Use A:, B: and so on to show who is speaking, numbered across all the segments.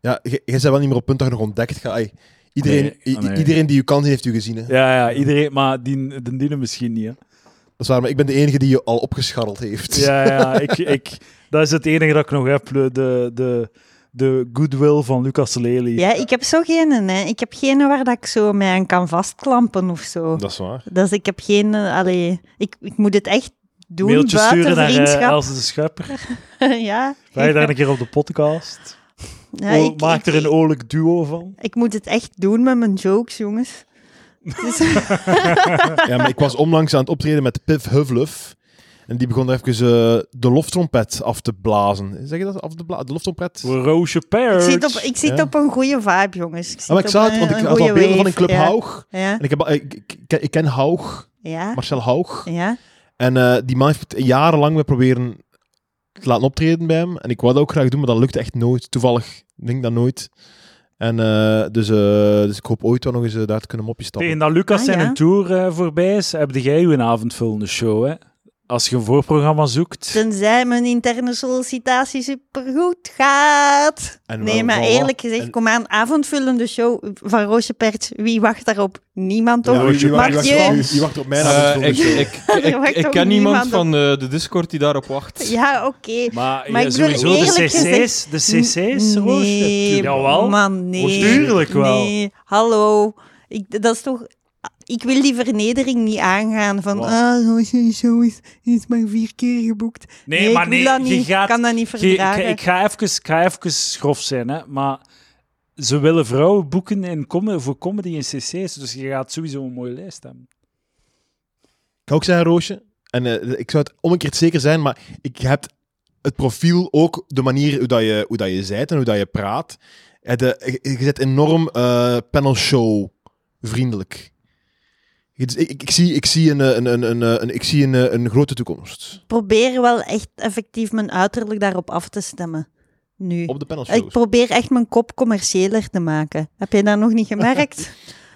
A: Ja, jij jij bent wel niet meer op punt dat je nog ontdekt gaat. Ai, Iedereen,
B: Nee,
A: i- i-
B: nee.
A: iedereen die je kan zien, heeft u gezien. Hè?
B: Ja, ja, iedereen, maar die, de dienen misschien niet. Hè.
A: Dat is waar, maar ik ben de enige die je al opgescharreld heeft.
B: Ja, ja ik, ik, dat is het enige dat ik nog heb. De, de, de goodwill van Lucas Lely.
C: Ja, ik heb zo geen. Hè. Ik heb geen waar dat ik zo mij aan kan vastklampen of zo.
A: Dat is waar.
C: Dus ik heb geen. eh, Allee, ik, ik moet het echt doen
B: Mailtjes
C: buiten
B: sturen naar eh,
C: vriendschap.
B: Elze de Schepper.
C: ja.
B: Ga je daar een keer op de podcast?
C: Ja,
B: O-
C: ik-
B: maak
C: ik-
B: er een oorlijk duo van.
C: Ik moet het echt doen met mijn jokes, jongens. Dus,
A: Ja, maar ik was onlangs aan het optreden met Piv Huvluf. En die begon er even eh, de loftrompet af te blazen. Zeg je dat? Af de, bla- de loftrompet?
B: Roosje
C: ik
B: Parrots.
C: zit, op, ik zit
A: Ja.
C: op een goede vibe, jongens. Ik zit
A: Ah, maar ik
C: op
A: zag
C: een-
A: het, want ik
C: een
A: had al
C: goeie
A: beelden van
C: wave.
A: een club
C: ja.
A: Haug.
C: Ja,
A: En ik, heb, al- ik, ik, ik- ik ken Haug,
C: ja,
A: Marcel Haug.
C: ja.
A: En eh, die man heeft jarenlang we proberen te laten optreden bij hem. En ik wou dat ook graag doen, maar dat lukt echt nooit. Toevallig denk ik dat nooit. En eh, dus, eh, dus ik hoop ooit wel nog eens eh, daar te kunnen mopjes stappen.
B: Tegen dat Lucas
C: Ah,
B: zijn
C: ja.
B: een tour eh, voorbij is, heb jij je een avondvullende show. Hè? Als je een voorprogramma zoekt.
C: Tenzij mijn interne sollicitatie supergoed gaat.
A: En wel
C: Nee, maar
A: van
C: eerlijk
A: wat-
C: gezegd,
A: en-
C: kom aan. Avondvullende show van Roosje Pert. Wie wacht daarop? Niemand, toch?
A: Ja, wie- wie- wie- wie- wie- wie- wie wacht op mij naar
D: Eh,
A: de
D: ik,
A: volgende
D: ik, ik,
C: Er wacht
D: ik
C: ook
D: ken
C: niemand
D: niemand
C: op.
D: van eh, de Discord die daarop wacht.
C: Ja, oké.
B: Maar,
C: Maar
B: ja,
C: ik bedoel,
B: sowieso de
C: eerlijk
B: cc's, de cc's, Roosje.
C: Nee,
B: Jawel.
C: man, nee.
B: Tuurlijk wel.
C: Nee, hallo. Ik, dat is toch... Ik wil die vernedering niet aangaan van...
A: Wat?
C: Ah, Roosje zo is, is maar vier keer geboekt.
B: Nee,
C: ik
B: maar
C: wil
B: nee,
C: dat
B: je
C: niet. Ik
B: gaat-
C: kan dat niet
B: Ge- ik,
C: verdragen.
B: ik ga even, ik ga even grof zijn, hè, maar ze willen vrouwen boeken in com voor comedy in cc's, dus je gaat sowieso een mooie lijst hebben.
A: Ik kan ook zeggen, Roosje. En eh, ik zou het omgekeerd zeker zijn, maar ik heb het profiel ook de manier hoe dat je, hoe dat je zijt en hoe dat je praat. Eh, de- je je zet enorm eh panel show vriendelijk. Ik, ik, ik zie, ik zie, een, eh, een, een, een, eh, een, ik zie een, eh, een grote toekomst
C: probeer wel echt effectief mijn uiterlijk daarop af te stemmen. Nu.
A: op de panel
C: Ik
A: shows.
C: probeer echt mijn kop commerciëler te maken. Heb je dat nog niet gemerkt?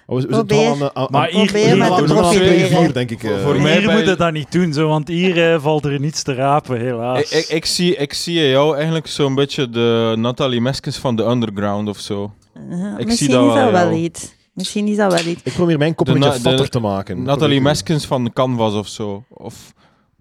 A: Maar we, we zijn toch
C: probeer-
A: al aan, aan,
B: Maar
A: aan-
B: hier-
A: we zijn
B: maar
A: al aan- we zijn al aan
C: proberen.
A: twee, vier, denk ik. eh.
D: Voor
B: Hier
D: mij bij-
B: moet je dat niet doen, zo, want hier eh, valt er niets te rapen, helaas.
D: Ik, ik, ik zie, ik zie in jou eigenlijk zo'n beetje de Nathalie Meskens van de underground of zo.
C: Ja, Misschien
D: zie dat
C: is dat
D: wel,
C: wel
D: ja.
C: iets. Misschien is dat wel iets.
A: ik probeer mijn kop
D: De
A: een beetje
D: na- de-
A: fatter te maken.
D: Nathalie
A: Probeer-
D: Meskens van de Canvas of zo. Of,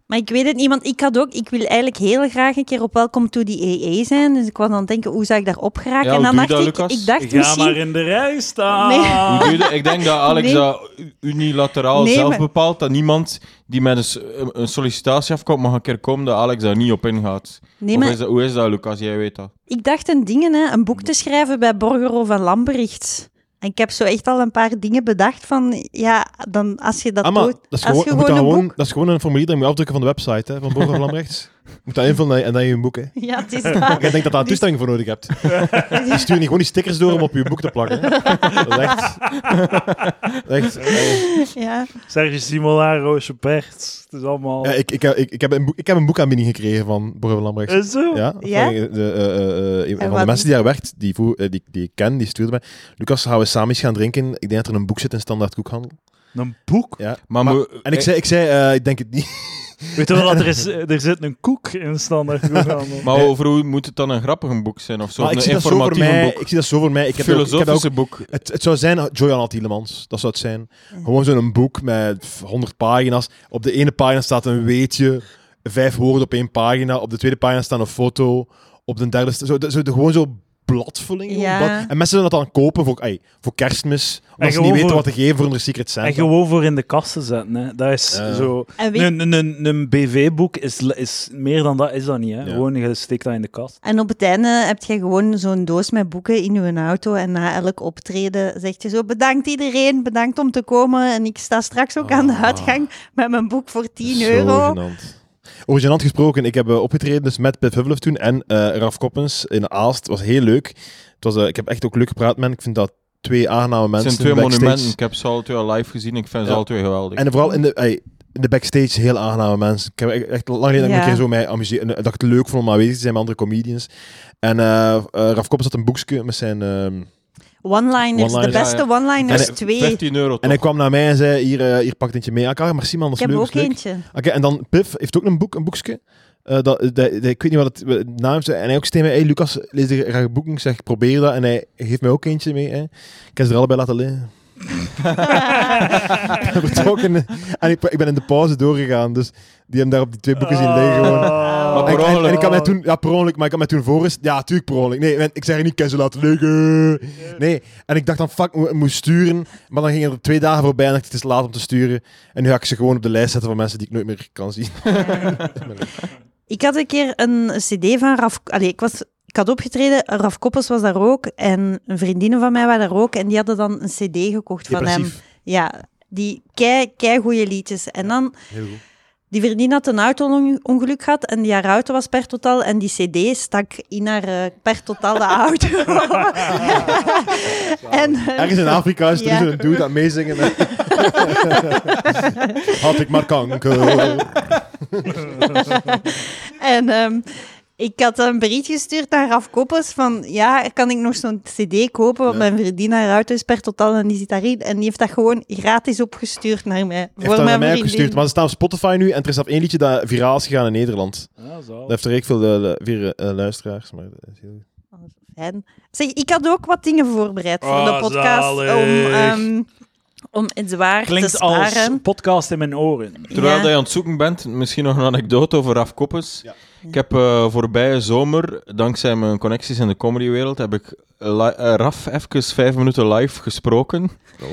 C: Maar ik weet het niet, want ik had ook... Ik wil eigenlijk heel graag een keer op Welcome to the AA zijn. Dus ik was aan het denken, hoe zou ik daar op geraken?
D: Ja,
C: en
D: hoe
C: dan
D: doe je
C: dacht
D: dat,
C: ik...
D: Lucas?
C: Ik dacht
B: Ga maar
C: misschien...
B: in de rij staan.
A: Ah.
D: Hoe doe je dat? Ik denk dat Alex
C: Nee.
D: dat unilateraal
C: Nee,
D: zelf
C: maar-
D: bepaalt. Dat niemand die met een, s- een- een sollicitatie afkomt mag een keer komen, dat Alex daar niet op ingaat.
C: Nee,
D: Of
C: maar
D: is dat, hoe is dat, Lucas? Jij weet dat.
C: ik dacht een dingen, hè. Een boek te schrijven bij Borgero van Lambericht. En ik heb zo echt al een paar dingen bedacht van... Ja, dan als je dat
A: Ah, maar
C: doet...
A: dat, is
C: als
A: gewoon,
C: je
A: je moet
C: gewoon
A: dat,
C: een
A: gewoon,
C: boek...
A: dat is gewoon een formulier dat je moet afdrukken van de website hè, van Borger van Lambrechts. Je moet dat invullen en dan je een boek. Hè.
C: Ja, het is waar.
A: Ik denk dat daar toestemming voor nodig hebt. Die sturen je gewoon die stickers door om op je boek te plakken. hè. Dat is echt... dat is echt eh,
C: ja.
B: Serge Simola, Roosje Perts, het is allemaal...
A: ja, ik, ik, ik, ik, heb een boek, ik heb een boekaanbieding gekregen van Borger van Lambrechts.
B: Is zo?
A: Ja,
C: Ja?
A: van, de, eh, eh, eh, een van de
C: wat-
A: mensen die daar werkt, die, vroeg- eh, die, die ik ken, die stuurde mij. Lucas, gaan we samen eens gaan drinken? Ik denk dat er een boek zit in Standaard Koekhandel.
B: Een boek?
A: Ja.
D: Maar,
A: Maar-
D: moe-
A: En ik zei, ik, zei eh, ik denk het niet.
B: Weet je wel, dat er, is, er zit een koek in standaard boekhandel.
D: maar over hoe moet het dan een grappig boek zijn? Of zo?
A: Eh, Maar
D: een
A: ik zie, dat zo voor
D: informatief
A: mij,
D: boek?
A: ik zie dat zo voor mij. Ik heb, ook, ik heb dat ook
D: Filosofische boek.
A: Het, het zou zijn Joyan Tielemans, dat zou het zijn. Gewoon zo'n boek met 100 pagina's. Op de ene pagina staat een weetje, vijf woorden op één pagina. Op de tweede pagina staan een foto. Op de derde, sta- zo, de- zo, de- gewoon zo bladvulling. gewoon
C: Ja.
A: blad. En mensen zullen dat dan kopen voor, ey, voor kerstmis, omdat ze niet
B: gewoon
A: weten
B: voor-
A: wat te geven voor hun Secret Santa.
B: En gewoon voor in de kasten zetten, hè. Dat is
A: Ja.
B: zo...
C: En weet
B: Een, een, een, een BV-boek is, is meer dan dat, is dat niet. Hè?
A: Ja.
B: Gewoon, je steekt dat in de kast.
C: En op het einde heb je gewoon zo'n doos met boeken in je auto. En na elk optreden zegt je zo: Bedankt iedereen, bedankt om te komen. En ik sta straks ook aan de
A: Ah.
C: uitgang met mijn boek voor 10
A: Zo
C: euro.
A: gênant. Over gênant gesproken, ik heb eh, opgetreden dus met Pip Huvelef toen en eh, Raf Koppens in Aalst. Het was heel leuk. Het was, eh, ik heb echt ook leuk gepraat met hen. Ik vind dat twee aangename
D: Het
A: mensen
D: zijn twee
A: backstage.
D: monumenten. Ik heb ze alle twee al live gezien. Ik vind ze
A: Ja.
D: alle twee geweldig.
A: En vooral in de, ey, in de backstage heel aangename mensen. Ik heb echt- echt lang geleden dat ik me
C: Ja.
A: een keer zo mij amuseer, en, eh, dat ik het leuk vond om aanwezig te zijn met andere comedians. En eh eh, Raf Koppens had een boekje met zijn... ehm,
C: One-liners,
A: One-liners,
C: de beste
D: ja,
C: one-liners
A: En-
C: 2.
D: 15 euro toch?
A: en hij kwam naar mij en zei, hier, eh, hier pak het eentje mee. Ah, maar merci man, dat
C: Ik
A: is
C: heb
A: leuk. dat
C: ook
A: is leuk.
C: eentje.
A: Oké, en dan Piff heeft ook een boek, een boekje. eh, dat, dat- dat- ik weet niet wat het wat het naam is. En hij ook steeds mee, hey, Lucas, lees er graag een boek. Ik zeg, probeer dat. En hij geeft mij ook eentje mee. Hè. Ik heb ze er allebei laten liggen. Ik ben vertrokken. En ik, ik ben in de pauze doorgegaan. Dus die hebben daar op die twee boeken zien liggen. Gewoon.
B: Oh.
D: Maar
A: En,
D: per
A: en- en
D: ongeluk.
A: ik had mij toen, ja, per ongeluk, maar ik had mij toen voor is, ja, tuurlijk per ongeluk. Nee, ik- ik zeg niet, ik heb ze laten liggen. Nee, en ik dacht dan, fuck, ik moest sturen. Maar dan gingen er twee dagen voorbij en dacht ik, het is laat om te sturen. En nu ga ik ze gewoon op de lijst zetten van mensen die ik nooit meer kan zien.
C: Ik had een keer een cd van Raf... Allee, ik, was, ik had opgetreden, Raf Koppers was daar ook en een vriendinnen van mij waren daar ook en die hadden dan een cd gekocht van hem.
A: Depressief.
C: Ja, die kei, kei goede liedjes. En dan,
A: Heel goed.
C: die vriendin had een auto-ongeluk gehad en die haar auto was per totaal en die cd stak in haar eh, per totaal de auto. en, eh,
A: Ergens in Afrika is er
C: Ja.
A: zo'n dude dat meezingen. Had ik maar kanker.
C: En ehm, ik had een bericht gestuurd naar Raf Koppers van ja, kan ik nog zo'n cd kopen, want
A: Ja.
C: mijn vriendin haar auto is per totaal en die zit daarin. En die heeft dat gewoon gratis opgestuurd naar mij.
A: Heeft dat naar mij ook
C: vriendin.
A: gestuurd. Maar ze staan op Spotify nu en er is af één liedje dat viraal is gegaan in Nederland.
B: Ja, zo.
A: Dat heeft er echt veel eh, weer, eh, luisteraars. Maar dat is heel goed.
C: Fijn. Zeg, ik had ook wat dingen voorbereid voor de
B: Ah,
C: podcast
B: zalig.
C: om, ehm om het zwaar te
B: Klinkt als
C: sparen.
B: podcast in mijn oren.
D: Terwijl
C: Ja.
D: dat je aan het zoeken bent, misschien nog een anekdote over Raf Koppes.
A: Ja.
D: Ik heb eh, voorbije zomer, dankzij mijn connecties in de comedywereld, heb ik li- eh, Raf even vijf minuten live gesproken.
A: Oh.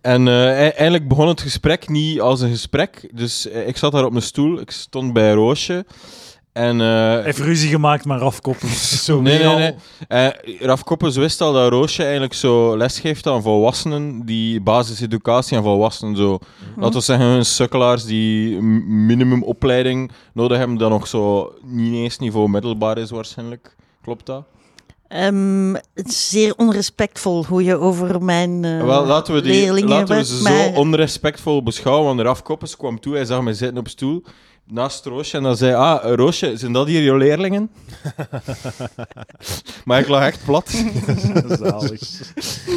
D: En eh, e- eigenlijk begon het gesprek niet als een gesprek. Dus eh, ik zat daar op mijn stoel, ik stond bij Roosje. En eh,
B: Hij heeft ruzie gemaakt, maar afkoppen. Zo
D: Nee,
B: weer
D: nee,
B: al.
D: nee. Eh, Raf Koppens wist al dat Roosje eigenlijk zo les geeft aan volwassenen, die basiseducatie aan volwassenen, zo, laten we zeggen, hun sukkelaars die m- minimumopleiding nodig hebben, dat nog zo niet eens niveau middelbaar is waarschijnlijk. Klopt dat?
C: Ehm, het is zeer onrespectvol hoe je over mijn eh,
D: Wel, laten we, die,
C: leerlingen
D: laten we
C: werd,
D: ze
C: maar-
D: zo onrespectvol beschouwen, want Raf Koppens kwam toe, hij zag mij zitten op stoel, naast Roosje, en dan zei ah, eh, Roosje, zijn dat hier jouw leerlingen? maar ik lag echt plat.
B: Zalig.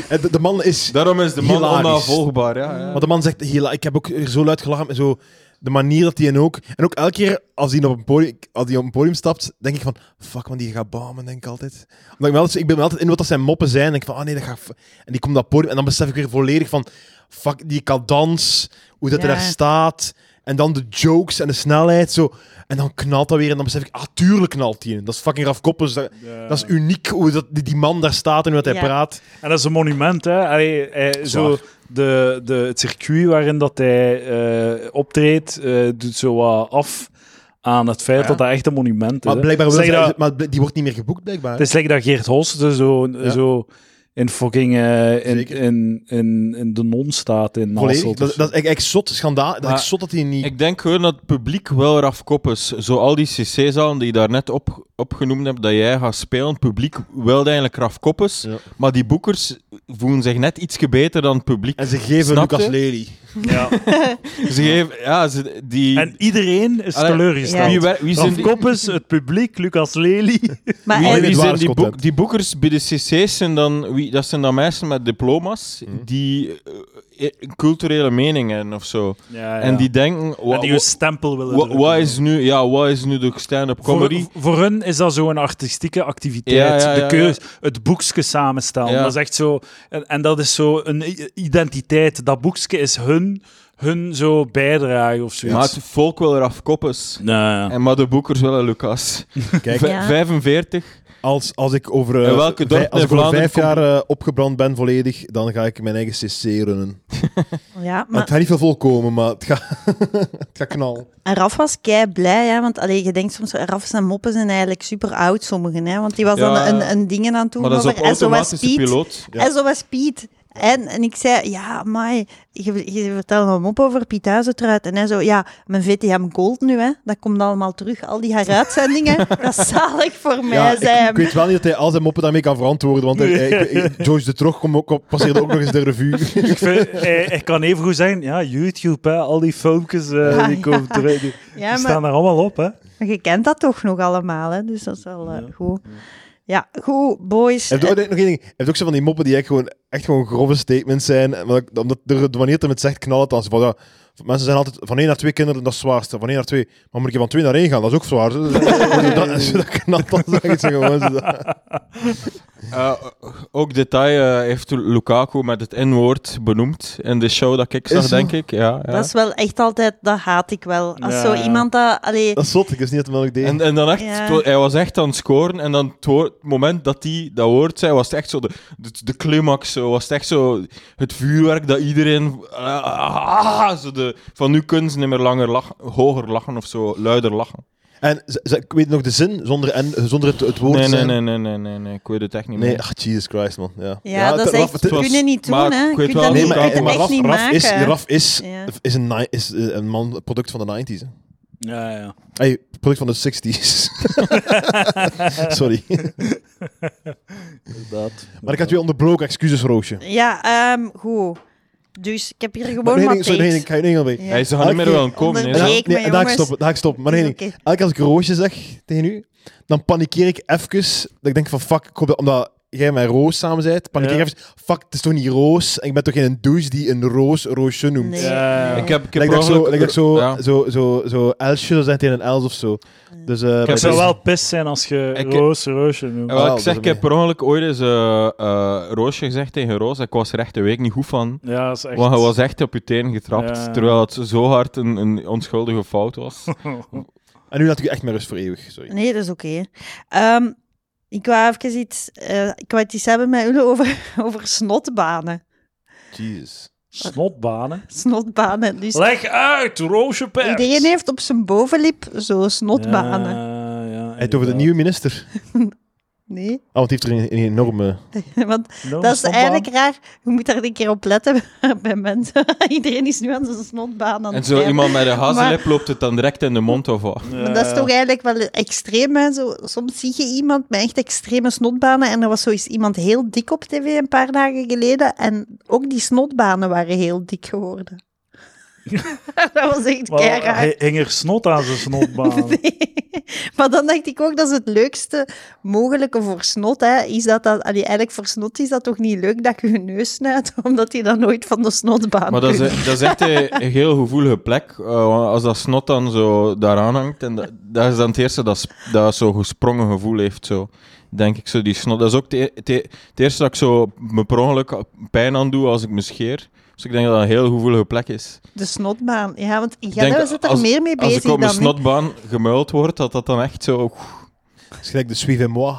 A: En de- de man is
D: Daarom is de man
A: Hilarisch.
D: onafvolgbaar, ja. ja.
A: Want de man zegt, "Hela, ik heb ook er zo luid gelachen. en Zo, de manier dat hij en ook... En ook elke keer als hij op een podium, als hij op een podium stapt, denk ik van... Fuck, man, die gaat bamen, denk ik altijd. Omdat ik, me altijd, ik ben me altijd in wat dat zijn moppen zijn. En ik van, ah nee, dat gaat... f- En die komt op dat podium. En dan besef ik weer volledig van... Fuck, die cadans. Hoe dat hij
C: Ja.
A: daar staat. En dan de jokes en de snelheid. Zo. En dan knalt dat weer. En dan besef ik, ah, tuurlijk knalt die in. Dat is fucking Raf Koppers. Dat, dat is uniek hoe dat, die, die man daar staat en hoe dat hij
C: Ja.
A: praat.
B: En dat is een monument, hè. Allee, hij- zo
A: Zwaar.
B: de, de, het circuit waarin dat hij eh, optreedt, eh, doet zo wat af aan het feit
D: Ja.
B: dat dat echt een monument is.
A: Maar
B: hè.
A: blijkbaar wil
B: Zeg
A: ze-
B: dat-
A: maar bl- die wordt niet meer geboekt, blijkbaar.
B: Het is lekker dat Geert Host er zo,
A: Ja.
B: zo in fucking... eh, in,
A: Zeker.
B: in, in, in de non staat in
A: Volledig.
B: Hasselt.
A: Dat, dat is echt zot schandaal. Dat
D: Maar
A: ik zot dat hij niet.
D: Ik denk gewoon dat het publiek wel Raf Koppes, zo al die CC-zalen die je daarnet op, opgenoemd hebt, dat jij gaat spelen, het publiek wilde eigenlijk Raf Koppes,
A: Ja.
D: maar die boekers voelen zich net ietsje beter dan het publiek.
A: En ze geven
D: Snap
A: Lucas
D: je?
A: Lely.
B: Ja.
D: Ze geven, ja, ze, die...
B: En iedereen is
D: Allee,
B: teleurgesteld.
D: wie, wer- wie zijn
B: Raf
D: die,
B: Koppes, het publiek, Lucas Lely.
C: Maar
D: wie-
A: Alleen het
C: en-
D: wie zijn die,
A: waarheidscontent.
D: boek- die boekers bij de CC's zijn dan, wie, dat zijn dan mensen met diploma's
A: Mhm.
D: die eh, eh, culturele meningen of
A: Ah,
D: zo. En die denken, wa-
B: en die
D: wa-
B: hun stempel willen
D: wa-
B: drukken.
D: wat is nu, ja, wat is nu de stand-up comedy?
B: Voor, voor hun is dat zo'n artistieke activiteit.
D: Ja, ja, ja,
B: de keus, Het boekje samenstellen.
D: Ja.
B: Dat is echt zo, en, en dat is zo een i- identiteit. Dat boekje is hun, hun zo bijdrage of
D: Maar
B: zoiets.
D: het volk wil Raf Koppes.
B: Nou, ja.
D: En maar de boekers willen Lucas.
A: Kijk,
D: V-
C: Ja.
D: 45.
A: als, als ik over, eh,
D: In welke dorp
A: vij- als
D: in
A: ik over
D: Vlaanderen
A: vijf jaar eh, opgebrand ben volledig, dan ga ik mijn eigen CC runnen.
C: ja, maar
A: Maar... Het gaat niet veel volkomen, maar het gaat, het gaat knallen.
C: En Raf was kei blij, hè, want allee, je denkt soms, Raf zijn moppen zijn eigenlijk super oud, sommigen. Hè, want die was
D: Ja,
C: dan een, een dingen aan het doen
D: Maar dat is op
C: over SOS
D: automatische
C: Piet.
D: piloot.
A: Ja.
C: SOS Piet. En, en ik zei, ja, maar je, je vertelde een mop over Piet Huizertruid. En hij zo, ja, mijn VTM Gold nu, hè, dat komt allemaal terug. Al die heruitzendingen, dat is zalig voor mij,
A: ik,
C: zei
A: ik
C: hem.
A: weet wel niet dat hij al zijn moppen daarmee kan verantwoorden, want hij- hij- ik- ik- Joyce de Trog kom ook, op- passeerde ook nog eens de revue.
B: Ik, vind- hij, hij kan even goed zeggen, ja, YouTube, hè, al die filmpjes eh,
C: Ja,
B: die,
C: ja.
B: komen terug, die, die
C: Ja, maar,
B: staan er allemaal op. Hè.
C: maar je kent dat toch nog allemaal, hè, dus dat is wel eh, goed. Ja. Ja, goed, boys. Eh,
A: Heb je ook, oh, nog één ding? Heb je ook zo van die moppen die echt gewoon, echt gewoon grove statements zijn? Maar dat- omdat er, de wanneer het hem het zegt, knal het dan. Zo Van, ja, mensen zijn altijd van één naar twee kinderen, dat is het zwaarste. Van één naar twee. Maar moet je van twee naar één gaan, dat is ook zwaar. Zo, zo, zo, dat, zo, dat knalt dan. zo echt zo gewoon, zo, dat-
D: Eh, ook detail eh, heeft Lukaku met het N-woord benoemd in de show dat ik
A: Is
D: zag,
A: zo?
D: denk ik. Ja, ja.
C: Dat is wel echt altijd, dat haat ik wel. Als
B: Ja.
C: zo iemand dat, allee,
A: Dat is zot, ik wist niet dat melk deed.
D: En, en dan echt,
C: Ja.
D: het wa- hij was echt aan het scoren. En dan het, woord- het moment dat hij dat woord zei, was het echt zo de, de, de climax. Zo, was het echt zo het vuurwerk dat iedereen. ah, ah, zo de, van nu kunnen ze niet meer langer lachen, hoger lachen of zo, luider lachen.
A: En ze- ze- ik weet nog de zin zonder, en, zonder het, het woord
D: Nee, nee,
A: zijn.
D: nee, nee, nee, nee, nee, ik weet het echt niet
A: Nee,
D: meer.
A: ach, Jesus Christ, man. Ja,
C: ja, dat is
A: het-
C: echt,
A: Raf,
D: het
A: het-
D: was-
C: kun je niet doen,
D: maar
C: hè.
D: ik weet
C: Kun
D: wel-
C: dat
A: Nee,
C: niet,
A: maar,
D: kan
C: kun je
A: eh, maar
C: echt
A: Raf,
C: niet
A: Raf is,
C: maken.
A: Raf is,
C: Ja.
A: is, een, ni- is eh, een man, product van de 90s. Hè.
B: Ja, ja.
A: Hey, product van de 60s. Sorry.
B: Inderdaad.
A: Maar ik had je onderbroken, excuses, Roosje.
C: Ja, ehm, goed. Dus ik heb hier
A: Maar
C: gewoon
A: nog één
C: wat
A: ding- sorry, nog één ding,
C: tekst.
A: ik ga je nog één ding mee.
C: Ja.
D: Hij ze gaan niet meer wel komen. hè,
A: En dan,
C: Onderbreek
D: zo.
A: nee,
C: Breek me,
A: en daar ga ik
C: jongens.
A: stoppen. Daar ga ik stoppen. Maar nog één ding.
C: Oké.
A: Elke keer als ik Roosje zeg tegen u, dan panikeer ik even. Dat ik denk van, fuck, ik hoop dat- omdat jij met Roos samen bent, panikeer
B: Ja.
A: ik even. Fuck, het is toch niet Roos? En ik ben toch geen douche die een Roos Roosje noemt?
C: Nee,
B: Ja,
C: nee.
D: Ik heb, ik heb
A: Lijkt dat ik zo,
D: ongeluk-
A: lijkt dat ik zo,
D: Ja.
A: zo, zo, zo Elsje, zo zegt tegen een Els of zo. Dus, eh,
B: Ik
D: heb
B: zou
D: dus-
B: wel pist zijn als je
D: Ik-
B: Roos Roosje noemt.
D: Ja, wel,
A: Ah,
D: ik zeg,
A: dat
D: ik
A: is
D: heb per ongeluk ooit eens eh, eh, Roosje gezegd tegen Roos. Ik was er echt een week niet goed van.
B: Ja, dat is echt...
D: Want hij was echt op je teen getrapt.
B: Ja.
D: Terwijl het zo hard een, een onschuldige fout was.
A: En nu laat ik je echt met rust voor eeuwig. Sorry.
C: Nee, dat is oké. Ehm, ik wou even iets, eh, ik wou het iets hebben met jullie over, over snotbanen.
A: Jesus.
B: Snotbanen.
C: Snotbanen. Dus
B: Leg uit, Roosje Pers.
C: iedereen heeft op zijn bovenlip zo snotbanen.
B: Ja, ja,
A: Hij heeft over de
B: inderdaad.
A: nieuwe minister.
C: Nee,
A: Ah, want die heeft er een, een enorme...
C: want
B: Nog
C: dat
B: een
C: is
B: snotbaan?
C: eigenlijk raar. Je moet daar een keer op letten bij mensen. iedereen is nu aan zijn snotbaan aan
D: En
C: het
D: zo
C: kijken.
D: iemand met een hazelip loopt het dan direct in de mond of wat.
C: Maar dat is toch eigenlijk wel extreem, hè? Zo, soms zie je iemand met echt extreme snotbanen. En er was zoiets iemand heel dik op tv een paar dagen geleden. En ook die snotbanen waren heel dik geworden. dat was echt
B: Maar
C: keiraar.
B: hij hing er snot aan zijn snotbaan.
C: maar dan dacht ik ook, dat is het leukste mogelijke voor snot. Hè. Is dat dat, allee, eigenlijk voor snot is dat toch niet leuk dat je je neus snuit, omdat hij dan nooit van de snotbaan
D: Maar dat is,
C: kunt.
D: dat is echt een een heel gevoelige plek. eh, want als dat snot dan zo daaraan hangt. En dat, dat is dan het eerste dat, sp- dat zo'n gesprongen gevoel heeft. Zo. Denk ik zo, die snot. Dat is ook het e- het e- het eerste dat ik zo me per ongeluk pijn aan doe als ik me scheer. Dus ik denk dat dat een heel gevoelige plek is.
C: De snotbaan. Ja, want in
D: denk
C: Gent zit er
D: als-
C: meer mee
D: Als
C: bezig
D: ik
C: dan...
D: op mijn
C: ik.
D: snotbaan gemuild word, dat dat dan echt zo...
A: Dat is gelijk de Suivez-moi.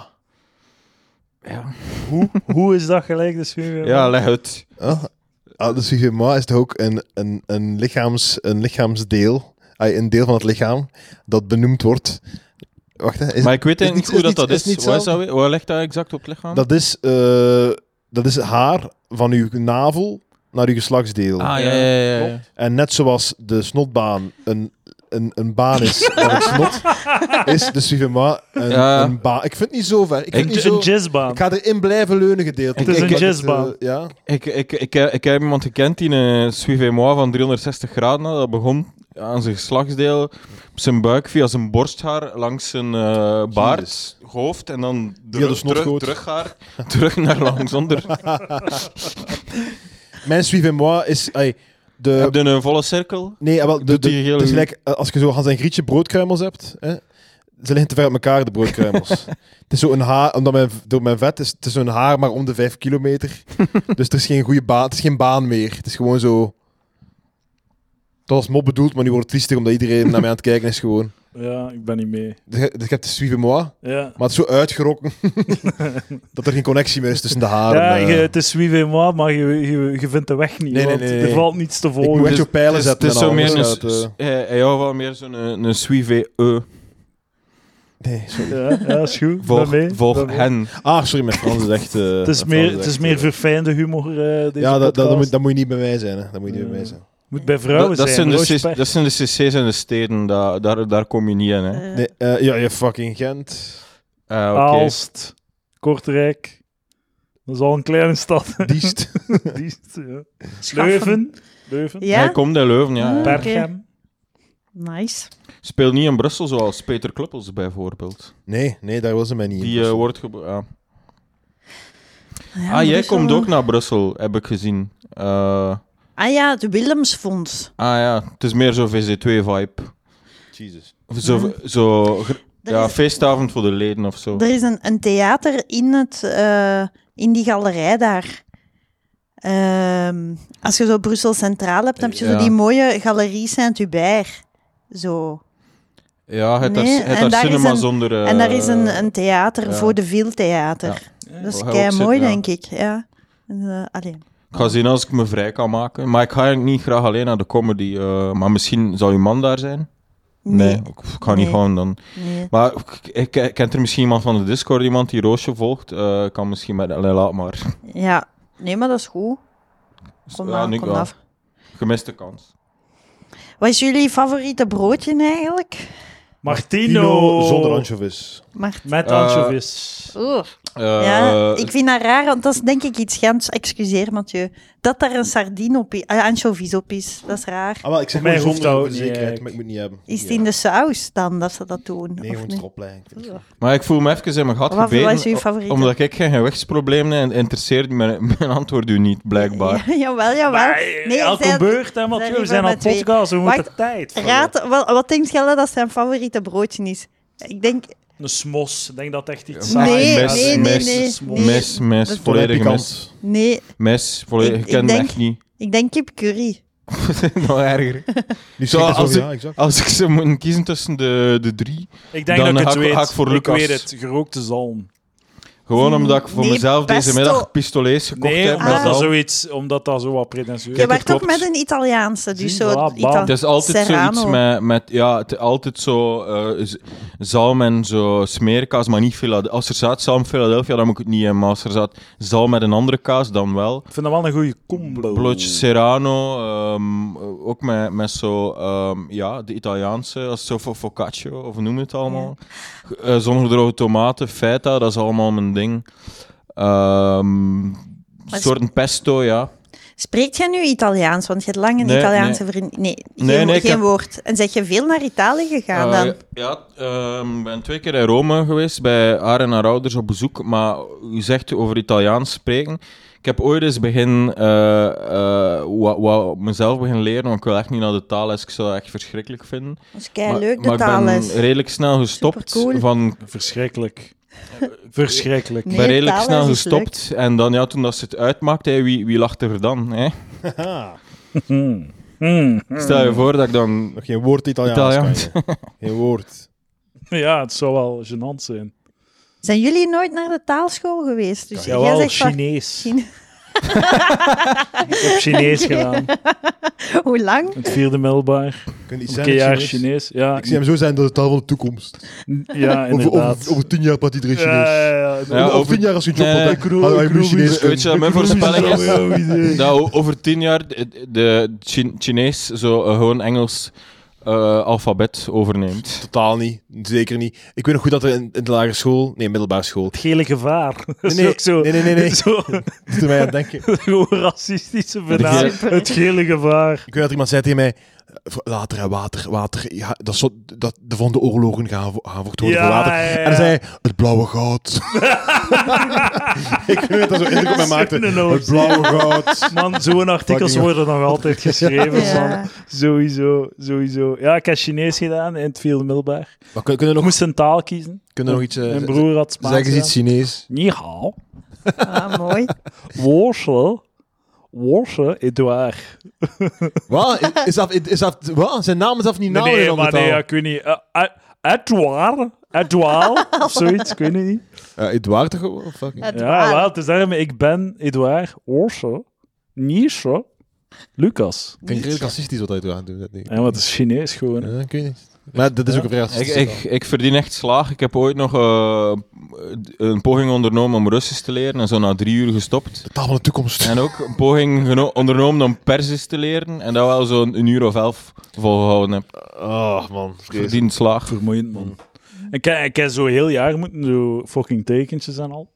B: hoe, hoe is dat gelijk, de sfeer?
D: Ja, leg uit.
A: Ah, ah, de Suivez-moi is toch ook een, een, een, lichaams, een lichaamsdeel, ah, een deel van het lichaam, dat benoemd wordt. Wacht, hè, is,
D: maar ik weet
A: is
D: eigenlijk
A: niet-
D: niet hoe
A: is
D: dat dat
A: niet-
D: is.
A: is niet
D: Waar, is
A: zo.
D: dat, weer? Waar ligt dat exact op het lichaam?
A: dat, is, eh, dat is het haar van uw navel naar uw geslachtsdeel.
D: ah, ja, ja, ja. ja.
B: Klopt.
A: En net zoals de snotbaan een, een, een baan is van het snot, is de Suivez-moi een,
D: Ja.
A: een baan. Ik vind het niet zo ver. Ik, vind
B: Een,
A: het niet
B: een
A: zo...
B: jazzbaan.
A: ik ga erin blijven leunen gedeeltelijk.
B: Het is
A: Ik-
B: een
A: ik-
B: jazzbaan.
A: eh, ja.
D: Ik, ik, ik, eh, ik, heb iemand gekend die een suivez-moi van 360 graden had. Dat begon aan zijn geslachtsdeel, op zijn buik, via zijn borsthaar, langs zijn eh, baard,
A: Jezus.
D: hoofd en dan
A: Via
D: terug,
A: de
D: terug,
A: snotgoot.
D: terughaar, terug naar langs onder.
A: Mijn Suivez-moi is... ai, de,
D: Heb je een volle cirkel?
A: Nee, ah, wel, de,
D: Doet
A: de,
D: die heel
A: het is
D: goed.
A: gelijk, eh, als je zo Hans en Grietje broodkruimels hebt, hè, ze liggen te ver uit elkaar, de broodkruimels. het is zo'n haar, omdat mijn, door mijn vet, is, het is zo'n haar maar om de vijf kilometer. dus er is geen goede baan, het is geen baan meer. Het is gewoon zo... Dat was mop bedoeld, maar nu wordt het triestig omdat iedereen naar mij aan het kijken is gewoon.
B: Ja, ik ben niet mee.
A: Dus je dus je hebt de suivez-moi,
B: Ja.
A: maar het is zo uitgerokken dat er geen connectie meer is tussen de haren.
B: Ja,
A: Eh,
B: je- het is suivez moi, maar je, je, je vindt de weg
A: Nee,
B: niet.
A: nee,
B: want
A: nee, nee.
B: Er valt niets te
A: ik moet
B: volgen.
A: echt zo pijlen
D: Het is-
A: zetten.
D: Het is
A: en
D: zo
A: alles
D: meer een,
A: uit, eh.
D: s- hij, hij houdt wel meer zo'n eh, een, eh, een suivez-e.
A: Nee, sorry.
B: Ja, ja, is goed.
D: Volg,
B: ben mee.
D: volg
B: Ben mee.
D: hen.
A: Ah, sorry, mijn Frans is echt... eh,
B: Het is
A: mijn Frans
B: meer, het is
A: echt,
B: meer
A: eh,
B: verfijnde humor, eh, deze
A: ja, dat, dat, dat moet,
B: podcast.
A: dat moet je niet bij mij zijn. Hè. Dat moet je niet bij mij
B: Ja.
A: zijn.
B: moet bij vrouwen
D: Dat, dat,
B: zijn.
D: zijn de
B: Roosje
D: cc
B: Pers.
D: dat zijn de cc's en de steden, daar, daar, daar kom je niet in. Hè.
C: Eh,
A: Nee, eh, ja, je fucking Gent.
D: Ah, oké.
B: Aalst, Kortrijk. Dat is al een kleine stad.
A: Diest.
B: Diest, ja.
C: Schaffen.
B: Leuven. Leuven.
C: Ja?
B: Ah,
D: Hij komt in Leuven, ja.
C: Hmm.
D: ja.
B: Berchem.
C: Nice.
D: Speel niet in Brussel zoals Peter Kluppels bijvoorbeeld.
A: Nee, nee, daar was ze mij niet in.
D: Die eh, wordt... ge- ja.
C: Ja,
D: ah, jij
C: Brussel.
D: komt ook naar Brussel, heb ik gezien. Eh,
C: Ah ja, het Willemsfonds.
D: ah ja, het is meer zo'n VZ2-vibe. eh,
A: Jesus.
D: Zo, zo gr-
C: Er,
D: ja,
C: is,
D: feestavond voor de leden of zo.
C: er is een, een theater in, het, eh, in die galerij daar. Ehm, als je zo Brussel Centraal hebt, dan heb je
D: Ja.
C: zo die mooie galerie Saint-Hubert. Zo.
D: Ja, het
C: Nee,
D: daar- het
C: en
D: daar
C: daar is
D: cinema
C: een-
D: zonder... eh,
C: en daar is een, een theater
D: ja.
C: voor de Viltheater.
B: Ja.
C: Dat is
D: Waar hij ook
C: kei mooi,
D: zit, ja.
C: denk ik. Ja. Eh, allee.
D: Ik ga zien als ik me vrij kan maken. Maar ik ga eigenlijk niet graag alleen naar de comedy. eh, maar misschien zou uw man daar zijn?
C: Nee.
D: ik, ik ga niet
C: Nee.
D: gewoon dan.
C: nee.
D: Maar ik, ik, ik- kent er misschien iemand van de Discord, iemand die Roosje volgt? Eh, kan misschien met... Allee, laat maar.
C: Ja. Nee, maar dat is goed. Kom
D: Ja,
C: maar,
D: nu
C: kom
D: wel.
C: af.
D: Gemiste kans.
C: Wat is jullie favoriete broodje eigenlijk?
B: Martino!
A: Pino zonder anchovies.
C: Mart.
B: Met
D: Eh,
B: anchovies.
C: Oeh.
D: Eh,
C: Ja, ik vind dat raar, want dat is denk ik iets gans... Excuseer, Mathieu. Dat daar een sardine op is, ah, anchovies op is, dat is raar.
A: Ah, wel, ik zeg
B: Voor mij
A: maar
B: hoeft dat ook
A: zonder
B: niet eh,
A: zekerheid,
B: eigenlijk.
A: maar ik moet het niet hebben.
C: Is het
A: Ja.
C: in de saus dan dat ze dat doen?
A: Nee,
C: of
A: gewoon
C: niet?
A: erop leggen. Ik vind het
C: Oeh.
A: goed.
D: Maar ik voel me even in mijn gat
C: Wat wat is
D: gebeten.
C: uw favoriete?
D: Omdat ik geen gewichtsproblemen heb, interesseert mijn, mijn antwoord u niet, blijkbaar.
C: Ja, jawel, jawel.
B: Maar,
C: Nee,
B: elke
C: zij-
B: beurt, hè,
C: zij
B: Mathieu. We
C: liever
B: zijn aan
C: met
B: het
C: twee.
B: podcast, we moeten
C: Wacht,
B: tijd. vullen.
C: Raad, wat, wat denkt jij dat zijn favoriete broodje is? Ik denk...
B: Een smos. Ik denk dat echt iets
D: Ja,
B: saai
C: nee,
D: mes,
C: nee, nee,
D: mes,
C: nee, nee.
D: Mes, mes,
C: Dat-
D: volledige
A: Pikant.
D: mes.
C: Nee,
D: Mes, volledig.
C: Ik-
D: Ik
C: ik
D: ken
C: denk-
D: hem echt niet.
C: ik denk kipcurry.
D: Nog erger.
A: Nu
D: Zo,
A: zeg ik dat
D: als
A: zo,
D: ik-
A: ja, exact.
D: Als ik ze moet kiezen tussen de, de drie,
B: Ik denk
D: Dan
B: dat ik
D: ga
B: het
D: ik-
B: weet.
D: ga ik voor Lucas.
B: Ik weet het. Gerookte zalm.
D: gewoon omdat ik voor
C: Die
D: mezelf deze
C: Hmm. pesto.
D: middag pistolets gekocht
B: Nee,
D: heb.
B: omdat
D: dat
B: dat
D: al.
B: zoiets... Omdat dat zo wat pretentieus
C: Je
D: het
B: is.
C: werkt ook
D: klopt.
C: met een Italiaanse, dus
B: Zie,
C: zo...
B: voilà,
C: Ita-
B: bam.
D: Het is altijd
C: Serrano.
D: zoiets met, met ja, het, altijd zo eh, z- zalm en zo smeerkaas, maar niet Philadelphia. Als er staat zalm Philadelphia, dan moet ik het niet hebben. Maar als er staat zalm met een andere kaas, dan wel.
B: Ik vind dat wel een goede combo.
D: Blootje Serrano, ehm, ook met, met zo, ehm, ja, de Italiaanse, als zo voor focaccio, of hoe noem je het allemaal. Eh, zonder droge tomaten, feta, dat is allemaal mijn ding. Ehm
C: Maar
D: soorten pesto, ja.
C: Spreekt jij nu Italiaans? Want je hebt lang een
D: Nee,
C: Italiaanse vriend. Nee, geen,
D: Nee, nee, ik
C: geen
D: heb-
C: woord. En zeg je veel naar Italië gegaan
D: Eh,
C: dan?
D: ja, ehm, ik ben twee keer in Rome geweest, bij haar en haar ouders op bezoek. Maar u zegt over Italiaans spreken. Ik heb ooit eens begin, eh, eh, wa- wa- mezelf beginnen leren, want ik wil echt niet naar de taalles. Ik zou dat echt verschrikkelijk vinden.
C: Dat is kei
D: Maar-
C: leuk,
D: maar
C: de taal
D: ik ben redelijk snel gestopt.
C: Supercool.
D: Van,
B: Verschrikkelijk. Verschrikkelijk.
D: ik
C: Nee,
D: ben redelijk
C: taal
D: snel
C: is dus iets
D: gestopt. En dan, ja, toen dat ze het uitmaakt, hé, wie, wie lacht er dan? Hè?
A: Haha.
B: Hmm. Hmm.
D: Stel je voor dat ik dan...
A: Nog geen woord Italiaans.
D: Italiaans.
A: kan je. Geen woord.
B: Ja, het zou wel gênant zijn.
C: Zijn jullie nooit naar de taalschool geweest? Dus jij
B: Jawel,
C: zegt van,
B: Chinees.
C: Chine-
B: Ik heb Chinees gedaan.
C: hoe lang?
B: Het vierde middelbaar.
A: Kun je iets
B: Een
A: zijn
B: keer
A: in
B: jaar
A: Chinees?
B: Chinees. Ja,
A: Ik zie hem zo zijn dat de taal van de toekomst.
B: ja
A: Over,
B: inderdaad.
A: over, over tien jaar praat iedereen
B: Ja,
A: Chinees.
B: ja, ja, ja.
D: Ja,
A: over,
D: over-
A: tien jaar als je een job
D: Nee,
A: had,
D: ik
A: had hij moet Chinees kunnen.
D: Weet je wat mijn voorspelling is?
A: is?
D: Dat o- Nou, over tien jaar de, de Chi- Chinees zo eh, gewoon Engels eh, alfabet overneemt.
A: Totaal niet. Zeker niet. Ik weet nog goed dat er in, in de lagere school... Nee, middelbare school.
B: Het gele gevaar. Dat is
A: Nee,
B: ook zo.
A: nee, nee, nee, nee.
B: Zo,
A: Ik zit er mij aan het denken.
B: gewoon racistische benaming.
C: Super.
B: Het gele gevaar.
A: Ik weet dat er iemand zei tegen mij... Later, hè, water, water. Ja, dat, is zo, dat de volgende oorlogen gaan, vo- gaan vocht worden
B: Ja,
A: voor water.
B: ja,
A: En dan
B: ja.
A: zei hij, het blauwe goud. ik weet dat zo indruk op mij maakte.
B: Een hoop.
A: Het blauwe goud.
B: Man, zo'n artikels
A: Fucking
B: worden nog altijd geschreven.
C: Ja.
B: man. Sowieso, sowieso. Ja, ik heb Chinees gedaan in het vierde middelbaar.
A: Maar kun- kunnen we
B: Ik
A: nog,
B: moest een taal kiezen.
A: kunnen we nog iets... eh,
B: Mijn broer had Spaans
A: Zeg eens iets
B: gedaan.
A: Chinees.
B: Ni hao.
C: Ah, mooi.
B: Worsel. Worsel, Edouard.
A: Wat? Is- Is dat, is dat, wat? Zijn naam is dat niet
B: Nee,
A: naam
B: nee,
A: in een
B: maar
A: andere
B: nee, ja,
A: taal?
B: ik weet niet. Eh, eh, Edouard? Edouard? Of zoiets, ik weet het niet.
A: Eh, Edouard toch? Of fucking-
C: Het ah,
B: Ja,
C: waar.
B: wel, het is daarom ik ben Edouard Orso, Nietzsche, Lucas.
A: Klinkt redelijk racistisch wat hij aan doet.
B: En wat is Chinees gewoon. hè.
A: Ja, ik weet niet. Maar dat is ook een vrij
D: Ik,
A: racistisch.
D: ik, ik verdien echt slaag. Ik heb ooit nog eh, een poging ondernomen om Russisch te leren en zo na drie uur gestopt.
A: De taal van de toekomst.
D: En ook een poging geno- ondernomen om Perzisch te leren en dat wel zo'n een uur of elf volgehouden heb.
A: Oh man,
D: Verdien slaag.
B: Vermoeiend, man. Ik heb, ik heb zo heel jaar moeten zo fucking tekentjes en al.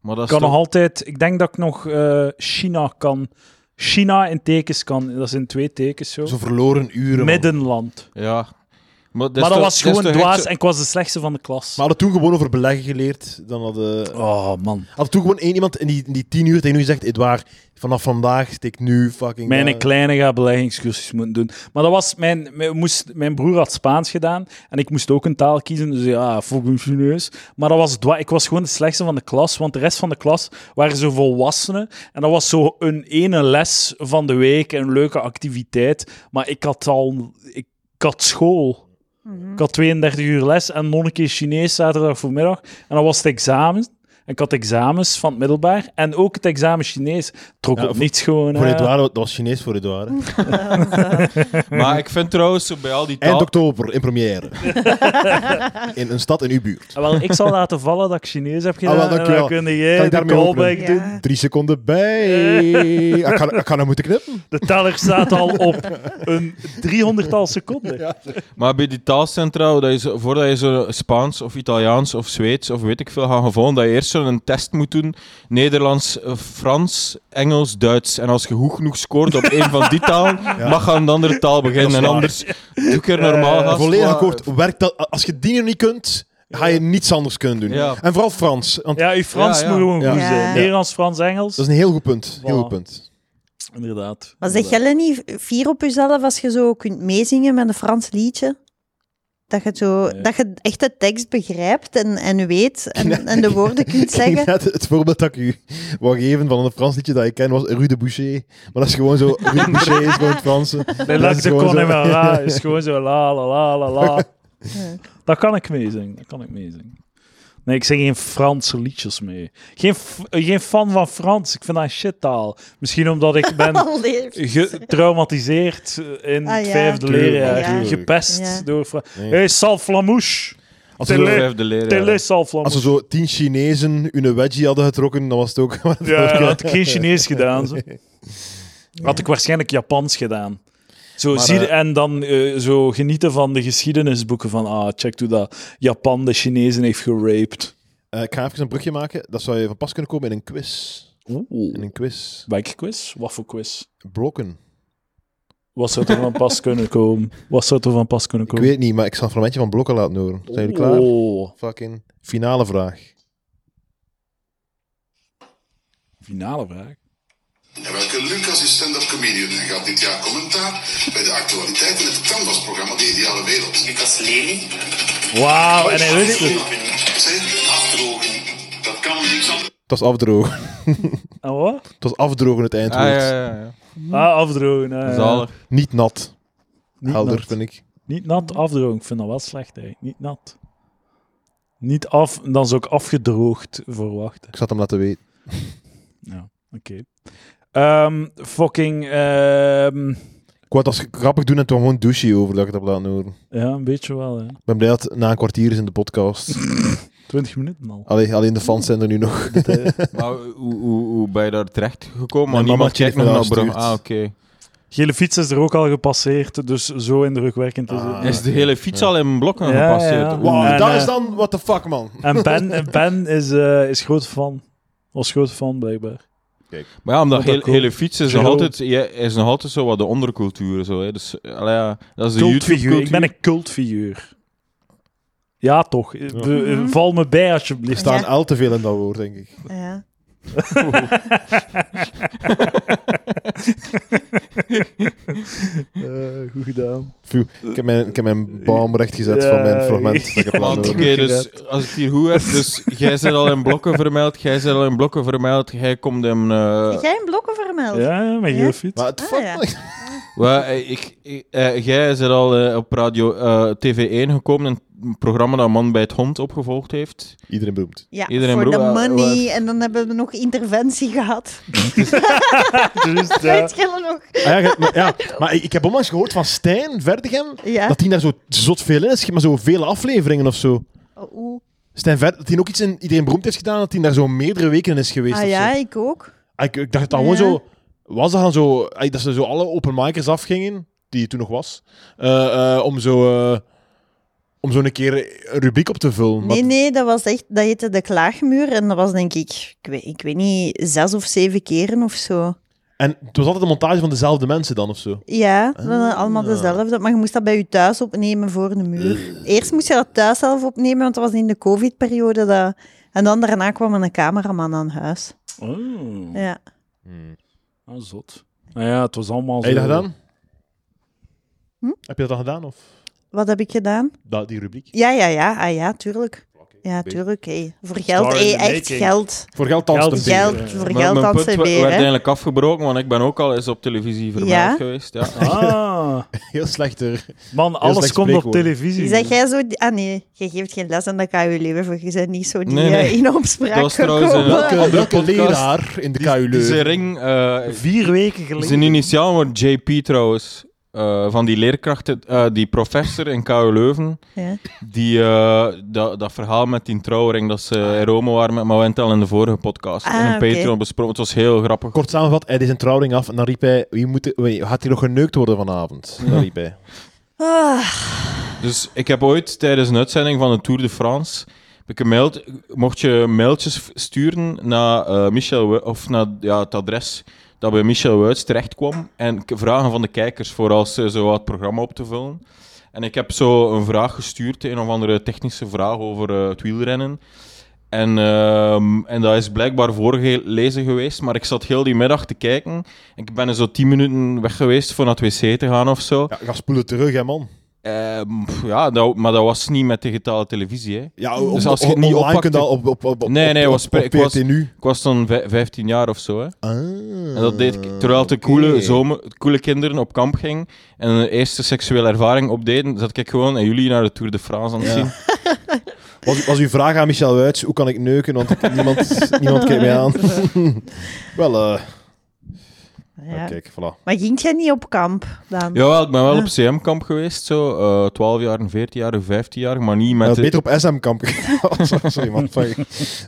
D: Maar dat
B: Ik
D: is
B: kan
D: toch-
B: nog altijd... Ik denk dat ik nog eh, China kan. China in tekens kan. Dat zijn twee tekens zo.
A: Zo verloren uren. man.
B: Middenland.
D: Ja. Maar,
B: maar dat
D: toch-
B: was
D: is
B: gewoon
D: toch echt
B: dwaas
D: zo-
B: en ik was de slechtste van de klas.
A: Maar hadden toen gewoon over beleggen geleerd, dan hadden...
B: Oh man.
A: Had toen gewoon één iemand in die, in die tien uur tegen u zegt, Edouard, vanaf vandaag steek nu fucking...
B: Mijn
A: eh,
B: kleine gaat beleggingscursus moeten doen. Maar dat was mijn, mijn, moest, mijn broer had Spaans gedaan en ik moest ook een taal kiezen. Dus ja, fucking Chinees. Maar dat was dwa- ik was gewoon de slechtste van de klas, want de rest van de klas waren zo volwassenen. En dat was zo een ene les van de week, een leuke activiteit. Maar ik had al... Ik, ik had school. Ik had 32 uur les en nog een keer Chinees zaterdag voormiddag. En dan was het examen. En ik had examens van het middelbaar. En ook het examen Chinees. Trok
A: Ja,
B: op
A: voor-
B: niets gewoon.
A: Voor
B: eh,
A: Edouard, dat was Chinees voor Edouard. hè.
D: Maar ik vind trouwens zo bij al die
A: Eind
D: taal...
A: oktober, in première. in een stad in uw buurt.
B: Ah, wel, ik zal laten vallen dat ik Chinees heb gedaan.
A: Ah, wel,
B: en
A: dankjewel.
B: dan kun jij
A: Kan ik
B: de
A: daarmee
B: callback
A: openen?
B: doen.
C: Ja.
A: Drie seconden bij. ik, ga, ik ga nou moeten knippen.
B: De teller staat al op een driehonderdtal seconden.
D: Maar bij die taalcentra, hoe dat je zo- voordat je zo Spaans of Italiaans of Zweeds of weet ik veel gaat gewoon, dat je eerst zo'n test moet doen. Nederlands, eh, Frans, Engels, Duits. En als je goed genoeg scoort op één van die talen, mag je aan een andere taal
A: Dat is
D: beginnen. En
A: waar. Eh,
D: anders doe ik er normaal gast,
A: Volledig
D: maar-
A: akkoord. Werkt dat, als je die nog niet kunt, ga je niets anders kunnen doen.
D: Ja.
A: En vooral Frans, want
B: Ja, uw Frans
D: Ja, ja.
B: moet gewoon
A: Ja.
B: goed
C: Ja. Dus-
B: zijn. Nederlands, Frans, Engels.
A: dat is een heel goed punt. Heel
B: Voilà.
A: goed punt.
B: Inderdaad.
C: Maar zeg jij niet fier op jezelf als je zo kunt meezingen met een Frans liedje? Dat je, zo,
B: Nee.
C: dat je echt de tekst begrijpt en, en weet en, en de woorden kunt
A: Ik
C: zeggen.
A: Net het voorbeeld dat ik u wou geven van een Frans liedje dat ik ken was Rue de Boucher. Maar dat is gewoon zo, Rue de Boucher is gewoon het Franse.
B: Nee,
A: Dat
B: laat
A: is
B: de
A: gewoon
B: kon
A: zo.
B: in mijn la. is gewoon zo la, la, la, la, la.
C: Ja.
B: Dat kan ik meezingen. Dat kan ik meezingen. Nee, ik zing geen Franse liedjes mee. Geen, f- eh, geen fan van Frans. Ik vind dat een shittaal. Misschien omdat ik ben
C: Allee.
B: getraumatiseerd eh, in
C: Ah,
B: het
C: ja.
B: vijfde
A: Tuurlijk,
B: leerjaar.
C: tuurlijk.
B: Gepest
C: Ja.
B: door... Fra-
A: Nee.
B: hey, salflamouche.
A: Als
D: Zo
A: er zo-
B: Tele-
D: vijfde leraar.
B: Tele
A: Als
B: salflamouche.
A: er zo tien Chinezen hun wedgie hadden getrokken, dan was het ook...
B: Ja, had ik geen Chinees gedaan. Zo. Had ik waarschijnlijk Japans gedaan. Zo,
A: Maar,
B: zie,
A: eh,
B: en dan eh, zo genieten van de geschiedenisboeken van ah, check hoe dat Japan de Chinezen heeft geraped.
A: Eh, ik ga even een brugje maken. Dat zou je van pas kunnen komen in een quiz. In een quiz.
B: Welke quiz? Wat voor quiz?
A: Broken.
B: Wat zou er van pas kunnen komen? Wat zou er van pas kunnen
A: Ik
B: komen?
A: weet het niet, maar ik zal een fragmentje van Blokken laten horen. Zijn jullie klaar?
B: Oh,
A: Fucking finale vraag.
B: finale vraag.
E: En welke Lucas is stand-up comedian en gaat dit jaar commentaar bij de actualiteit in het Canvas-programma De Ideale Wereld?
F: Lucas Lely.
B: Wauw, en hij wist het.
E: Zeg,
F: Afdrogen.
E: dat kan niks anders.
A: Het was afdrogen.
B: En Ah, wat?
A: Het was afdrogen het
D: Ah,
A: eindwoord.
D: ja, ja, ja.
B: Ah, afdrogen.
A: Eh.
B: ah, ja.
D: Zalig.
A: Niet nat.
B: Niet
A: Helder,
B: nat.
A: vind ik.
B: Niet nat, afdrogen. Ik vind dat wel slecht, eigenlijk. Niet nat. Niet af, dan zou ik afgedroogd verwachten.
A: Ik zat hem laten weten.
B: Ja, oké. Ehm, fucking... ehm,
A: Ik wou het als grappig doen en toen gewoon douche over dat ik het heb laten horen.
B: ja, een beetje wel, hè.
A: Ik ben blij dat het na een kwartier is in de podcast.
B: 20 minuten al.
A: Allee, alleen de fans zijn er nu nog.
D: Maar hoe, hoe, hoe ben je daar terecht gekomen? Maar
A: Mijn
D: niemand
A: mama
D: kijkt
A: heeft me
D: nog naar
A: daar
D: Bro.
A: gestuurd.
D: Ah, oké.
B: Gele fiets is er ook al gepasseerd, dus zo indrukwekkend is het.
A: Ah.
D: Is de hele fiets al in blokken
B: Ja,
D: gepasseerd?
B: ja.
D: Oeh.
A: Wauw,
B: En,
A: dat
B: eh,
A: is dan... What the fuck, man?
B: En Ben, en ben is, eh is groot fan. Was groot fan, blijkbaar.
D: Maar ja, omdat
B: Vond dat
D: hele,
B: cool.
D: hele fiets is nog,
B: Giro.
D: altijd, ja, is nog altijd zo wat de ondercultuur. Zo, hè. Dus, eh, allee, ja, dat is de
B: Cultfiguur. Ik ben
D: YouTube-cultuur.
B: een cultfiguur. Ja, toch. Eh, be- eh, Val me bij,
A: Er
B: alsjeblieft.
A: staan al te veel in dat woord, denk ik.
C: Ja.
B: Eh, goed gedaan.
A: Phew, Ik heb mijn, ik heb mijn baum rechtgezet
B: Ja,
A: van mijn fragment dat ik heb laten
D: Want, Oké,
A: horen.
B: Goed
D: dus als ik het hier goed heb, dus jij zit al in blokken vermeld, jij zit al in blokken vermeld, jij komt in... eh,
C: Heb jij een blokken vermeld?
B: Ja, ja, mijn
C: Ja?
B: gele fiets.
A: Maar het
C: Ah,
A: fuck,
C: ja.
A: man.
D: wel, eh, ik, ik- eh, jij zit al eh, op radio eh, TV1 gekomen, een programma dat Man bij het Hond opgevolgd heeft.
A: Iedereen beroemd.
C: Ja,
D: Iedereen
C: voor de
D: broer, eh,
C: money.
D: wat-
C: En dan hebben we nog interventie gehad.
A: Dus, eh,
B: Juist, ja.
C: Weet je wel nog?
A: Ah, ja, ge- maar, ja, maar ik ik heb onlangs gehoord van Stijn Verdegem
C: Ja.
A: dat hij daar zo zot veel in is, maar zo vele afleveringen of zo.
C: Oh, oeh.
A: Stijn Ver, dat hij ook iets in Iedereen Beroemd heeft gedaan, dat hij daar zo meerdere weken in is geweest.
C: Ah
A: of
C: ja,
A: zo.
C: ik ook.
A: Ah, Ik, ik dacht dat gewoon
C: Ja.
A: zo... Was dat dan zo... ah, Dat ze zo alle openmikers afgingen, die het toen nog was, eh, eh, om zo... eh, om zo een keer een rubriek op te vullen.
C: Nee,
A: Maar-
C: nee, dat was echt, dat heette de klaagmuur. En dat was denk ik, ik weet, ik weet niet, zes of zeven keren of zo.
A: En het was altijd een montage van dezelfde mensen dan of zo.
C: Ja, we hadden
B: Ah.
C: allemaal dezelfde. Maar je moest dat bij je thuis opnemen voor de
B: Eh.
C: muur. Eerst moest je dat thuis zelf opnemen, want dat was in de covid-periode. Dat... En dan daarna kwam een cameraman aan huis.
B: Oh,
C: Ja.
B: ah, zot. Nou ja, het was allemaal
A: Heb je dat
B: zo-
A: gedaan?
C: Hm?
A: Heb je dat dan gedaan? Of
C: Wat heb ik gedaan?
A: dat, die rubriek?
C: Ja, ja, ja. Ah ja, tuurlijk. Ja, tuurlijk. hé. Voor geld,
B: Star in
C: hé,
B: the
C: echt
B: making.
C: geld.
A: Voor geld
B: Geld
A: dansen.
B: is
A: tegen.
C: Geld,
B: eh,
C: voor
D: Maar
C: geld
D: mijn
C: aan
D: punt
C: CB,
D: wa- werd
C: hè.
D: eindelijk afgebroken, want ik ben ook al eens op televisie vermeld
C: Ja?
D: geweest. Ja.
B: Ah,
A: Heel eh. slechter.
B: man, alles
A: slecht
B: komt op
A: spreekwoord.
B: televisie.
D: Hmm.
C: Zeg jij zo... die- Ah nee, je geeft geen les aan de KU Leuven, voor je bent niet zo die
D: Nee, nee.
C: eh, in opspraak
D: Dat was trouwens, eh,
C: gekomen.
A: Welke, welke
D: podcast-
A: leraar in de KU
D: Zijn
A: Leuven?
D: ring, eh,
B: Vier weken geleden.
D: zijn initiaal wordt JP trouwens, eh, van die leerkrachten, eh, die professor in KU Leuven,
C: Ja.
D: die eh, dat, dat verhaal met die trouwring dat ze in Rome waren met Mawentel in de vorige podcast.
C: Ah,
D: en
C: oké.
D: Patreon besproken. Het was heel grappig.
A: Kort samengevat, hij deed zijn trouwring af en dan riep hij, wie moet, wie- gaat hij nog geneukt worden vanavond? Dat riep hij.
C: Ah,
D: Dus ik heb ooit tijdens een uitzending van de Tour de France. heb Ik een mail, mocht je mailtjes v- sturen naar, eh, Michel, Wu- of naar ja, het adres dat bij Michel Wuits terecht kwam. En k- vragen van de kijkers voor als ze zo wat het programma op te vullen. En ik heb zo een vraag gestuurd, een of andere technische vraag over eh, het wielrennen. En, ehm, en dat is blijkbaar voorgelezen geweest, maar ik zat heel die middag te kijken. Ik ben er zo tien minuten weg geweest voor naar het wc te gaan of zo.
A: Ja, ga spoelen terug, hè, man.
D: Ehm, pff, ja, dat, maar dat was niet met digitale televisie. Hè.
A: Ja, op,
D: als je het
A: op-
D: niet
A: online
D: oppakt,
A: kun Dus je dat op, op, op, op,
D: Nee, nee,
A: op,
D: was
A: op,
D: per-
A: op
D: ik was-
A: PRT nu.
D: Ik was dan vij- 15 jaar of zo. Hè. En dat deed ik terwijl de
A: Eh, Ah, oké.
D: coole, zomer, coole kinderen op kamp gingen en hun eerste seksuele ervaring opdeden, zat ik gewoon en jullie naar de Tour de France aan het
A: Ja.
D: zien.
A: Was, was uw vraag aan Michel Wuits, hoe kan ik neuken? Want ik- niemand, niemand kijkt mij aan. Wel, eh
C: ja.
D: Ah,
A: kijk, voilà.
C: Maar ging jij niet op kamp dan?
D: Jawel, ik ben wel
C: Ja.
D: op CM-kamp geweest, zo. eh 12 jaar, 14 jaar, 15 jaar, maar niet
A: Ja,
D: met...
A: Eh, beter op SM-kamp. Sorry, man. Sorry.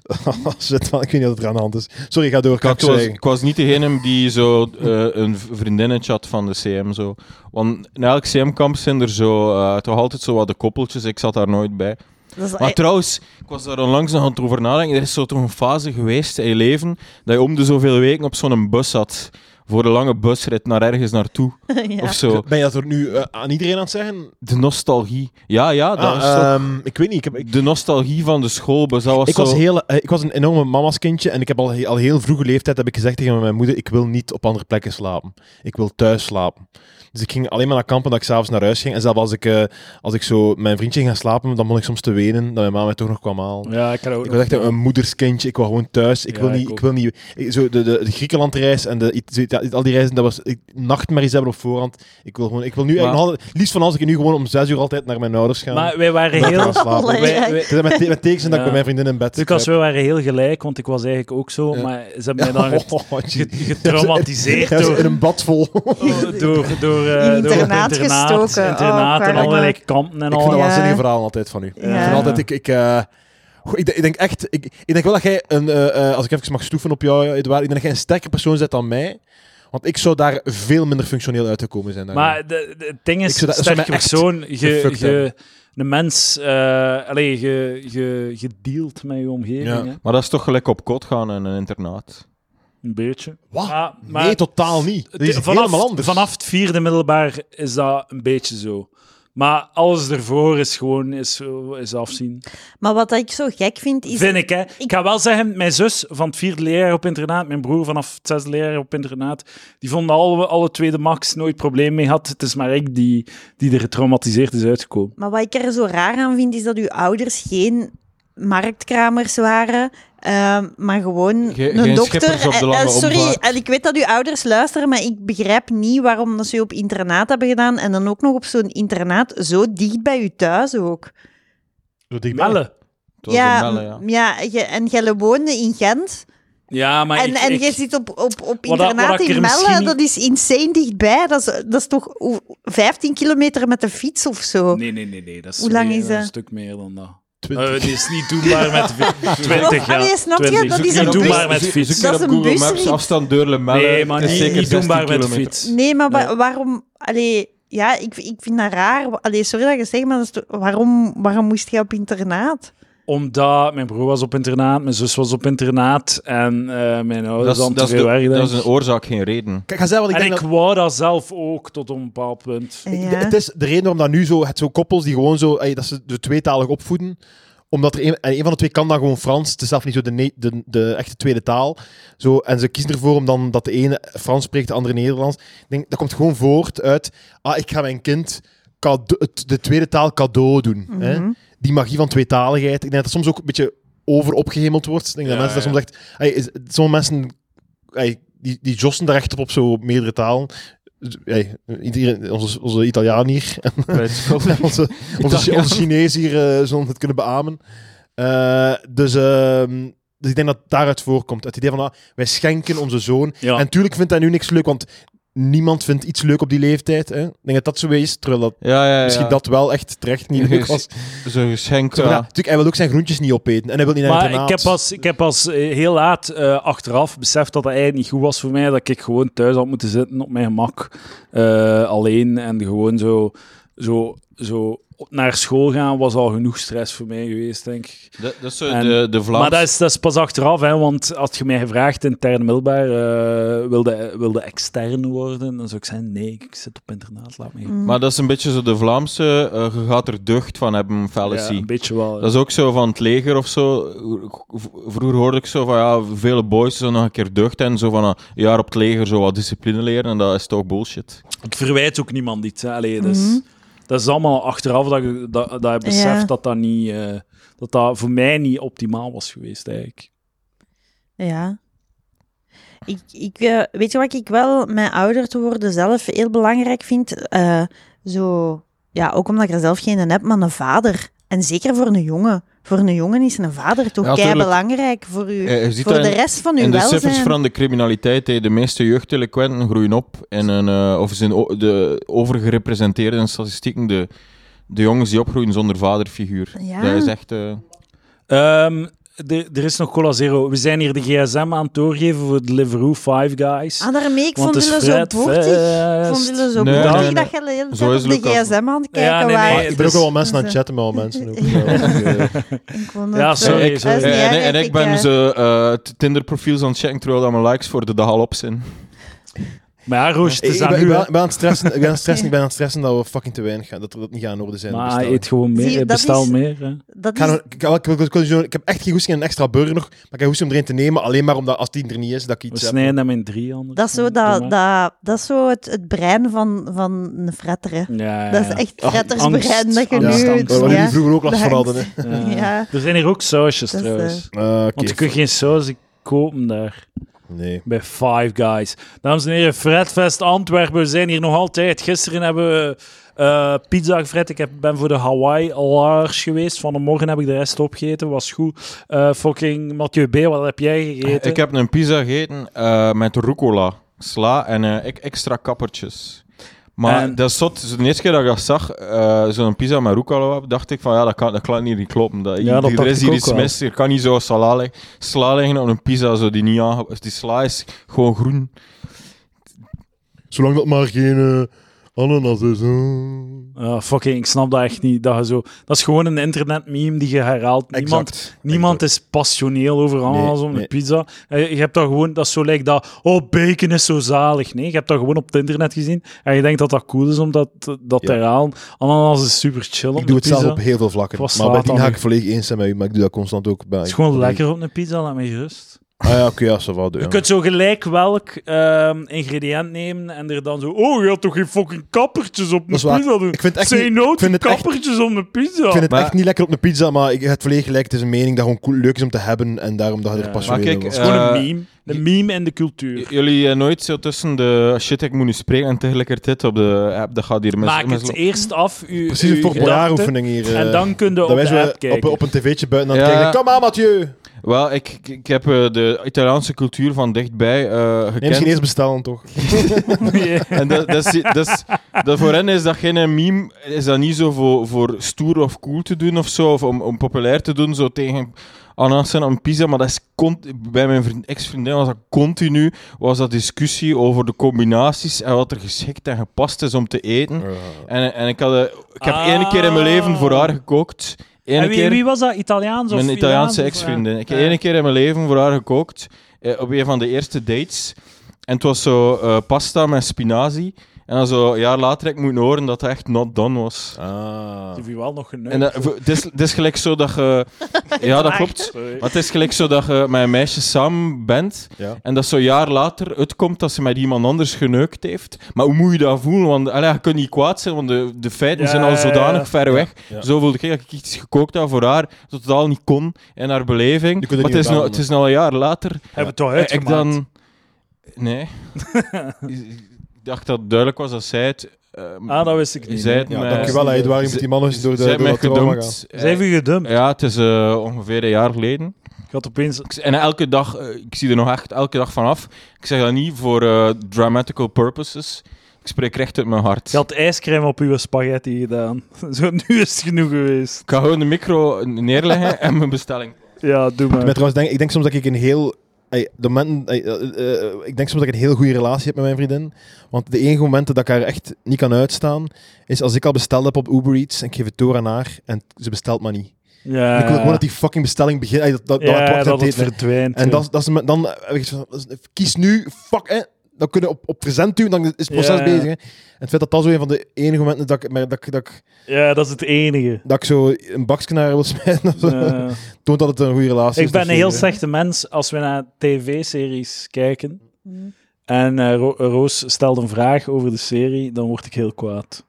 A: Shit, man. Ik weet niet wat er aan de hand is. Sorry, ga door.
D: Ik, had-
A: Kak,
D: ik was, ik was niet degene die zo eh, een v- vriendinnetje had van de CM. Zo. Want in elk CM-kamp zijn er zo, eh, toch altijd zo wat de koppeltjes. Ik zat daar nooit bij.
C: Dat is
D: Maar trouwens, ik was daar onlangs nog aan het over nadenken. Er is zo toch een fase geweest in je leven dat je om de zoveel weken op zo'n bus zat. Voor een lange busrit naar ergens naartoe.
C: ja.
D: Of zo.
A: Ben je dat er nu eh, aan iedereen aan het zeggen?
D: De nostalgie. Ja, ja, dat
A: Ah,
D: is toch-
A: ehm, ik weet niet. Ik, heb, ik,
D: De nostalgie van de schoolbus. Dat was
A: ik, was
D: zo...
A: heel, eh, ik was een enorme mama's kindje en ik heb al, he- al heel vroege leeftijd heb ik gezegd tegen mijn moeder, ik wil niet op andere plekken slapen. Ik wil thuis slapen. Dus ik ging alleen maar naar kampen dat ik s'avonds naar huis ging. En zelfs als ik, eh, als ik zo met mijn vriendje ging gaan slapen, dan begon ik soms te wenen dat mijn ma mij toch nog kwam halen.
B: Ja, ik had ook
A: Ik
B: nog-
A: was echt een, een moederskindje. Ik was gewoon thuis. Ik
B: Ja,
A: wil
B: ik
A: niet. Ik
B: ook.
A: wil niet ik- zo de, de, de Griekenlandreis en de, It- Ita- al die reizen, dat was ik, nachtmerries hebben op voorhand. Ik wil gewoon. Ik wil nu
D: Maar-
A: eigenlijk nog altijd- liefst van als ik nu gewoon om zes uur altijd naar mijn ouders ga.
B: Maar wij waren
A: Dat ik
B: heel...
A: ga slapen.
C: Allee.
A: Ik-
B: wij- wij-
A: Het is met, te- met tekens dat
B: Ja.
A: ik met mijn vriendin in bed zit.
B: Lucas, wij waren heel gelijk, want ik was eigenlijk ook zo. Maar ze hebben mij dan get-
A: Oh,
B: get- getraumatiseerd
A: Ja, zo
B: door...
A: in een bad vol.
B: door, door, door, eh,
C: In
B: door
C: internaat gestoken. Oh,
B: internaat en
C: kwalijk.
B: allerlei kampen en
A: Ik vind
B: al.
A: dat
C: Ja.
A: waanzinnige verhaal altijd van u.
C: Ja.
A: Ik vind altijd, ik, ik, eh, goh, ik, de- ik denk echt, ik, ik denk wel dat jij, een, eh, eh, als ik even mag stoeven op jou, Edouard, ik denk dat jij een sterker persoon bent dan mij. Want ik zou daar veel minder functioneel uitgekomen zijn. dan jij.
B: Maar de, de- het ding
A: Ik
B: is,
A: zou dat- zou
B: sterke
A: mij echt
B: persoon, je,
A: gefuckt
B: je, een mens, eh allee, je, je, je dealt met je omgeving.
A: Ja.
B: hè.
D: Maar dat is toch gelijk op kot gaan in een internaat.
B: Een beetje.
A: Wat?
B: Ah, maar-
A: nee, totaal niet. Dat is
B: De- vanaf,
A: helemaal anders.
B: vanaf het vierde middelbaar is dat een beetje zo. Maar alles ervoor is gewoon is, is afzien.
C: Maar wat ik zo gek vind, is...
B: Vind ik, hè. Ik... ga wel zeggen, mijn zus van het vierde leerjaar op internaat, mijn broer vanaf het zesde leerjaar op internaat, die vonden alle, alle tweede max nooit probleem mee had. Het is maar ik die, die er getraumatiseerd is uitgekomen.
C: Maar wat ik er zo raar aan vind, is dat uw ouders geen marktkramers waren, ehm, maar gewoon
D: Ge-
C: een
D: geen
C: dokter.
D: schippers op de
C: Eh, eh,
D: lange
C: sorry,
D: omvaart.
C: en ik weet dat uw ouders luisteren, maar ik begrijp niet waarom dat ze u op internaat hebben gedaan en dan ook nog op zo'n internaat, zo dicht bij u thuis ook.
A: Zo dichtbij.
B: Melle.
D: Het was in Melle, ja.
C: m- ja je- en jij woonde in Gent
B: Ja, maar
C: en,
B: ik,
C: en
B: ik-
C: jij zit op, op, op
B: Ah, Wat dat-
C: internaat
B: wat ik
C: in
B: er
C: Melle,
B: misschien niet-
C: dat is insane dichtbij. Dat is, dat is toch hoe- 15 kilometer met de fiets of zo.
B: Nee, nee, nee. nee dat is
C: Hoe lang
B: meer-
C: is dat?
B: Een stuk meer dan dat.
A: Twintig.
B: Eh, dit is niet doenbaar met vi- 20 jaar.
C: Allee, snap je? Dat is
D: een
B: niet doenbaar
D: bus-
B: met de fiets.
D: Zoek je
C: Dat is
D: op
C: een
D: Google Maps
C: busrit.
D: afstand Deurle-Melle.
B: Nee, maar
D: Het is
B: niet,
D: zeker
B: niet
D: 16
B: doenbaar met de
D: kilometer.
B: fiets.
C: Nee, maar wa-
B: Nee.
C: waarom... Allee, ja, ik, ik vind dat raar. Allee, sorry dat ik het zeg, maar dat is toch- waarom, waarom moest jij op internaat?
B: Omdat mijn broer was op internaat, mijn zus was op internaat en eh, mijn
D: Dat
B: ouders
D: is,
B: hadden te
D: dat, is
B: veel
D: de-
B: werk. denk
D: dat is
B: ik.
D: een oorzaak, geen reden.
A: Kijk, ga zeggen wat ik
B: En
A: denk.
B: ik
A: dat-
B: wou dat zelf ook tot een bepaald punt.
A: Ik-
C: Ja.
A: Het is de reden waarom dat nu zo, het zo koppels die gewoon zo, ey, dat ze de tweetalig opvoeden, omdat er een, en een van de twee kan dan gewoon Frans, het is zelf niet zo de, ne- de, de echte tweede taal, zo, en ze kiezen ervoor om dan dat de ene Frans spreekt, de andere Nederlands. Ik denk, dat komt gewoon voort uit, ah, ik ga mijn kind cade- het- de tweede taal cadeau doen. hè? Die magie van tweetaligheid, ik denk dat dat soms ook een beetje over opgehemeld wordt. Ik denk dat
D: Ja,
A: mensen daar soms echt, ey, is- sommige mensen, ey, die, die jossen daar echt op, op zo meerdere talen. Hey, iedereen, onze, onze Italiaan hier en onze, onze,
D: Italiaan.
A: onze Chinees hier eh, zullen het kunnen beamen. Eh, dus, ehm, dus ik denk dat het daaruit voorkomt. Het idee van, ah, wij schenken onze zoon.
B: Ja.
A: En natuurlijk vindt hij nu niks leuk, want niemand vindt iets leuk op die leeftijd. Hè? Ik denk dat dat zo is, terwijl dat,
D: Ja, ja, ja.
A: misschien dat wel echt terecht niet leuk was.
D: Zo'n geschenk, eh,
A: Zo van, ja,
D: ja.
A: natuurlijk, hij wil ook zijn groentjes niet opeten en hij wil niet naar
B: Maar ik
A: internaat.
B: heb pas, ik heb pas eh, heel laat eh, achteraf beseft dat dat eigenlijk niet goed was voor mij. Dat ik gewoon thuis had moeten zitten op mijn gemak. eh, alleen en gewoon zo, zo, zo op- naar school gaan was al genoeg stress voor mij geweest, denk ik.
D: Dat, dat is zo
B: En-
D: de, de Vlaams...
B: Maar dat is, dat is pas achteraf, hè, want als je mij gevraagd in intern middelbaar eh, wilde, wilde extern worden, dan zou ik zeggen: nee, ik zit op internaat, laat me.
C: Mm.
D: Maar dat is een beetje zo de Vlaamse, eh, je gaat er deugd van hebben, fallacy.
B: een beetje wel.
D: Dat is ook zo van het leger of zo. V- Vroeger hoorde ik zo van, ja, vele boys zo nog een keer deugd en zo van een jaar op het leger zo wat discipline leren en dat is toch bullshit.
B: Ik verwijt ook niemand iets. Hè. Allee, dus, Dat is allemaal achteraf dat ik dat, dat ik besef
C: Mhm. Ja.
B: dat dat niet... eh, dat dat voor mij niet optimaal was geweest, eigenlijk.
C: Ja. Ik, ik, eh, weet je wat ik wel, mijn ouder te worden zelf heel belangrijk vind? Eh, zo, ja, ook omdat ik er zelf geen heb, maar een vader. En zeker voor een jongen. Voor een jongen is een vader toch
D: Ja,
C: kei
D: tuurlijk.
C: belangrijk voor, u,
D: Eh, je ziet
C: voor
D: dat
C: de
D: in-
C: rest van uw
D: En de cijfers
C: welzijn.
D: van de criminaliteit, hè, de meeste jeugddelinquenten groeien op in een, eh, of zijn o- de overgerepresenteerde in statistieken, de, de jongens die opgroeien zonder vaderfiguur.
C: Ja.
D: Dat is echt... eh,
B: Ehm, er- er is nog Cola Zero. We zijn hier de gsm aan het doorgeven voor Deliveroo Five Guys.
C: Ah, daarmee, ik
B: Want
C: vond
B: het is
C: jullie zo
B: Fred
C: boertig. Ik
B: Fest.
C: vond jullie zo
D: Nee,
C: boertig
D: nee, nee.
C: dat je de hele
D: Zo
C: tijd
D: is
C: op de
D: Lucas.
C: gsm aan het kijken
B: Ja, nee, nee.
A: Maar
C: waren.
A: ik ben ook al wel mensen aan
C: Dus,
A: het chatten met al mensen. Ook,
C: Ik vond
B: Ja,
C: het, eh,
B: sorry,
D: eh, ik,
B: sorry.
C: dat is niet
D: eh, en-
C: erg,
D: en ik ben
C: eh,
D: ze eh, Tinder-profiels aan het checken terwijl dat mijn likes voor de dag al op zijn.
B: Maar ja, Roos, het
A: Ik,
B: is
A: ik ben,
B: aan
A: ik
B: u.
A: ben,
B: hè.
A: ik ben aan het stressen, ik ben aan het stressen, ik ben aan het stressen dat we fucking te weinig gaan, dat we dat niet gaan in orde zijn. te
B: Maar
A: bestellen.
B: eet gewoon meer.
C: Zie je,
B: eh,
C: dat
B: bestel
C: is-
B: meer. hè.
C: dat
A: Ik, ga
C: is-
A: nog- ik, ik, ik- ik- ik- ik heb echt geen goesting in een extra burger nog, maar ik heb goesting om erin te nemen, alleen maar omdat als die er niet is, dat ik
B: We
A: iets heb.
B: snijden hem in drie anders.
C: Dat is zo, dat, dat, dat is zo het, het brein van, van een fretter. Hè.
B: Ja, ja,
C: Dat is
B: ja.
C: echt
A: Ach,
C: frettersbrein
B: angst,
C: dat je
A: Ja,
B: angst,
C: nu...
B: angst,
A: waar- waar jullie
B: angst.
C: ja.
A: vroeger ook last van
C: Ja.
A: hadden. hè.
B: Ja.
C: Ja.
B: Er zijn hier ook sausjes,
C: Dat is,
B: trouwens.
C: eh,
A: Ah, oké.
B: Want je kunt geen saus kopen daar.
A: Nee.
B: bij Five Guys. Dames en heren, Fredfest Antwerpen. We zijn hier nog altijd. Gisteren hebben we eh, pizza gefret. Ik heb, ben voor de Hawaii Large geweest. Vanmorgen heb ik de rest opgegeten. Was goed. Eh, fucking Mathieu B, wat heb jij gegeten?
D: Ik heb een pizza gegeten eh, met rucola, sla en eh, ek- extra kappertjes. Maar
B: En-
D: dat is zot. Dus de eerste keer dat ik dat zag, eh, zo'n pizza met rucola, dacht ik van ja, dat kan, dat kan hier niet kloppen. Dat,
B: Ja, dat
D: hier
B: dacht
D: is
B: ik
D: hier
B: ook
D: iets
B: wel.
D: mis. Hier kan niet zo sla, lig- sla liggen op een pizza zo die niet aange- Die sla is gewoon groen.
A: Zolang dat maar geen eh, ananas is. hè.
B: Ah, fucking, ik snap dat echt niet. Dat, je zo, dat is gewoon een internet meme die je herhaalt. Niemand,
A: Exact.
B: niemand is passioneel over ananas om de
A: nee.
B: pizza. Eh, Je hebt dat gewoon, dat is zo lijkt dat, oh, bacon is zo zalig. Nee, je hebt dat gewoon op het internet gezien en je denkt dat dat cool is om dat, dat te
A: Ja.
B: herhalen. Ananas is super chill op
A: Ik doe
B: de
A: het
B: pizza.
A: zelf op heel veel vlakken.
B: Wat
A: Maar bij
B: slaat
A: die
B: dat
A: ga
B: nu?
A: ik volledig eens zijn met u, maar ik doe dat constant ook bij.
B: Het is gewoon lekker op een pizza, laat mij gerust.
A: Ah ja, oké, ja, ça va, doe,
B: Je
A: ja.
B: kunt zo gelijk welk ehm, ingrediënt nemen en er dan zo, oh, je had toch geen fucking kappertjes op een
A: Dat is waar.
B: pizza doen?
A: Ik vind het echt
B: Say
A: niet-
B: no
A: ik vind
B: to
A: het echt-
B: kappertjes op een pizza.
A: Ik vind het
D: Maar-
A: echt niet lekker op een pizza, maar ik, het volledig gelijk. Het is een mening dat gewoon cool, leuk is om te hebben en daarom dat je
B: Ja.
A: er passioneel
D: Maar kijk,
A: in was.
D: eh,
B: Gewoon een
D: Eh,
B: meme. Een meme in de cultuur.
D: J- jullie eh, nooit zo tussen de shit, ik moet nu spreken en tegelijkertijd op de app, dat gaat hier mis.
B: Maak
D: mis-
B: het eerst af. U,
A: Precies
B: uw
A: een populaire
B: gedachten,
A: oefening hier. eh,
B: En dan kun je
A: dat
B: op
A: wij
B: de
A: zo
B: app kijken.
A: op, op een tv'tje buiten aan het
D: Ja.
A: kijken. Kom aan, Mathieu!
D: Wel, ik, ik- ik heb eh, de Italiaanse cultuur van dichtbij eh gekend.
A: Neem Chinees bestellen, toch?
B: Ja.
D: En dat, dat, is, dat, is- dat voor hen is dat geen meme, is dat niet zo voor, voor stoer of cool te doen of zo, of om, om populair te doen, zo tegen ananas en aan pizza, maar dat is con- bij mijn vriend, ex-vriendin was dat continu, was dat discussie over de combinaties en wat er geschikt en gepast is om te eten. En, en ik, had, eh, ik heb
B: Ah.
D: één keer in mijn leven voor haar gekookt. ene
B: en wie,
D: keer
B: wie was dat? Italiaans of
D: mijn Italiaanse
B: Iraans of- eh,
D: ex-vriendin. Ik heb
B: Ja.
D: één keer in mijn leven voor haar gekookt. eh, op een van de eerste dates. En het was zo eh, pasta met spinazie. En dan zo een jaar later heb ik moeten horen dat het echt not done was.
A: Ah.
B: Die wel nog genoeg.
D: En dat- voor- het is- het is gelijk zo dat je... Ja, dat klopt. Maar het is gelijk zo dat je met een meisje samen bent
A: Ja.
D: en dat zo'n jaar later uitkomt dat ze met iemand anders geneukt heeft. Maar hoe moet je dat voelen? Want allee, je kunt niet kwaad zijn, want de, de feiten
B: Ja,
D: zijn al
B: ja,
D: zodanig
B: ja.
D: ver weg.
A: ja.
D: Zo voelde ik dat ik iets gekookt had voor haar, dat totaal niet kon in haar beleving.
A: Je kunt er
D: Maar het
A: niet
D: is,
A: aan
D: nou,
A: doen.
D: het is nou een jaar later.
B: Hebben we het toch
D: Eh, Ik
B: uitgemaakt?
D: dan... Nee. ik dacht dat het duidelijk was dat zij het... ehm,
B: Ah, dat wist ik
D: Je
B: niet.
D: zei het
A: Ja,
D: maar-
A: dankjewel, Edouard. Je moet
D: Ze-
A: die man nog eens door de,
D: zij
A: door
D: mij
A: dat trauma gaan.
D: gedoemd.
B: Ze hebben je gedumpt.
D: Eh, Ja, het is eh, ongeveer een jaar geleden.
B: Ik had opeens...
D: Ik- En elke dag, eh, ik zie er nog echt elke dag van af. Ik zeg dat niet voor eh, dramatical purposes. Ik spreek recht uit mijn hart.
B: Je had ijscrème op uw spaghetti gedaan. Zo, nu is het genoeg geweest.
D: Ik ga gewoon de micro neerleggen en mijn bestelling.
B: Ja, doe maar.
A: Ik ben trouwens denk, ik denk soms dat ik een heel. ey, de momenten, ey, eh, eh, ik denk soms dat ik een heel goede relatie heb met mijn vriendin. Want de enige momenten dat ik haar echt niet kan uitstaan, is als ik al besteld heb op Uber Eats en ik geef het door aan haar en ze bestelt maar niet.
B: ja.
A: Ik wil gewoon dat die fucking bestelling begint. ey, dat, dat, dat,
B: Ah. ja,
A: dat,
B: dat het
A: deed me.
B: verdwijnt.
A: En
B: ja.
A: dat, dat is, me- dan heb ik zoiets van, kies nu, fuck, hè. Dan kunnen we op, op present duwen, dan is het proces
B: Ja.
A: bezig. Hè. En het feit dat dat zo een van de enige momenten dat ik, dat ik, dat ik,
B: Ja, dat is het enige.
A: dat ik zo een bakje naar haar wil smijten,
B: Ja.
A: toont dat het een goede relatie
B: ik
A: is. dus, eh,
B: ben een heel
A: natuurlijk, hè.
B: slechte mens als we naar tv-series kijken. En eh, Ro- Roos stelt een vraag over de serie, dan word ik heel kwaad.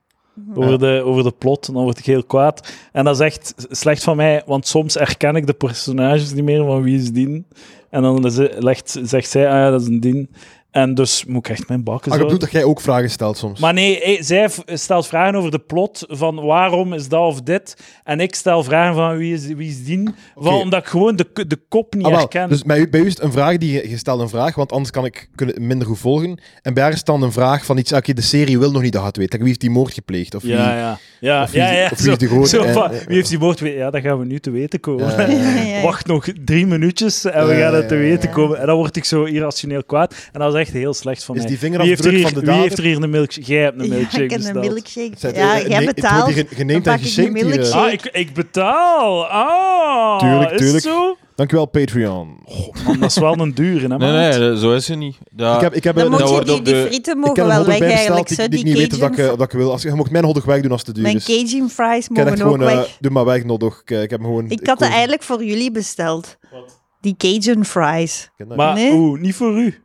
B: Over, de, over de plot, dan word ik heel kwaad. En dat is echt slecht van mij, want soms herken ik de personages niet meer van wie is Dien. En dan ze- legt, zegt zij, ah ja, dat is een Dien. En dus moet ik echt mijn bakken
A: Ah, ik
B: zo.
A: bedoel dat jij ook vragen stelt soms.
B: Maar nee, eh, zij v- stelt vragen over de plot, van waarom is dat of dit. En ik stel vragen van wie is, wie is Dien, van,
A: Oké.
B: omdat ik gewoon de, k- de kop niet
A: Ah, wel.
B: herken.
A: Dus bij u, bij u is het een vraag die je, je stelt een vraag, want anders kan ik kunnen het minder goed volgen. En bij haar is het dan een vraag van iets, ah, oké, de serie wil nog niet dat je het weet. Like, wie heeft die moord gepleegd? Of
B: Ja, ja. ja,
A: of wie-
B: ja, ja.
A: of wie is de
B: Zo-
A: grote-
B: zo
A: en-
B: van,
A: en-
B: Wie heeft die moord? we- Ja, dat gaan we nu te weten komen.
A: eh, Ja, ja, ja.
B: Wacht nog drie minuutjes en we
A: Ja,
B: gaan
A: ja,
B: het te
A: ja, ja.
B: weten komen. En dan word ik zo irrationeel kwaad. En dat is echt heel slecht van
A: Is
B: mij.
A: die
B: wie heeft,
A: vingerafdruk
B: hier,
A: van de
B: wie
A: dader?
B: heeft er hier een milkshake? Jij hebt een
C: Ja,
B: milkshake
C: ik heb een
B: besteld.
C: milkshake.
A: Zet-
C: ja,
A: eh,
C: jij
A: nee, het
C: betaalt.
A: wordt hier ge- geneemd
C: dan
A: en
C: pak ik
A: geshinkt
C: een
A: hier, eh.
C: milkshake.
B: Ah, ik, ik betaal. Ah,
A: Tuurlijk,
B: is
A: tuurlijk.
B: het zo?
A: Dankjewel, Patreon.
B: Man, dat is wel een dure, hè,
D: Nee,
B: maat?
D: nee, dat- zo is het niet. Dat,
A: ik heb, ik heb
C: Dan
A: een-
C: moet
D: dat
C: je
D: wordt
C: die,
D: op
C: die
D: de-
C: frieten
A: ik heb
C: mogen
A: een
C: wel
A: hotdog
C: weg
A: bijbesteld
C: eigenlijk.
A: die,
C: zo,
A: die ik
C: die
A: niet weet of dat
C: Cajun
A: ik, eh, of dat ik wil. Als, je mocht mijn hotdog weg doen als het te duur
C: Mijn
A: is.
C: Cajun fries
A: Ik heb
C: mogen
A: echt
C: ook
A: gewoon, eh,
C: weg.
A: doe maar weg, notdog. Ik, eh, ik heb hem gewoon...
C: ik had dat
A: koos-
C: eigenlijk voor jullie besteld. Die Cajun fries.
A: Ik ken dat.
B: Maar
C: Nee.
B: oeh, niet voor u.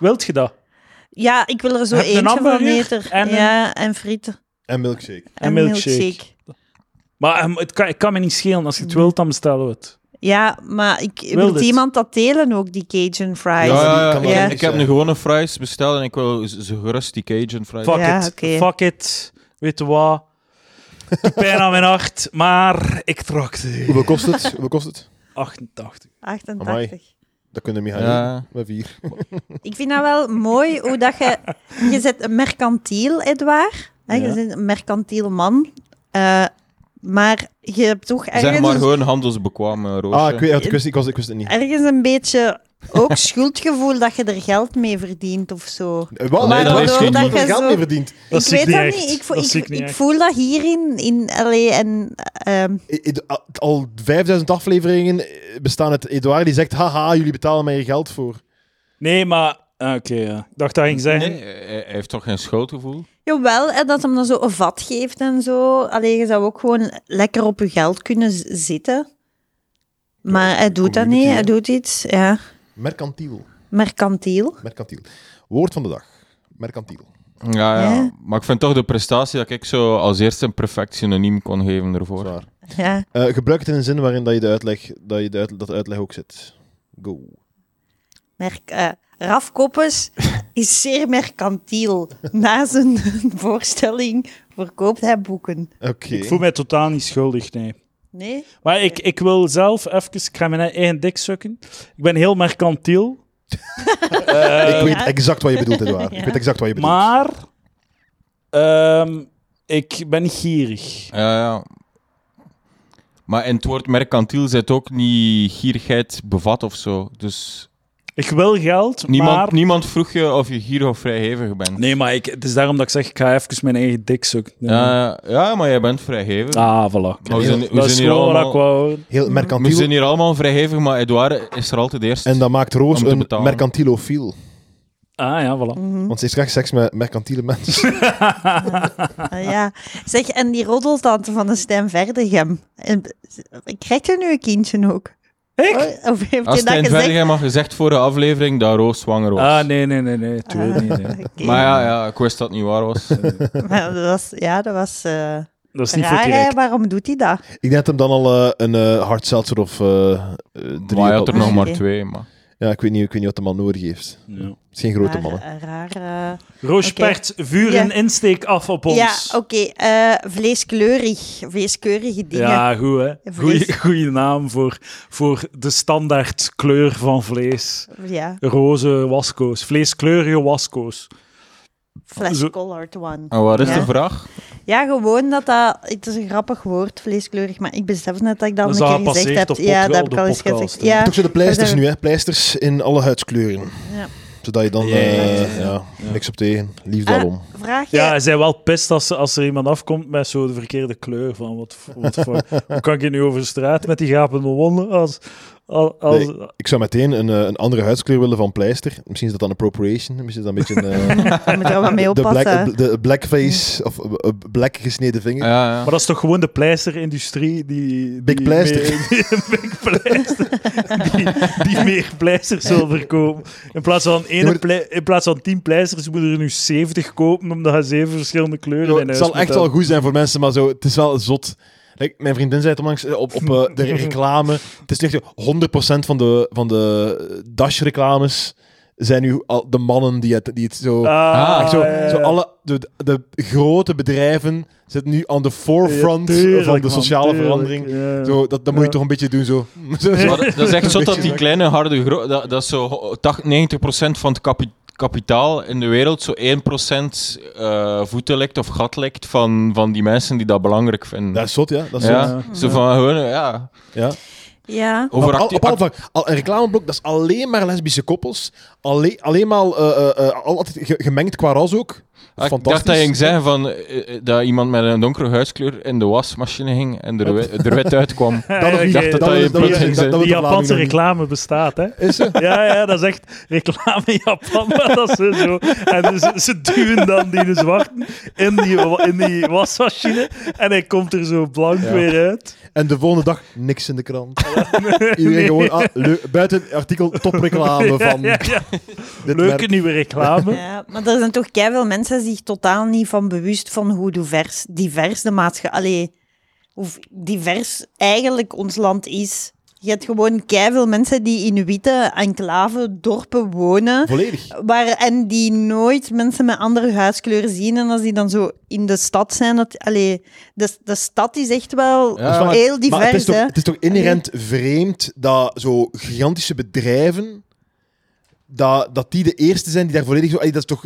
B: Wilt je dat?
C: Ja, ik wil er zo
B: Heb je een
C: eentje van
B: hamburger
C: meter.
B: en een-
C: ja, en frieten.
A: En milkshake.
C: En,
B: milkshake. Maar ehm, het kan, het kan me niet schelen. Als je het wilt, dan bestellen we het.
C: Ja, maar ik,
B: Wil
C: wil
B: dit?
C: iemand dat delen ook, die Cajun fries?
D: Ja, ja,
A: kan
D: ja,
C: wel
D: ik-
A: eens
D: Ik heb
A: zijn.
D: een gewone fries besteld en ik wil z- zo gerust die Cajun fries.
B: Fuck
C: Ja,
B: it.
C: oké.
B: Fuck it. Weet je wat? Doet Pijn aan mijn hart, maar ik trakte.
A: Hoeveel kost het? Hoeveel kost het?
B: 88.
C: 88.
A: Amai. Dat kunnen we
D: Ja.
A: gaan Met vier.
C: Ik vind dat wel mooi hoe dat je... Je zet een mercantiel, Edouard. Hè,
B: Ja.
C: Je bent een mercantiel man. Eh, maar je hebt toch ergens,
D: Zeg maar gewoon handelsbekwaam, eh, Roosje.
A: Ah, ik, weet, ik, wist, ik, was, ik wist het niet.
C: ergens een beetje ook schuldgevoel dat je er geld mee verdient of zo.
A: Eh, Wat?
D: Nee, dat
A: Waar-
D: is
A: waar-
D: geen-
A: waar- waar-
C: dat
A: geld
C: zo-
A: mee verdiend.
B: Dat
C: ik
B: zie ik
C: weet dat
B: niet echt.
C: niet. Ik, voel-
B: Dat
C: ik,
B: zie ik niet
C: ik
B: echt.
C: voel dat hierin. In, allee, en, ehm,
A: I- i- al- Al 5000 afleveringen eh, bestaan uit Edouard die zegt: Haha, jullie betalen mij hier geld voor.
B: Nee, maar... ah, Oké, ja. Ik dacht dat ging zeggen.
D: Nee, hij hij heeft toch geen schuldgevoel?
C: jawel, en dat hem dan zo een vat geeft en zo. Alleen je zou ook gewoon lekker op je geld kunnen z- zitten. Maar hij doet dat
A: community,
C: niet.
A: hè.
C: Hij doet iets, ja.
A: Mercantiel.
C: Mercantiel.
A: Mercantiel. Woord van de dag. Mercantiel.
D: Ja, ja.
C: Ja.
D: Maar ik vind toch de prestatie dat ik zo als eerste een perfect synoniem kon geven ervoor.
A: Zwaar.
C: Ja.
A: Eh, gebruik het in een zin waarin dat je de uitleg, dat, je de uit- dat de uitleg ook zit. Go.
C: Merk, eh, Raf Koppes is zeer mercantiel. Na zijn voorstelling verkoopt hij boeken.
A: Oké.
B: Ik voel mij totaal niet schuldig, nee.
C: Nee?
B: Maar ik, ik wil zelf even... Ik ga mijn eigen dik sukken. Ik ben heel mercantiel,
D: Eh.
A: Ik weet exact wat je bedoelt, Edouard. Ik weet exact wat je bedoelt.
B: maar... ehm, ik ben niet gierig.
D: Ja, ja. Maar in het woord mercantiel zit ook niet gierigheid bevat of zo. Dus
B: Ik wil geld,
D: Niemand,
B: maar...
D: niemand vroeg je of je hier of vrijhevig bent.
B: Nee, maar ik, het is daarom dat ik zeg, ik ga even mijn eigen dik zoeken.
D: Ja, ja, maar jij bent vrijhevig.
B: Ah, voilà.
D: Maar we zijn, we
B: dat
D: zijn
B: is
D: hier
B: gewoon wat
D: allemaal,
B: ik wou horen.
A: Heel
D: we
A: mercantiel.
D: zijn hier allemaal vrijhevig, maar Edouard is er altijd eerst.
A: En dat maakt Roos
D: Om te
A: een
D: betalen.
A: mercantilofiel.
B: Ah, ja, voilà.
D: Hm?
A: Want ze heeft graag seks met mercantiele mensen.
C: Ah, ja. Zeg, en die roddeltante van de Stijn Verdegem. eh, Krijgt er nu een kindje ook?
B: Ik?
C: Oh, Of heeft
D: Als
C: je dat
D: Stijn
C: gezegd?
D: Verdegem had gezegd voor de aflevering dat Roos zwanger was.
B: Ah, nee, nee, nee, nee. Tuurlijk
D: Ah.
B: niet, nee.
C: Oké.
D: Maar ja, ja, ik wist dat het niet waar was.
C: Maar dat was, ja, dat was eh
B: Dat is niet voor
C: raar. hè.
B: direct.
C: Waarom doet hij dat?
A: ik denk dat hem dan al eh, een eh hard seltzer of eh, eh, drie...
D: maar hij had er
A: had.
D: nog maar
C: Oké.
D: twee. Maar.
A: Ja, ik weet, niet, ik weet niet wat de man nodig heeft.
B: Ja.
A: Het is geen grote
C: Maar,
A: mannen.
C: eh, raar. eh,
B: Roos
C: Oké.
B: Pert, vuur
C: Ja.
B: een insteek af op ons.
C: Ja, oké. eh vleeskleurig. Vleeskleurige dingen.
B: Ja, goed hè.
C: Vlees.
B: Goeie, goeie naam voor, voor de standaard kleur van vlees.
C: Ja,
B: Roze waskoos. Vleeskleurige waskoos. Zo-
C: flesh-colored one.
B: Oh.
D: En wat is
C: Ja.
D: de vraag?
C: Ja, gewoon dat dat... Het is een grappig woord, vleeskleurig, maar ik besef net dat ik dat
B: Dat is
C: al
B: al
C: een keer gezegd
B: gepasseerd
C: heb.
B: op
C: ja,
B: pod-
C: dat heb
B: op
C: ik
B: de
C: al eens
B: podcast,
C: gezegd.
B: hè.
C: Ja,
A: Toch zo de pleisters
C: Maar
A: nu, hè? Pleisters in alle huidskleuren.
C: Ja.
A: Zodat je dan
B: Ja,
A: eh,
B: ja,
A: ja, niks op tegen. Liefde
C: Ah,
A: daarom.
C: vraag je...
B: Ja, hij zijn wel pist als, als er iemand afkomt met zo de verkeerde kleur. Van wat, wat voor- hoe kan ik hier nu over de straat met die gapende wonden? Als, als, als,
A: Ik zou meteen een, eh, een andere huidskleur willen van pleister. Misschien is dat dan appropriation. Misschien is dat een beetje een, eh,
C: Daar moet je wel wat mee
A: de,
C: oppassen.
A: black, de blackface of eh, black gesneden vinger.
D: Ja, ja.
B: Maar dat is toch gewoon de pleisterindustrie die...
A: Big
B: die
A: Pleister.
B: meer- die- big Pleister. Die, die meer pleisters wil verkopen. In plaats van, ene
A: maar-
B: plei- in plaats van 10 pleisters moeten er nu 70 kopen, omdat je zeven verschillende kleuren
A: Zo,
B: in
A: het
B: huis
A: zal
B: moet
A: echt wel
B: hebben.
A: goed zijn voor mensen, maar zo, het is wel zot. Like, mijn vriendin zei het onlangs eh, op, op eh, de reclame. Het is echt zo, 100% van de, van de Dash-reclames zijn nu al de mannen die het, die het zo...
B: Ah,
A: echt zo,
B: ja, ja.
A: zo alle, de, de grote bedrijven zitten nu aan de forefront
B: Ja, tuurlijk,
A: van de
B: man,
A: sociale
B: tuurlijk,
A: verandering.
B: ja.
A: Zo, dat, dat moet je
B: Ja.
A: toch een beetje doen zo. Zo, zo.
D: Maar dat is echt zo dat die kleine harde gro- dat, dat is zo ho- 80, 90% van het kapi- kapitaal in de wereld zo 1% eh voeten lekt of gat lekt van, van die mensen die dat belangrijk vinden.
A: Dat is zot, ja. Dat is zot.
D: ja, zo van gewoon, ja.
A: Ja.
C: Ja.
D: Over
A: op, al-
D: acti-
A: op alle vlakken. al, een reclameblok, dat is alleen maar lesbische koppels. Alleen, alleen maar eh, eh, eh, altijd ge- gemengd qua ras ook.
D: Ah, Ik
A: Fantastisch.
D: dacht dat je ging zeggen van, eh, eh, dat iemand met een donkere huidskleur in de wasmachine hing en er, we- er wit uitkwam.
A: Dat nog
B: Ja,
A: niet.
B: ja, ja.
D: dat je
A: nog
D: plots
A: niet-
D: ging
A: dat- dat we de
B: Die
D: zeggen.
A: Vlaming
B: Japanse
A: nog niet-
B: reclame bestaat, hè?
A: Is ze?
B: Ja, ja, dat is echt reclame in Japan. maar Dat ze zo, en ze, ze duwen dan die zwarte in die, wa- in die wasmachine en hij komt er zo blank weer uit.
A: En de volgende dag niks in de krant. Iedereen gewoon ah, leuk. buiten het artikel topreclame van
B: Ja, ja.
A: dit
B: Leuke
A: merk.
B: nieuwe reclame.
C: Ja, maar er zijn toch veel mensen zich totaal niet van bewust van hoe divers, divers de maatschappij... Allee, hoe divers eigenlijk ons land is. Je hebt gewoon veel mensen die in witte enclave dorpen wonen.
A: Volledig.
C: Waar, en die nooit mensen met andere huidskleuren zien. En als die dan zo in de stad zijn... Dat, allee, de, de stad is echt wel
D: Ja, maar-
C: heel
A: Dus
C: divers,
A: Maar het is, toch,
C: hè.
A: het is toch inherent vreemd dat zo gigantische bedrijven... Dat, dat die de eerste zijn die daar volledig zo... ey, Dat is toch...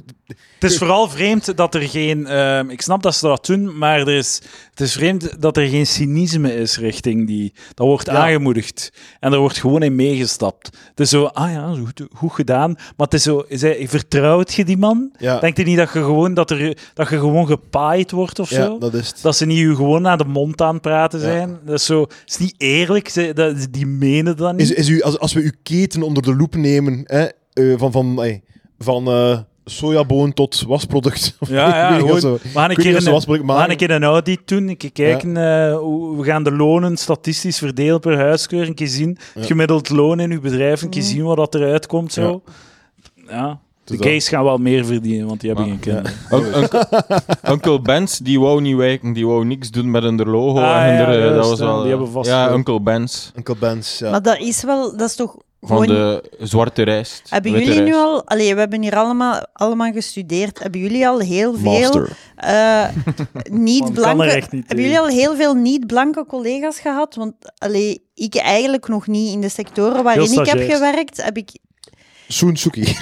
B: Het is vooral vreemd dat er geen. ehm, ik snap dat ze dat doen, maar er is, het is vreemd dat er geen cynisme is richting die. Dat wordt aangemoedigd en er wordt gewoon in meegestapt. Het is zo, ah ja, zo goed, goed gedaan. Maar het is zo, zei, vertrouwt je die man?
A: Ja.
B: Denkt hij niet dat je gewoon, dat er, dat je gewoon gepaaid wordt of
A: Ja,
B: zo?
A: dat is het.
B: Dat ze niet je gewoon aan de mond aan het praten zijn. Dat is zo, het is niet eerlijk. Ze, dat, die menen dat niet.
A: Is, is u, als, als we uw keten onder de loep nemen, hè, eh, van, van, ey, van eh, sojaboon tot wasproduct.
B: Ja, ja,
A: Weet ik wel
B: gewoon,
A: zo.
B: we gaan een
A: Ik weet
B: keer
A: niet of ze
B: een-
A: wasproduct
B: we gaan
A: maken.
B: een keer een audit doen, een keer kijken, eh, hoe, we gaan de lonen statistisch verdelen per huiskeur, een keer zien, het gemiddeld loon in uw bedrijf, een
C: Mm.
B: keer zien wat dat eruit komt, zo. Ja. De
A: Dus dat.
B: gays gaan wel meer verdienen, want die hebben
D: Maar-
B: geen kinderen.
D: Un- uncle- Uncle Benz, die wou niet wijken, die wou niks doen met hun logo.
B: Ah,
D: en hun,
B: ja,
D: eh,
B: juist,
D: dat was
B: ja,
D: wel,
B: die hebben vast-
D: ja, Uncle Benz
A: Uncle Ben's, ja.
C: Maar dat is wel... Dat is toch
D: van
C: gewoon...
D: de zwarte rijst.
C: Hebben
D: witte
C: jullie nu
D: rijst.
C: al, allee, we hebben hier allemaal, allemaal gestudeerd, hebben jullie al heel veel
D: Master.
C: eh,
B: Man,
C: niet-blanke,
B: kan er echt niet
C: hebben jullie al heel veel niet-blanke collega's gehad? Want allee, ik eigenlijk nog niet in de sectoren waarin ik heb
B: stagiairs.
C: gewerkt, heb ik,
A: Soensuki.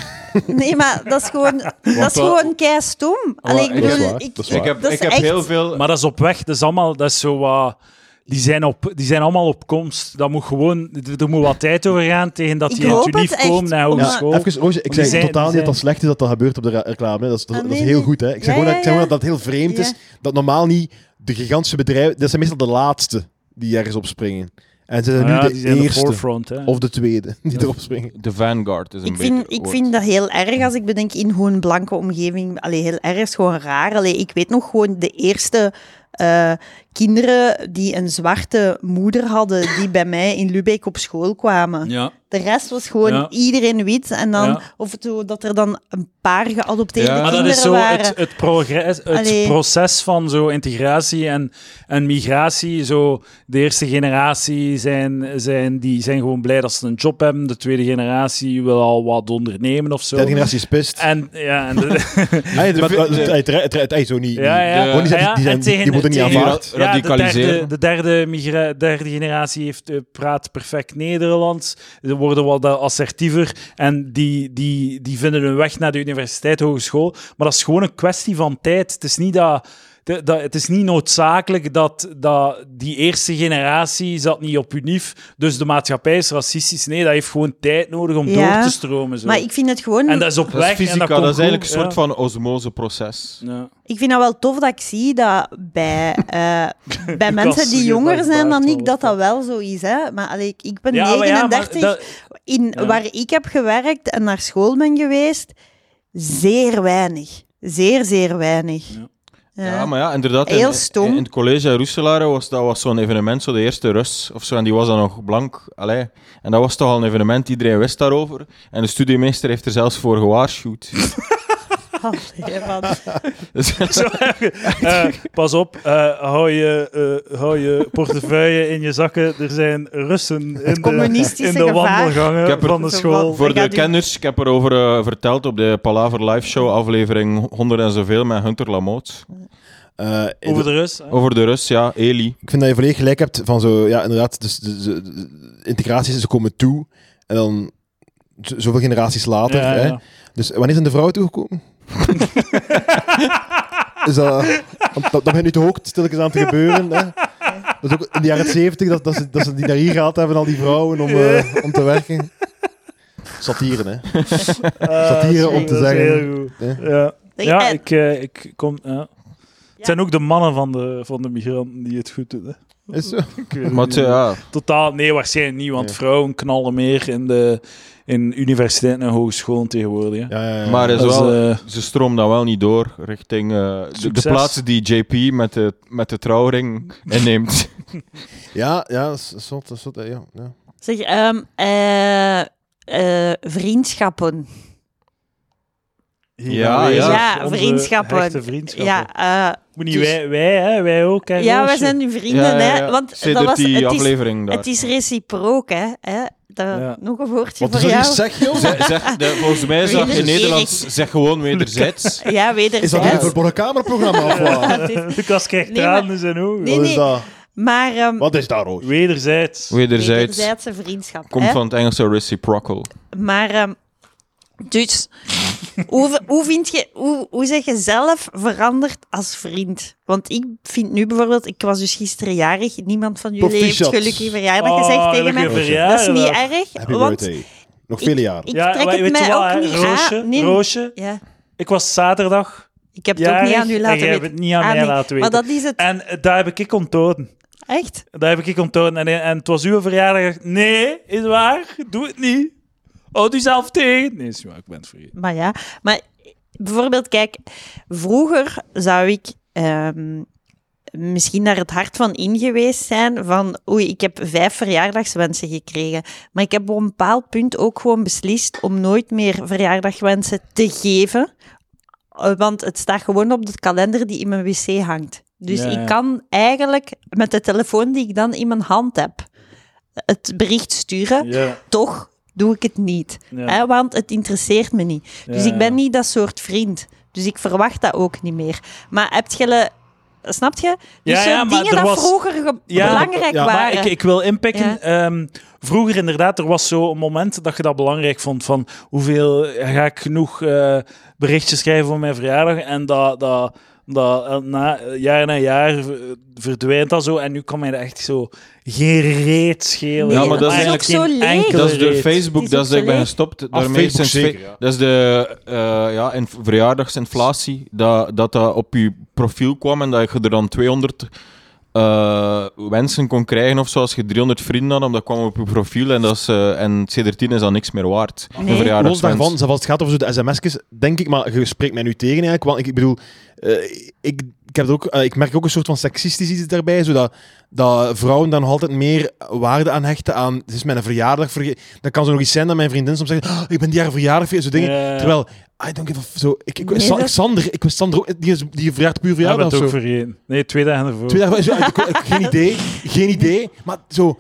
C: nee, maar dat is gewoon, dat is
D: wel-
C: gewoon kei stom. Allee, ik
D: ik-
C: bedoel,
A: Ah, dat is waar,
C: ik,
A: dat is
D: Ik heb,
C: dat is
D: ik heb
C: echt-
D: heel veel
B: Maar dat is op weg, dat is allemaal, dat is zo wat... die zijn, op, die zijn allemaal op komst. Dat moet gewoon, d- er moet wat tijd over gaan tegen dat
C: Ik
B: die in
C: hoop
B: het
C: het
B: unief
C: echt,
B: komen naar
C: omdat-
B: hogeschool.
A: Even, Roosje, ik
B: die
A: zei
B: zijn-
A: totaal
B: die
A: niet dat
B: zijn-
A: dat slecht is dat dat gebeurt op de re- reclame. hè. Dat is, dat,
C: Ah,
A: dat is
C: nee,
A: heel
C: nee.
A: goed. Hè. Ik
C: Ja,
A: zeg gewoon dat, ik
C: ja,
A: zeg gewoon
C: ja.
A: dat dat heel vreemd is.
C: Ja.
A: Dat normaal niet de gigantische bedrijven... Dat zijn meestal de laatste die ergens op springen. En ze zijn
B: Ah ja,
A: nu
B: die
A: de
B: zijn
A: eerste
B: forefront. Hè.
A: of de tweede die erop springen.
D: De vanguard is een
C: Ik vind,
D: beter
C: ik
D: woord.
C: vind dat heel erg als ik bedenk in hoe een blanke omgeving. Allee, heel erg is gewoon raar. Allee, ik weet nog gewoon de eerste eh, kinderen die een zwarte moeder hadden, die bij mij in Lubeck op school kwamen.
B: ja.
C: De rest was gewoon
B: Ja.
C: iedereen wit. En dan,
B: Ja.
C: of het zo dat er dan een paar geadopteerde
D: Ja.
B: Maar
C: kinderen
B: dat is zo
C: waren.
B: het, het, progres, het
C: Allee.
B: proces van zo integratie en, en migratie. Zo de eerste generatie zijn, zijn, die zijn gewoon blij dat ze een job hebben. De tweede generatie wil al wat ondernemen of zo.
A: Derde generatie is pist.
B: En ja, en de-
A: Hey, maar- maar-
D: de-
A: Het het- het- het- het- zo niet.
B: ja, ja.
A: Gewoon niet zeggen,
B: Ja,
A: die zijn-
B: en tegen-
A: die worden niet
B: tegen-
A: aanvaard.
B: Ja, de derde,
D: Radicaliseren.
B: de derde, migra- derde generatie heeft, eh, praat perfect Nederlands. Ze worden wat eh, assertiever en die, die, die vinden hun weg naar de universiteit, hogeschool. Maar dat is gewoon een kwestie van tijd. Het is niet dat... de- dat- het is niet noodzakelijk dat, dat die eerste generatie zat niet op unief, dus de maatschappij is racistisch. Nee, dat heeft gewoon tijd nodig om
C: Ja,
B: door te stromen. Zo.
C: Maar ik vind het gewoon...
B: en dat is op
D: Dat
B: weg.
D: is fysica,
B: en
D: dat,
B: dat,
D: is eigenlijk een soort van osmoseproces.
B: van... Ja.
C: Ik vind dat wel tof dat ik zie dat bij, eh, bij mensen die
B: zeggen dat
C: jonger
B: het
C: zijn dan
B: baard
C: ik, dat dat
B: wel
C: wel zo is. Hè? Maar allee, ik, ik ben
B: Ja, maar ja, maar
C: 39,
B: dat-
C: in,
B: ja.
C: waar ik heb gewerkt en naar school ben geweest, zeer weinig. Zeer, zeer weinig. Eh,
B: Ja.
D: Ja,
C: Ja.
D: maar ja, inderdaad. in-
C: Heel
D: in-
C: stom.
D: In, het college in Roeselare was dat was zo'n evenement, zo de eerste Rus of zo, en die was dan nog blank. Allee. En dat was toch al een evenement, iedereen wist daarover. En de studiemeester heeft er zelfs voor gewaarschuwd.
C: Allee, man.
D: Dus-
B: Zo even. Eh, pas op, eh, hou, je, eh, hou je portefeuille in je zakken. Er zijn Russen in de,
C: communistische
B: in de
C: gevaar.
D: Ik
B: wandelgangen
D: heb er-
B: van de school.
C: Wat
D: Voor de
C: gaat u-
D: kenners, ik heb erover eh, verteld op de Palaver Live Show, aflevering 100 en zoveel met Hunter Lamoot.
A: Eh,
B: Over de Rus.
D: Over de Rus, ja, Eli.
A: Ik vind dat je volledig gelijk hebt van zo, ja, inderdaad, dus de, de- de- integraties, ze komen toe en dan z- zoveel generaties later.
B: Ja,
A: hè?
B: ja.
A: Dus wanneer zijn de vrouwen toegekomen? Is dat, want dat, dat begint nu toch ook stilletjes aan te gebeuren. Hè? Dat is ook in de jaren zeventig dat, dat, ze, dat ze die naar hier gehaald hebben, al die vrouwen, om, eh, om te werken. Satiren, hè. Satire
B: Ah,
A: om te
B: dat is
A: zeggen.
B: heel goed.
A: Hè?
B: Ja, ja
C: En-
B: ik, eh, ik kom... ja. Het zijn ook de mannen van de, van de migranten die het goed doen. Hè.
A: Is zo.
B: Ik weet het
D: Maar
B: niet.
D: het, eh, ja,
B: Totaal, nee, waarschijnlijk niet, want
A: Ja.
B: vrouwen knallen meer in, de, in universiteiten en hogescholen tegenwoordig. hè.
A: Ja, ja, ja.
D: maar is
B: Dat is,
D: wel,
B: eh,
D: ze stroomt dan wel niet door richting eh, de, de
B: Succes.
D: plaatsen die JP met de, met de trouwring inneemt.
A: ja, ja, dat is- dat is zot, dat is zot, hè, ja, ja.
C: Zeg, ehm, eh, eh, vriendschappen.
B: Hier
D: Ja,
B: aanwezig,
D: ja.
C: Ja,
B: onze
C: vriendschappen.
B: hechte vriendschappen.
C: Ja, eh,
B: Moet niet
C: Dus-
B: wij, wij, hè? Wij ook, hè?
C: ja, wij
B: Roosje?
C: zijn nu vrienden. Hè? Want
D: Sedert
C: dat was,
D: die
C: het, is,
D: aflevering daar.
C: het is reciprook. Hè? Hè? Dat-
B: Ja.
C: Nog een woordje
A: Wat is
C: voor
A: er hier
C: jou.
A: zeg, joh?
D: Zeg- zeg, de- volgens mij is dat in
C: Wederzijds.
D: Nederlands zeg gewoon wederzijds.
C: Ja, wederzijds.
A: Is dat een verborgen cameraprogramma of wat?
C: Het is-
B: Lucas krijgt
C: Nee,
B: tranen
C: maar-
B: in zijn ogen.
C: Nee,
A: Wat is
C: nee.
A: dat?
C: Maar ehm
A: Wat is dat, Roos?
B: Wederzijds.
D: Wederzijds
C: wederzijdse vriendschap.
D: komt
C: hè?
D: van het Engelse reciprocal.
C: Maar ehm, dus, hoe, hoe, vind je, hoe, hoe zeg je zelf veranderd als vriend? Want ik vind nu bijvoorbeeld, ik was dus gisteren jarig, niemand van jullie heeft
A: Proficiat.
C: gelukkig verjaardag
B: Oh,
C: gezegd tegen
B: gelukkige
C: mij.
B: verjaardag.
C: Dat is niet erg,
A: Happy
C: want
A: birthday. Nog vele jaren.
C: ik trek
B: maar
C: het
B: weet je
C: mij
B: wat,
C: ook
B: hè,
C: niet
B: Roosje,
C: aan. Nee, nee.
B: Roosje,
C: ja,
B: ik was zaterdag
C: ik heb het
B: jarig
C: ook niet aan u
B: en
C: laten
B: jij hebt
C: weten.
B: het niet aan
C: Ah,
B: mij
C: nee.
B: laten weten.
C: Maar dat is het,
B: En eh, dat heb ik ik onthouden.
C: echt.
B: Dat heb ik ik onthouden. En, en het was uw verjaardag. Nee, is waar. Doe het niet. Houd u zelf tegen. Nee, is niet waar. Ik ben het vergeten.
C: Maar ja, maar bijvoorbeeld, kijk, vroeger zou ik ehm, misschien naar het hart van in geweest zijn van, oei, ik heb vijf verjaardagswensen gekregen. Maar ik heb op een bepaald punt ook gewoon beslist om nooit meer verjaardagwensen te geven. Eh, Want het staat gewoon op de kalender die in mijn wc hangt. Dus
B: Ja, ja.
C: ik kan eigenlijk met de telefoon die ik dan in mijn hand heb, het bericht sturen
B: Ja,
C: toch doe ik het niet.
B: Ja.
C: Hè, want het interesseert me niet. Dus
B: Ja,
C: ik ben
B: ja.
C: niet dat soort vriend. Dus ik verwacht dat ook niet meer. Maar heb je... le- Snap je? Dus
B: Ja,
C: zo'n
B: ja, maar
C: dingen
B: er
C: dat
B: was-
C: vroeger ge-
B: Ja,
C: belangrijk
A: ja,
C: waren.
B: Maar ik, ik wil inpikken.
C: Ja.
B: ehm, vroeger inderdaad, er was zo'n moment dat je dat belangrijk vond. Van hoeveel ga ik genoeg eh, berichtjes schrijven voor mijn verjaardag? En dat, dat, Omdat eh, na eh, jaar na jaar eh, verdwijnt dat zo. En nu kan mij dat echt zo geen reet schelen.
D: Ja, maar dat is
C: eigenlijk ook zo
B: geen
C: leeg.
B: enkele
D: Dat is door
B: reet.
D: Facebook,
C: Die
D: dat is dat ik ben
C: zoekt
D: gestopt. Daarmee
A: Ah, Facebook
D: sinds fe-
A: zeker, ja.
D: Dat is de eh, ja, in verjaardagsinflatie, dat, dat dat op je profiel kwam en dat je er dan 200 eh, wensen kon krijgen of zo, als je 300 vrienden had, omdat dat kwam op je profiel en, dat is, eh, en sedert 10 is dat niks meer waard.
C: Nee.
D: Een
A: Los
D: verjaardagswens.
A: daarvan, zelfs als het gaat over zo de sms'jes, denk ik, maar je spreekt mij nu tegen eigenlijk, want ik, ik bedoel, eh, ik, ik, heb het ook, eh, ik merk ook een soort van seksistisch iets daarbij, zodat dat vrouwen dan nog altijd meer waarde aan hechten aan, het is mijn verjaardag, verge- dat kan zo nog iets zijn dat mijn vriendin soms zegt, "Oh, ik ben die jaar verjaardag, vier", zo dingen,
B: Ja.
A: terwijl, I don't give a f- zo, ik, ik,
C: Nee,
A: Sa-
C: dat-
A: Sander, ik wist Sander ook, die, is, die verjaart puur
B: Ja,
A: verjaardag
B: dat
A: of zo.
B: ook vergeten. Nee, twee dagen ervoor.
A: Twee dagen- zo, ik- ik- geen idee, geen idee, maar zo,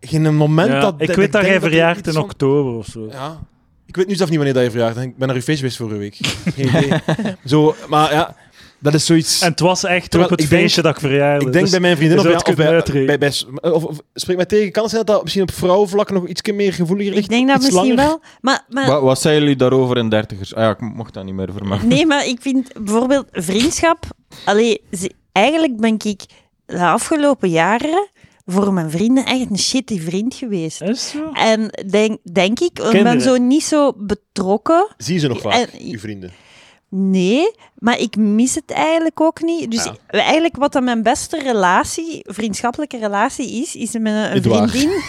A: geen moment
B: Ja,
A: dat...
B: ik
A: dat
B: weet dat
A: denk
B: jij
A: er
B: verjaart
A: iets
B: in
A: van-
B: oktober of zo.
A: ja. Ik weet nu zelf niet wanneer dat je verjaardag bent. Ik ben naar uw feest geweest vorige week. Geen idee. Zo, maar ja, dat is zoiets...
B: En het was echt
A: Terwijl
B: op het
A: ik denk-
B: feestje dat ik verjaarde.
A: ik denk
B: Dus-
A: bij mijn vriendin
B: je
A: of,
B: zou
A: ja,
B: het
A: of, bij,
B: kunnen uitreden.
A: bij- bij s- of, of- spreek mij tegen. Kan het zijn dat dat misschien op vrouwenvlak nog iets meer gevoeliger ligt?
C: Ik denk dat
A: Iets
C: misschien
A: langer?
C: wel. Maar, maar
D: Wa- wat zeiden jullie daarover in dertigers? Ah ja, ik mocht dat niet meer vermelden.
C: Nee, maar ik vind bijvoorbeeld vriendschap. Allee, ze- eigenlijk ben ik de afgelopen jaren voor mijn vrienden echt een shitty vriend geweest.
B: Is zo?
C: En denk, denk ik, ik ben
B: Kinderen.
C: zo niet zo betrokken.
A: Zie je ze nog vaak,
C: En-
A: uw vrienden?
C: Nee, maar ik mis het eigenlijk ook niet. Dus
A: Ja.
C: eigenlijk wat dan mijn beste relatie, vriendschappelijke relatie is, is met een, een
A: Niet waar.
C: vriendin.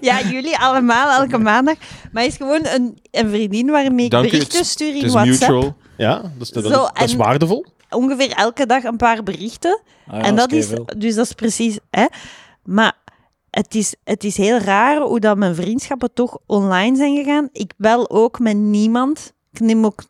C: ja, jullie allemaal, elke maandag. Maar is gewoon een, een vriendin waarmee ik
D: Dank u,
C: berichten
D: het-
C: stuur
D: Het
C: in
D: is
C: WhatsApp.
D: mutual.
A: Ja, dat is, dat,
C: Zo,
A: dat is
C: en-
A: waardevol.
C: Ongeveer elke dag een paar berichten.
B: Ah, ja,
C: en dat is,
B: keiveel.
C: dus dat is precies. Hè? Maar het is, het is heel raar hoe dat mijn vriendschappen toch online zijn gegaan. Ik bel ook met niemand. Ik neem ook.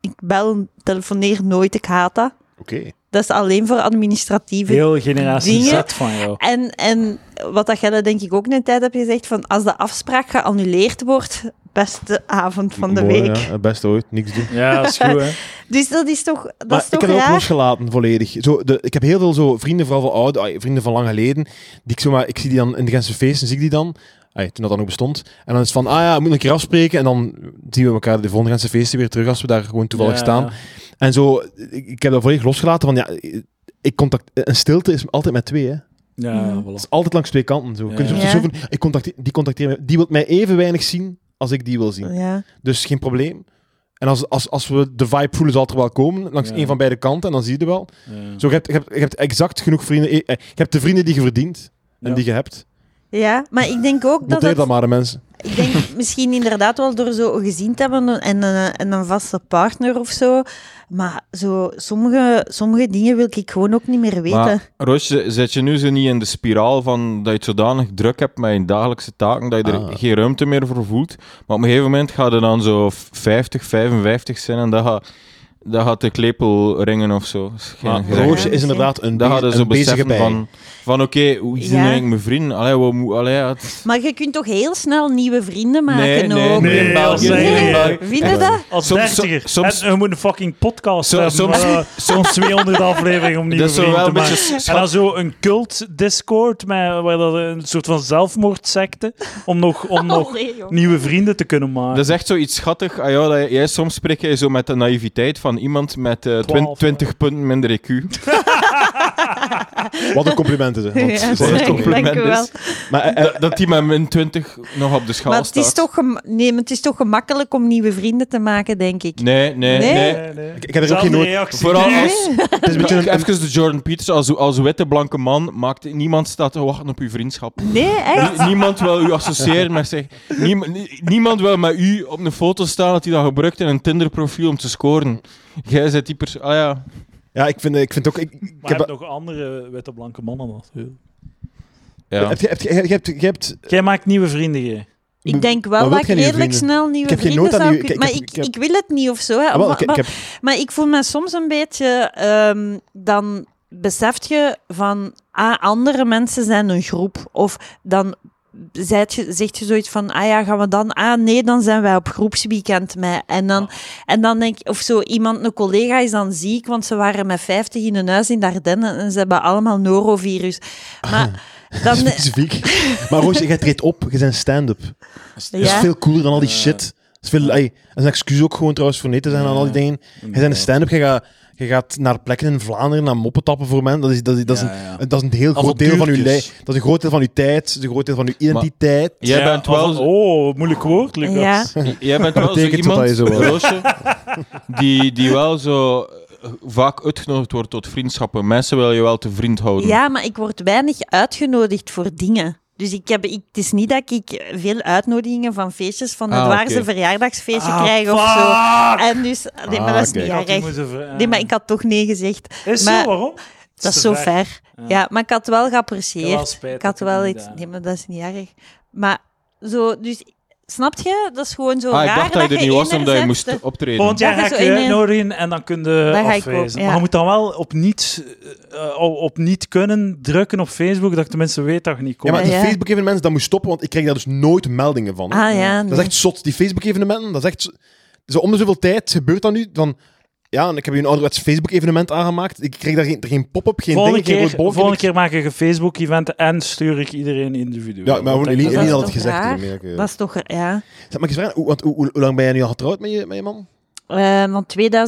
C: Ik bel, telefoneer nooit. Ik haat dat.
A: Oké.
C: Dat is alleen voor administratieve.
B: Heel generatie
C: dingen.
B: Z van jou.
C: En, en wat dat jij denk ik ook een tijd hebt gezegd: van als de afspraak geannuleerd wordt, beste avond van de week.
A: best ooit, niks doen.
B: Ja, dat is goed, hè.
C: Dus dat is toch, dat
A: Maar
C: is
A: ik
C: toch
A: heb het ook
C: raar?
A: losgelaten, volledig. Zo, de, ik heb heel veel zo vrienden, vooral van oud, ai, vrienden van lang geleden, die ik zomaar, ik zie die dan in de Gentse feesten, zie ik die dan, ai, toen dat dan nog bestond. En dan is het van, ah ja, we moeten een keer afspreken, en dan zien we elkaar de volgende Gentse feesten weer terug, als we daar gewoon toevallig
B: Ja.
A: staan. En zo, ik, ik heb dat volledig losgelaten, van ja, ik contact, een stilte is altijd met twee, hè.
B: Ja,
C: Mhm.
A: Het
B: voilà.
A: is altijd langs twee kanten, zo.
B: Ja.
A: Kun je soms
C: Ja.
A: zo van, ik contacteer, die contacteert mij, die wil mij even weinig zien als ik die wil zien.
C: Ja.
A: Dus geen probleem. En als, als, als we de vibe voelen, zal het er wel komen, langs
B: Ja.
A: een van beide kanten, en dan zie je het wel.
B: Ja.
A: Zo, je, hebt, je, hebt, je hebt exact genoeg vrienden. eh, eh, Je hebt de vrienden die je verdient en
B: Ja.
A: die je hebt.
C: ja, maar ik denk ook dat
A: Noteer dat,
C: het-
A: maar, hè, mensen.
C: Ik denk misschien inderdaad wel door zo gezien te hebben en een, en een vaste partner of zo. Maar zo, sommige, sommige dingen wil ik gewoon ook niet meer weten.
D: Maar Roosje, zet je nu zo niet in de spiraal van dat je het zodanig druk hebt met je dagelijkse taken dat je er
A: Ah.
D: geen ruimte meer voor voelt? Maar op een gegeven moment gaat er dan zo 50, 55 zijn en dat gaat, dat gaat de klepel ringen of zo. Dat is geen
A: Maar
D: gezegd.
A: Roosje is
C: misschien.
A: inderdaad een,
D: dat
A: be-
D: gaat er zo
A: een bezige
D: beseffen
A: bij.
D: van, van oké, hoe zijn
C: Ja.
D: eigenlijk mijn vrienden? Allee, wat moet... Allee, ja, het-
C: Maar je kunt toch heel snel nieuwe vrienden maken
D: nee, nee,
C: ook?
D: nee,
B: Nee,
D: in België,
B: als-
D: nee, in
B: nee.
D: België.
C: Vind je dat?
B: Als
D: Soms-
B: dertiger.
D: soms- soms-
B: en je moet een fucking podcast
D: Soms-
B: hebben.
D: soms-
B: eh, soms 200 afleveringen om nieuwe
D: Dat is zo
B: vrienden
D: wel
B: te
D: een beetje
B: maken. En dan zo een cult-discord, met- waar dat een soort van zelfmoordsecte, om nog, om nog
C: Allee, jong.
B: nieuwe vrienden te kunnen maken.
D: Dat is echt zoiets schattig. Ah, ja, dat jij- jij, soms spreek jij zo met de naïviteit van iemand met eh, twin-
B: Twaalf.
D: 20 punten minder IQ.
A: Wat een compliment is, hè. Want
C: Ja,
A: het is echt
D: dank
A: compliment.
C: dank u wel.
D: is.
A: Maar eh, eh,
D: dat, dat die met min 20 nog op de schaal
C: Maar het,
D: staat.
C: is toch gem- nee, maar het is toch gemakkelijk om nieuwe vrienden te maken, denk ik.
D: Nee, nee,
C: Nee?
D: nee.
A: ik, ik heb er ook geen
B: Zelfde
A: nood...
B: reactie.
D: Vooral
B: Nee.
D: als...
A: Het is een beetje een, een-
D: Even de Jordan Peters, als, als witte blanke man, maakt niemand staat te wachten op uw vriendschap.
C: Nee, echt?
D: Nie- niemand wil u associëren met zich. Niem- nie- niemand wil met u op een foto staan dat hij dat gebruikt in een Tinder-profiel om te scoren. Jij bent die persoon. Ah ja.
A: Ja, ik vind, ik vind ook... Ik, ik
B: Maar
A: heb,
B: je hebt nog andere witte blanke mannen natuurlijk.
D: ja.
A: heb, je- heb, je- heb, je- heb, je- hebt...
B: Jij maakt nieuwe vrienden, jij.
C: Ik denk
A: Maar
C: wel
A: wil
C: dat ik
A: jij nieuwe
C: redelijk
A: vrienden?
C: snel
A: Ik
C: nieuwe
A: heb geen
C: vrienden
A: nood aan
C: zou
A: nieuwe-
C: kunnen...
A: ik-
C: Maar
A: ik-
C: ik,
A: ik heb-
C: ik wil het niet of zo. Hè.
A: Ah, wel,
C: Maar-
A: ik, ik
C: maar-
A: heb...
C: Maar ik voel me soms een beetje... ehm, dan beseft je van... Ah, andere mensen zijn een groep. Of dan zegt je, zegt je zoiets van... Ah ja, gaan we dan... Ah nee, dan zijn wij op groepsweekend mee. En dan,
A: Ah.
C: en dan denk ik... Of zo, iemand, een collega is dan ziek... Want ze waren met 50 in hun huis in Dardenne. En ze hebben allemaal norovirus. Maar... Dan,
A: Specifiek. Maar Roosje, jij treedt op. Je bent stand-up. Dat is
C: ja.
A: veel cooler dan al die shit. is, veel, ai, dat is een excuus ook gewoon trouwens voor nee te zijn aan al die dingen. Je bent een stand-up, je gaat, je gaat naar plekken in Vlaanderen naar moppen tappen voor mensen. Dat is, dat is, dat is,
B: Ja, ja.
A: een, dat is een heel groot deel van je
B: Avontuurtjes.
A: lijf. Dat is een groot deel van je tijd, een groot deel van je identiteit.
D: Jij
B: Ja,
D: bent wel,
B: of- Oh, moeilijk woord, Lucas.
C: Ja.
D: j- jij bent wel zo
A: Betekent wat
D: iemand,
A: dat je zo wil.
D: Roosje, die, die wel zo eh, vaak uitgenodigd wordt tot vriendschappen. Mensen willen je wel te vriend houden.
C: Ja, maar ik word weinig uitgenodigd voor dingen. Dus ik heb, ik, het is niet dat ik veel uitnodigingen van feestjes, van het
D: Ah,
C: waar
D: oké.
C: ze verjaardagsfeestje
B: Ah,
C: krijgen of zo.
B: fuck!
C: En dus, nee,
D: Ah,
C: maar dat is
A: kijk.
C: niet
B: Ik had die
C: erg.
B: moeten ver-
C: Nee, maar ik had toch nee gezegd.
B: Is
C: maar-
B: zo, waarom?
C: Dat is
B: te
C: zo
B: ver.
C: ver. Ja. maar ik had wel geapprecieerd.
B: Ik had wel spijt
C: Ik had
B: dat ik
C: wel
B: niet eh,
C: iets.
B: daar-
C: Nee, maar dat is niet erg. Maar zo, dus, snap je? Dat is gewoon zo
D: Ah, ik
C: raar
D: dacht dat je er niet was omdat je moest
C: enerzijds-
D: optreden.
B: Volgend jaar
C: Dat
B: ga
C: je
B: ik
C: zo
B: je
C: in een-
B: uitnodigen en dan kun je
C: Dan ga ik
B: afwijzen.
C: ook, ja.
B: Maar je moet dan wel op niet, eh, eh, op niet kunnen drukken op Facebook, dat de mensen weten dat je niet
A: Ja,
B: komt.
A: maar die
C: Ja, ja.
A: Facebook-evenements, dat moet stoppen, want ik krijg daar dus nooit meldingen van. hè.
C: Ah ja,
A: Dat is echt zot. Die Facebook-evenementen, dat is echt... Zo om de zoveel tijd gebeurt dat nu, van... Ja, en ik heb hier een ouderwets Facebook-evenement aangemaakt. Ik kreeg daar geen, er geen pop-up, geen
B: volgende,
A: ding, geen
B: keer,
A: rood balkje,
B: volgende
A: niks.
B: keer maak ik een Facebook-event en stuur ik iedereen individueel.
A: Ja, maar gewoon
B: Want
A: Eline,
B: dan-
C: dat
A: Eline
C: is
A: had het
C: toch
A: gezegd.
C: raar?
A: hiermee, dat ik, eh,
C: Dat is toch... Ja.
A: Zeg, Mag ik eens vragen, hoe, want hoe, hoe- hoe lang ben jij nu al getrouwd met je, met je man?
C: Eh, van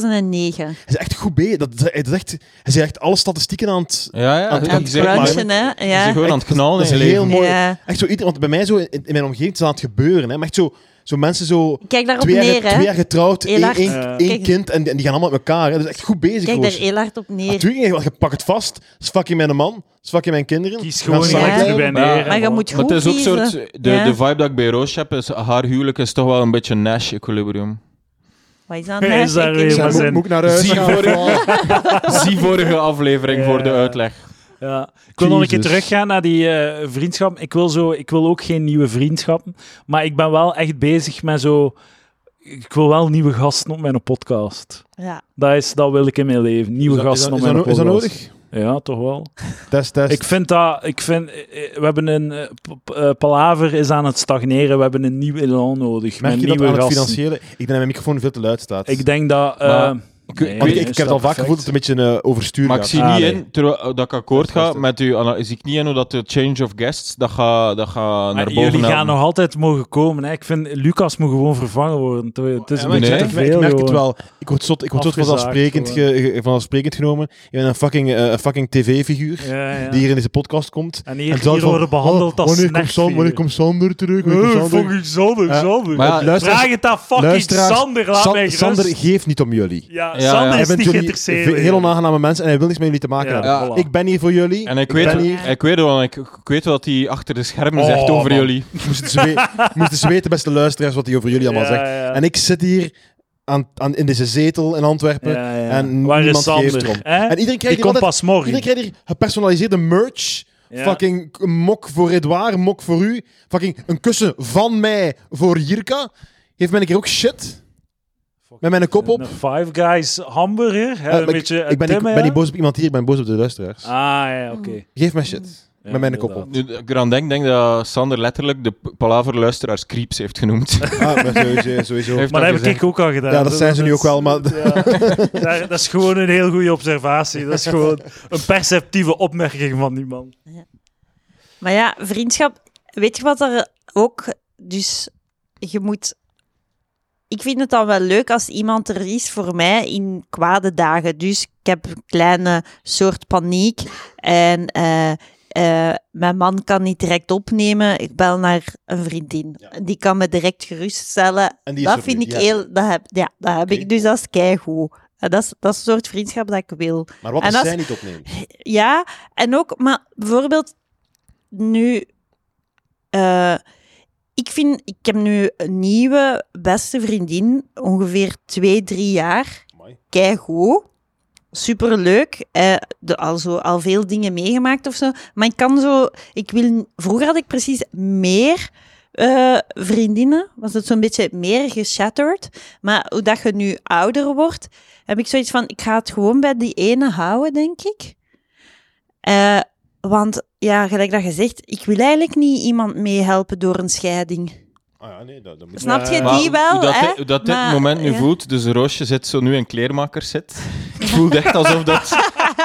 C: 2009.
A: Hij is echt goed bezig. Dat, dat is echt, hij is echt alle statistieken aan het...
D: Ja, ja.
A: Aan het
D: ik zeg maar,
C: Brunchen, hè?
D: je
C: Ja.
D: zit gewoon aan het knallen
A: Dat is
D: in je leven.
A: heel mooi.
C: Ja.
A: Echt zo, ieder- want bij mij zo, in, in mijn omgeving is dat aan het gebeuren. Hè. Maar echt zo, zo mensen zo...
C: Ik Kijk daarop
A: Twee jaar,
C: neer, hè?
A: twee jaar getrouwd,
C: Heel
A: één,
C: hard.
A: één-
B: Ja.
A: één
C: Kijk.
A: kind, en die, en die gaan allemaal met elkaar. Hè. Dat is Ah, echt goed bezig.
C: Kijk daar
A: Roos.
C: heel hard op neer.
A: Natuurlijk, want je pakt het vast. Dat is fucking mijn man. Dat is fucking mijn kinderen.
B: Kies
A: We gaan
B: gewoon
A: samen
C: echt
B: ja.
A: blijven.
B: erbij
D: Ja.
B: neer. en
C: Maar je
B: voilà.
C: moet
D: Maar
C: goed
D: het is ook
C: kiezen.
D: soort... De,
C: Ja.
D: de vibe dat ik bij Roosje heb, is haar huwelijk is toch wel een beetje Nash-equilibrium.
C: Wat is dat
B: Hij
C: nou?
B: is daar
C: Ik-
B: weer,
C: ik-
A: Zeg,
B: maar
A: moet-
B: zijn-
A: moet ik naar huis
D: Zie
A: gaan?
D: vorige, zie vorige aflevering
B: Ja.
D: voor de uitleg.
B: Ja. Ik wil nog een keer
A: Jesus.
B: teruggaan naar die eh, vriendschap. Ik wil, zo, ik wil ook geen nieuwe vriendschappen. Maar ik ben wel echt bezig met zo. Ik wil wel nieuwe gasten op mijn podcast.
C: Ja.
B: Dat, is, dat wil ik in mijn leven. Nieuwe
A: Is dat- is
B: gasten
A: dat-
B: op
A: is
B: mijn
A: dat no- is
B: podcast.
A: dat nodig?
B: Ja, toch wel.
A: Test, test.
B: Ik vind dat... Ik vind, eh, eh, we hebben een... eh, p- p- eh, Palaver is aan het stagneren. We hebben een nieuw elan nodig.
A: Merk
B: met
A: je dat
B: nieuwe
A: aan het
B: gasten.
A: financiële... Ik denk dat mijn microfoon veel te luid staat.
B: Ik denk dat... eh,
D: Maar-
B: nee,
A: Want ik,
B: is
A: ik heb het al
B: dat
A: vaak gevoeld dat
B: perfect?
A: het een beetje eh, overstuur
D: Maar ik
A: gaat.
D: zie
B: Ah,
D: niet
B: nee.
D: in, terwijl eh, dat ik akkoord ga met uw analyse, zie ik niet in hoe dat de change of guests, dat gaat dat ga Ah, naar
B: Maar
D: boven
B: jullie gaan
D: helpen.
B: nog altijd mogen komen. Hè. Ik vind, Lucas moet gewoon vervangen worden. Het- Het is
A: Ja,
B: een
A: maar ik,
B: beetje
D: Nee.
A: zeg,
B: te
A: ik
B: veel.
A: merk- ik merk het
B: gewoon.
A: wel. Ik word zot, ik word zot
B: Afgezaagd
A: vanzelfsprekend, ge, ge- vanzelfsprekend genomen. Je bent een fucking, eh, een fucking tv-figuur
B: Ja, ja.
A: die hier in deze podcast komt.
B: en hier,
A: En zelf
B: hier
A: van,
B: worden behandeld
A: oh,
B: als
A: wanneer komt, Sander,
B: snackvier.
A: wanneer komt Sander terug? Wanneer komt
B: Eh,
A: Sander?
B: fucking Sander,
A: Ja.
B: Sander.
D: Maar ja,
A: Luisteraars-
B: Vraag het aan fucking
A: luisteraars,
B: Sander. Laat
A: San-
B: mij gerust.
A: Sander geeft niet om jullie.
B: ja,
D: Ja,
B: Sander
D: ja.
A: Hij
B: is
A: vindt
B: niet
A: jullie
B: geïnteresseerd.
A: ve- heel onaangename mensen en hij wil niks met jullie te maken
B: Ja,
A: hebben.
B: voilà.
A: Ik ben hier voor jullie.
D: En ik weet,
A: ben
C: hier.
D: ik weet wel, ik, ik weet wat hij achter de schermen
B: Oh,
D: zegt over
B: man.
D: jullie.
A: Moesten ze, we- moesten ze weten, beste luisteraars, wat hij over jullie allemaal
B: Ja,
A: zegt.
B: ja.
A: En ik zit hier aan, aan, in deze zetel in Antwerpen.
B: Ja, ja.
A: En
B: Waar is
A: niemand
B: Sander?
A: geeft erom.
B: hè?
A: En iedereen
B: Die
A: krijgt hier,
B: komt
A: altijd,
B: pas morgen.
A: iedereen krijgt hier gepersonaliseerde merch.
B: Ja.
A: Fucking k- mok voor Edouard, mok voor u. Fucking een kussen van mij voor Jirka. Heeft men een keer ook shit? Met mijn kop op.
B: Een Five Guys hamburger. Hè,
A: Eh,
B: een
A: maar ik-
B: beetje
A: ik ben, niet-
B: timmen,
A: ben niet
B: ja?
A: boos op iemand hier, ik ben boos op de luisteraars.
B: Ah, ja, oké.
A: Geef mij shit.
B: Ja,
A: met mijn kop
B: inderdaad.
A: op.
D: Nu ik eraan denk, denk dat Sander letterlijk de p- palaverluisteraars creeps heeft genoemd.
A: Ah, maar sowieso. sowieso.
D: Heeft
B: Maar dat heb
D: gezegd.
B: ik ook al gedaan.
A: Ja, dat zijn ze nu
B: is-
A: ook wel, maar-
B: Ja. Daar- dat is gewoon een heel goede observatie. Dat is gewoon een perceptieve opmerking van die man.
C: Maar ja, vriendschap... Weet je wat er ook... Dus je moet... Ik vind het dan wel leuk als iemand er is voor mij in kwade dagen. Dus ik heb een kleine soort paniek. En eh, eh, mijn man kan niet direct opnemen. Ik bel naar een vriendin. Die kan me direct geruststellen.
A: En die is
C: dat
A: er
C: vind
A: nu,
C: ik
A: ja.
C: heel... Dat heb, ja, dat heb
A: Oké.
C: ik. Dus dat is keigoed. En Dat is, dat is het soort vriendschap dat ik wil.
A: Maar wat
C: En
A: als
C: als-
A: zij niet opnemen?
C: Ja, en ook, maar bijvoorbeeld nu. eh, ik vind, ik heb nu een nieuwe beste vriendin, ongeveer twee, drie jaar.
A: Amai.
C: Keigoed. Superleuk. Eh, de, al, zo, al veel dingen meegemaakt of zo. Maar ik kan zo. Ik wil, vroeger had ik precies meer eh, vriendinnen. Was het zo'n beetje meer geshatterd. Maar hoe dat je nu ouder wordt, heb ik zoiets van: ik ga het gewoon bij die ene houden, denk ik. Eh, want ja, gelijk dat je zegt, ik wil eigenlijk niet iemand meehelpen door een scheiding.
A: Ah ja, nee, dat, dat moet
C: Snap je
D: Maar
C: die
D: hoe
C: wel?
D: dat,
C: hè?
D: dit- hoe dat dit
C: Maar,
D: moment nu
C: ja.
D: voelt, dus Roosje zit zo nu in kleermakerszit. Het voelt echt alsof dat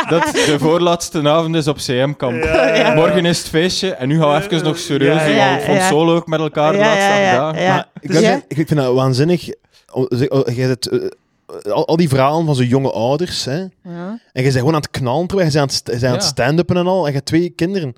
D: dat de voorlaatste avond is op CM-kamp.
C: ja.
D: Morgen is het feestje en nu gaan we even nog serieus
B: Ja,
D: doen.
C: ja,
D: want Ik vond het
C: ja.
D: zo leuk met elkaar de laatste acht dagen.
C: ja.
A: Maar ik,
C: Dus
A: ben-
C: jij?
A: ik vind dat waanzinnig. O- zeg- o- jij zit, eh, eh, al, al die verhalen van zo'n jonge ouders. Hè?
C: Ja.
A: En je bent gewoon aan het knallen, terwijl je bent aan het, st- je bent aan het
D: Ja.
A: stand-uppen en al. En je hebt twee kinderen.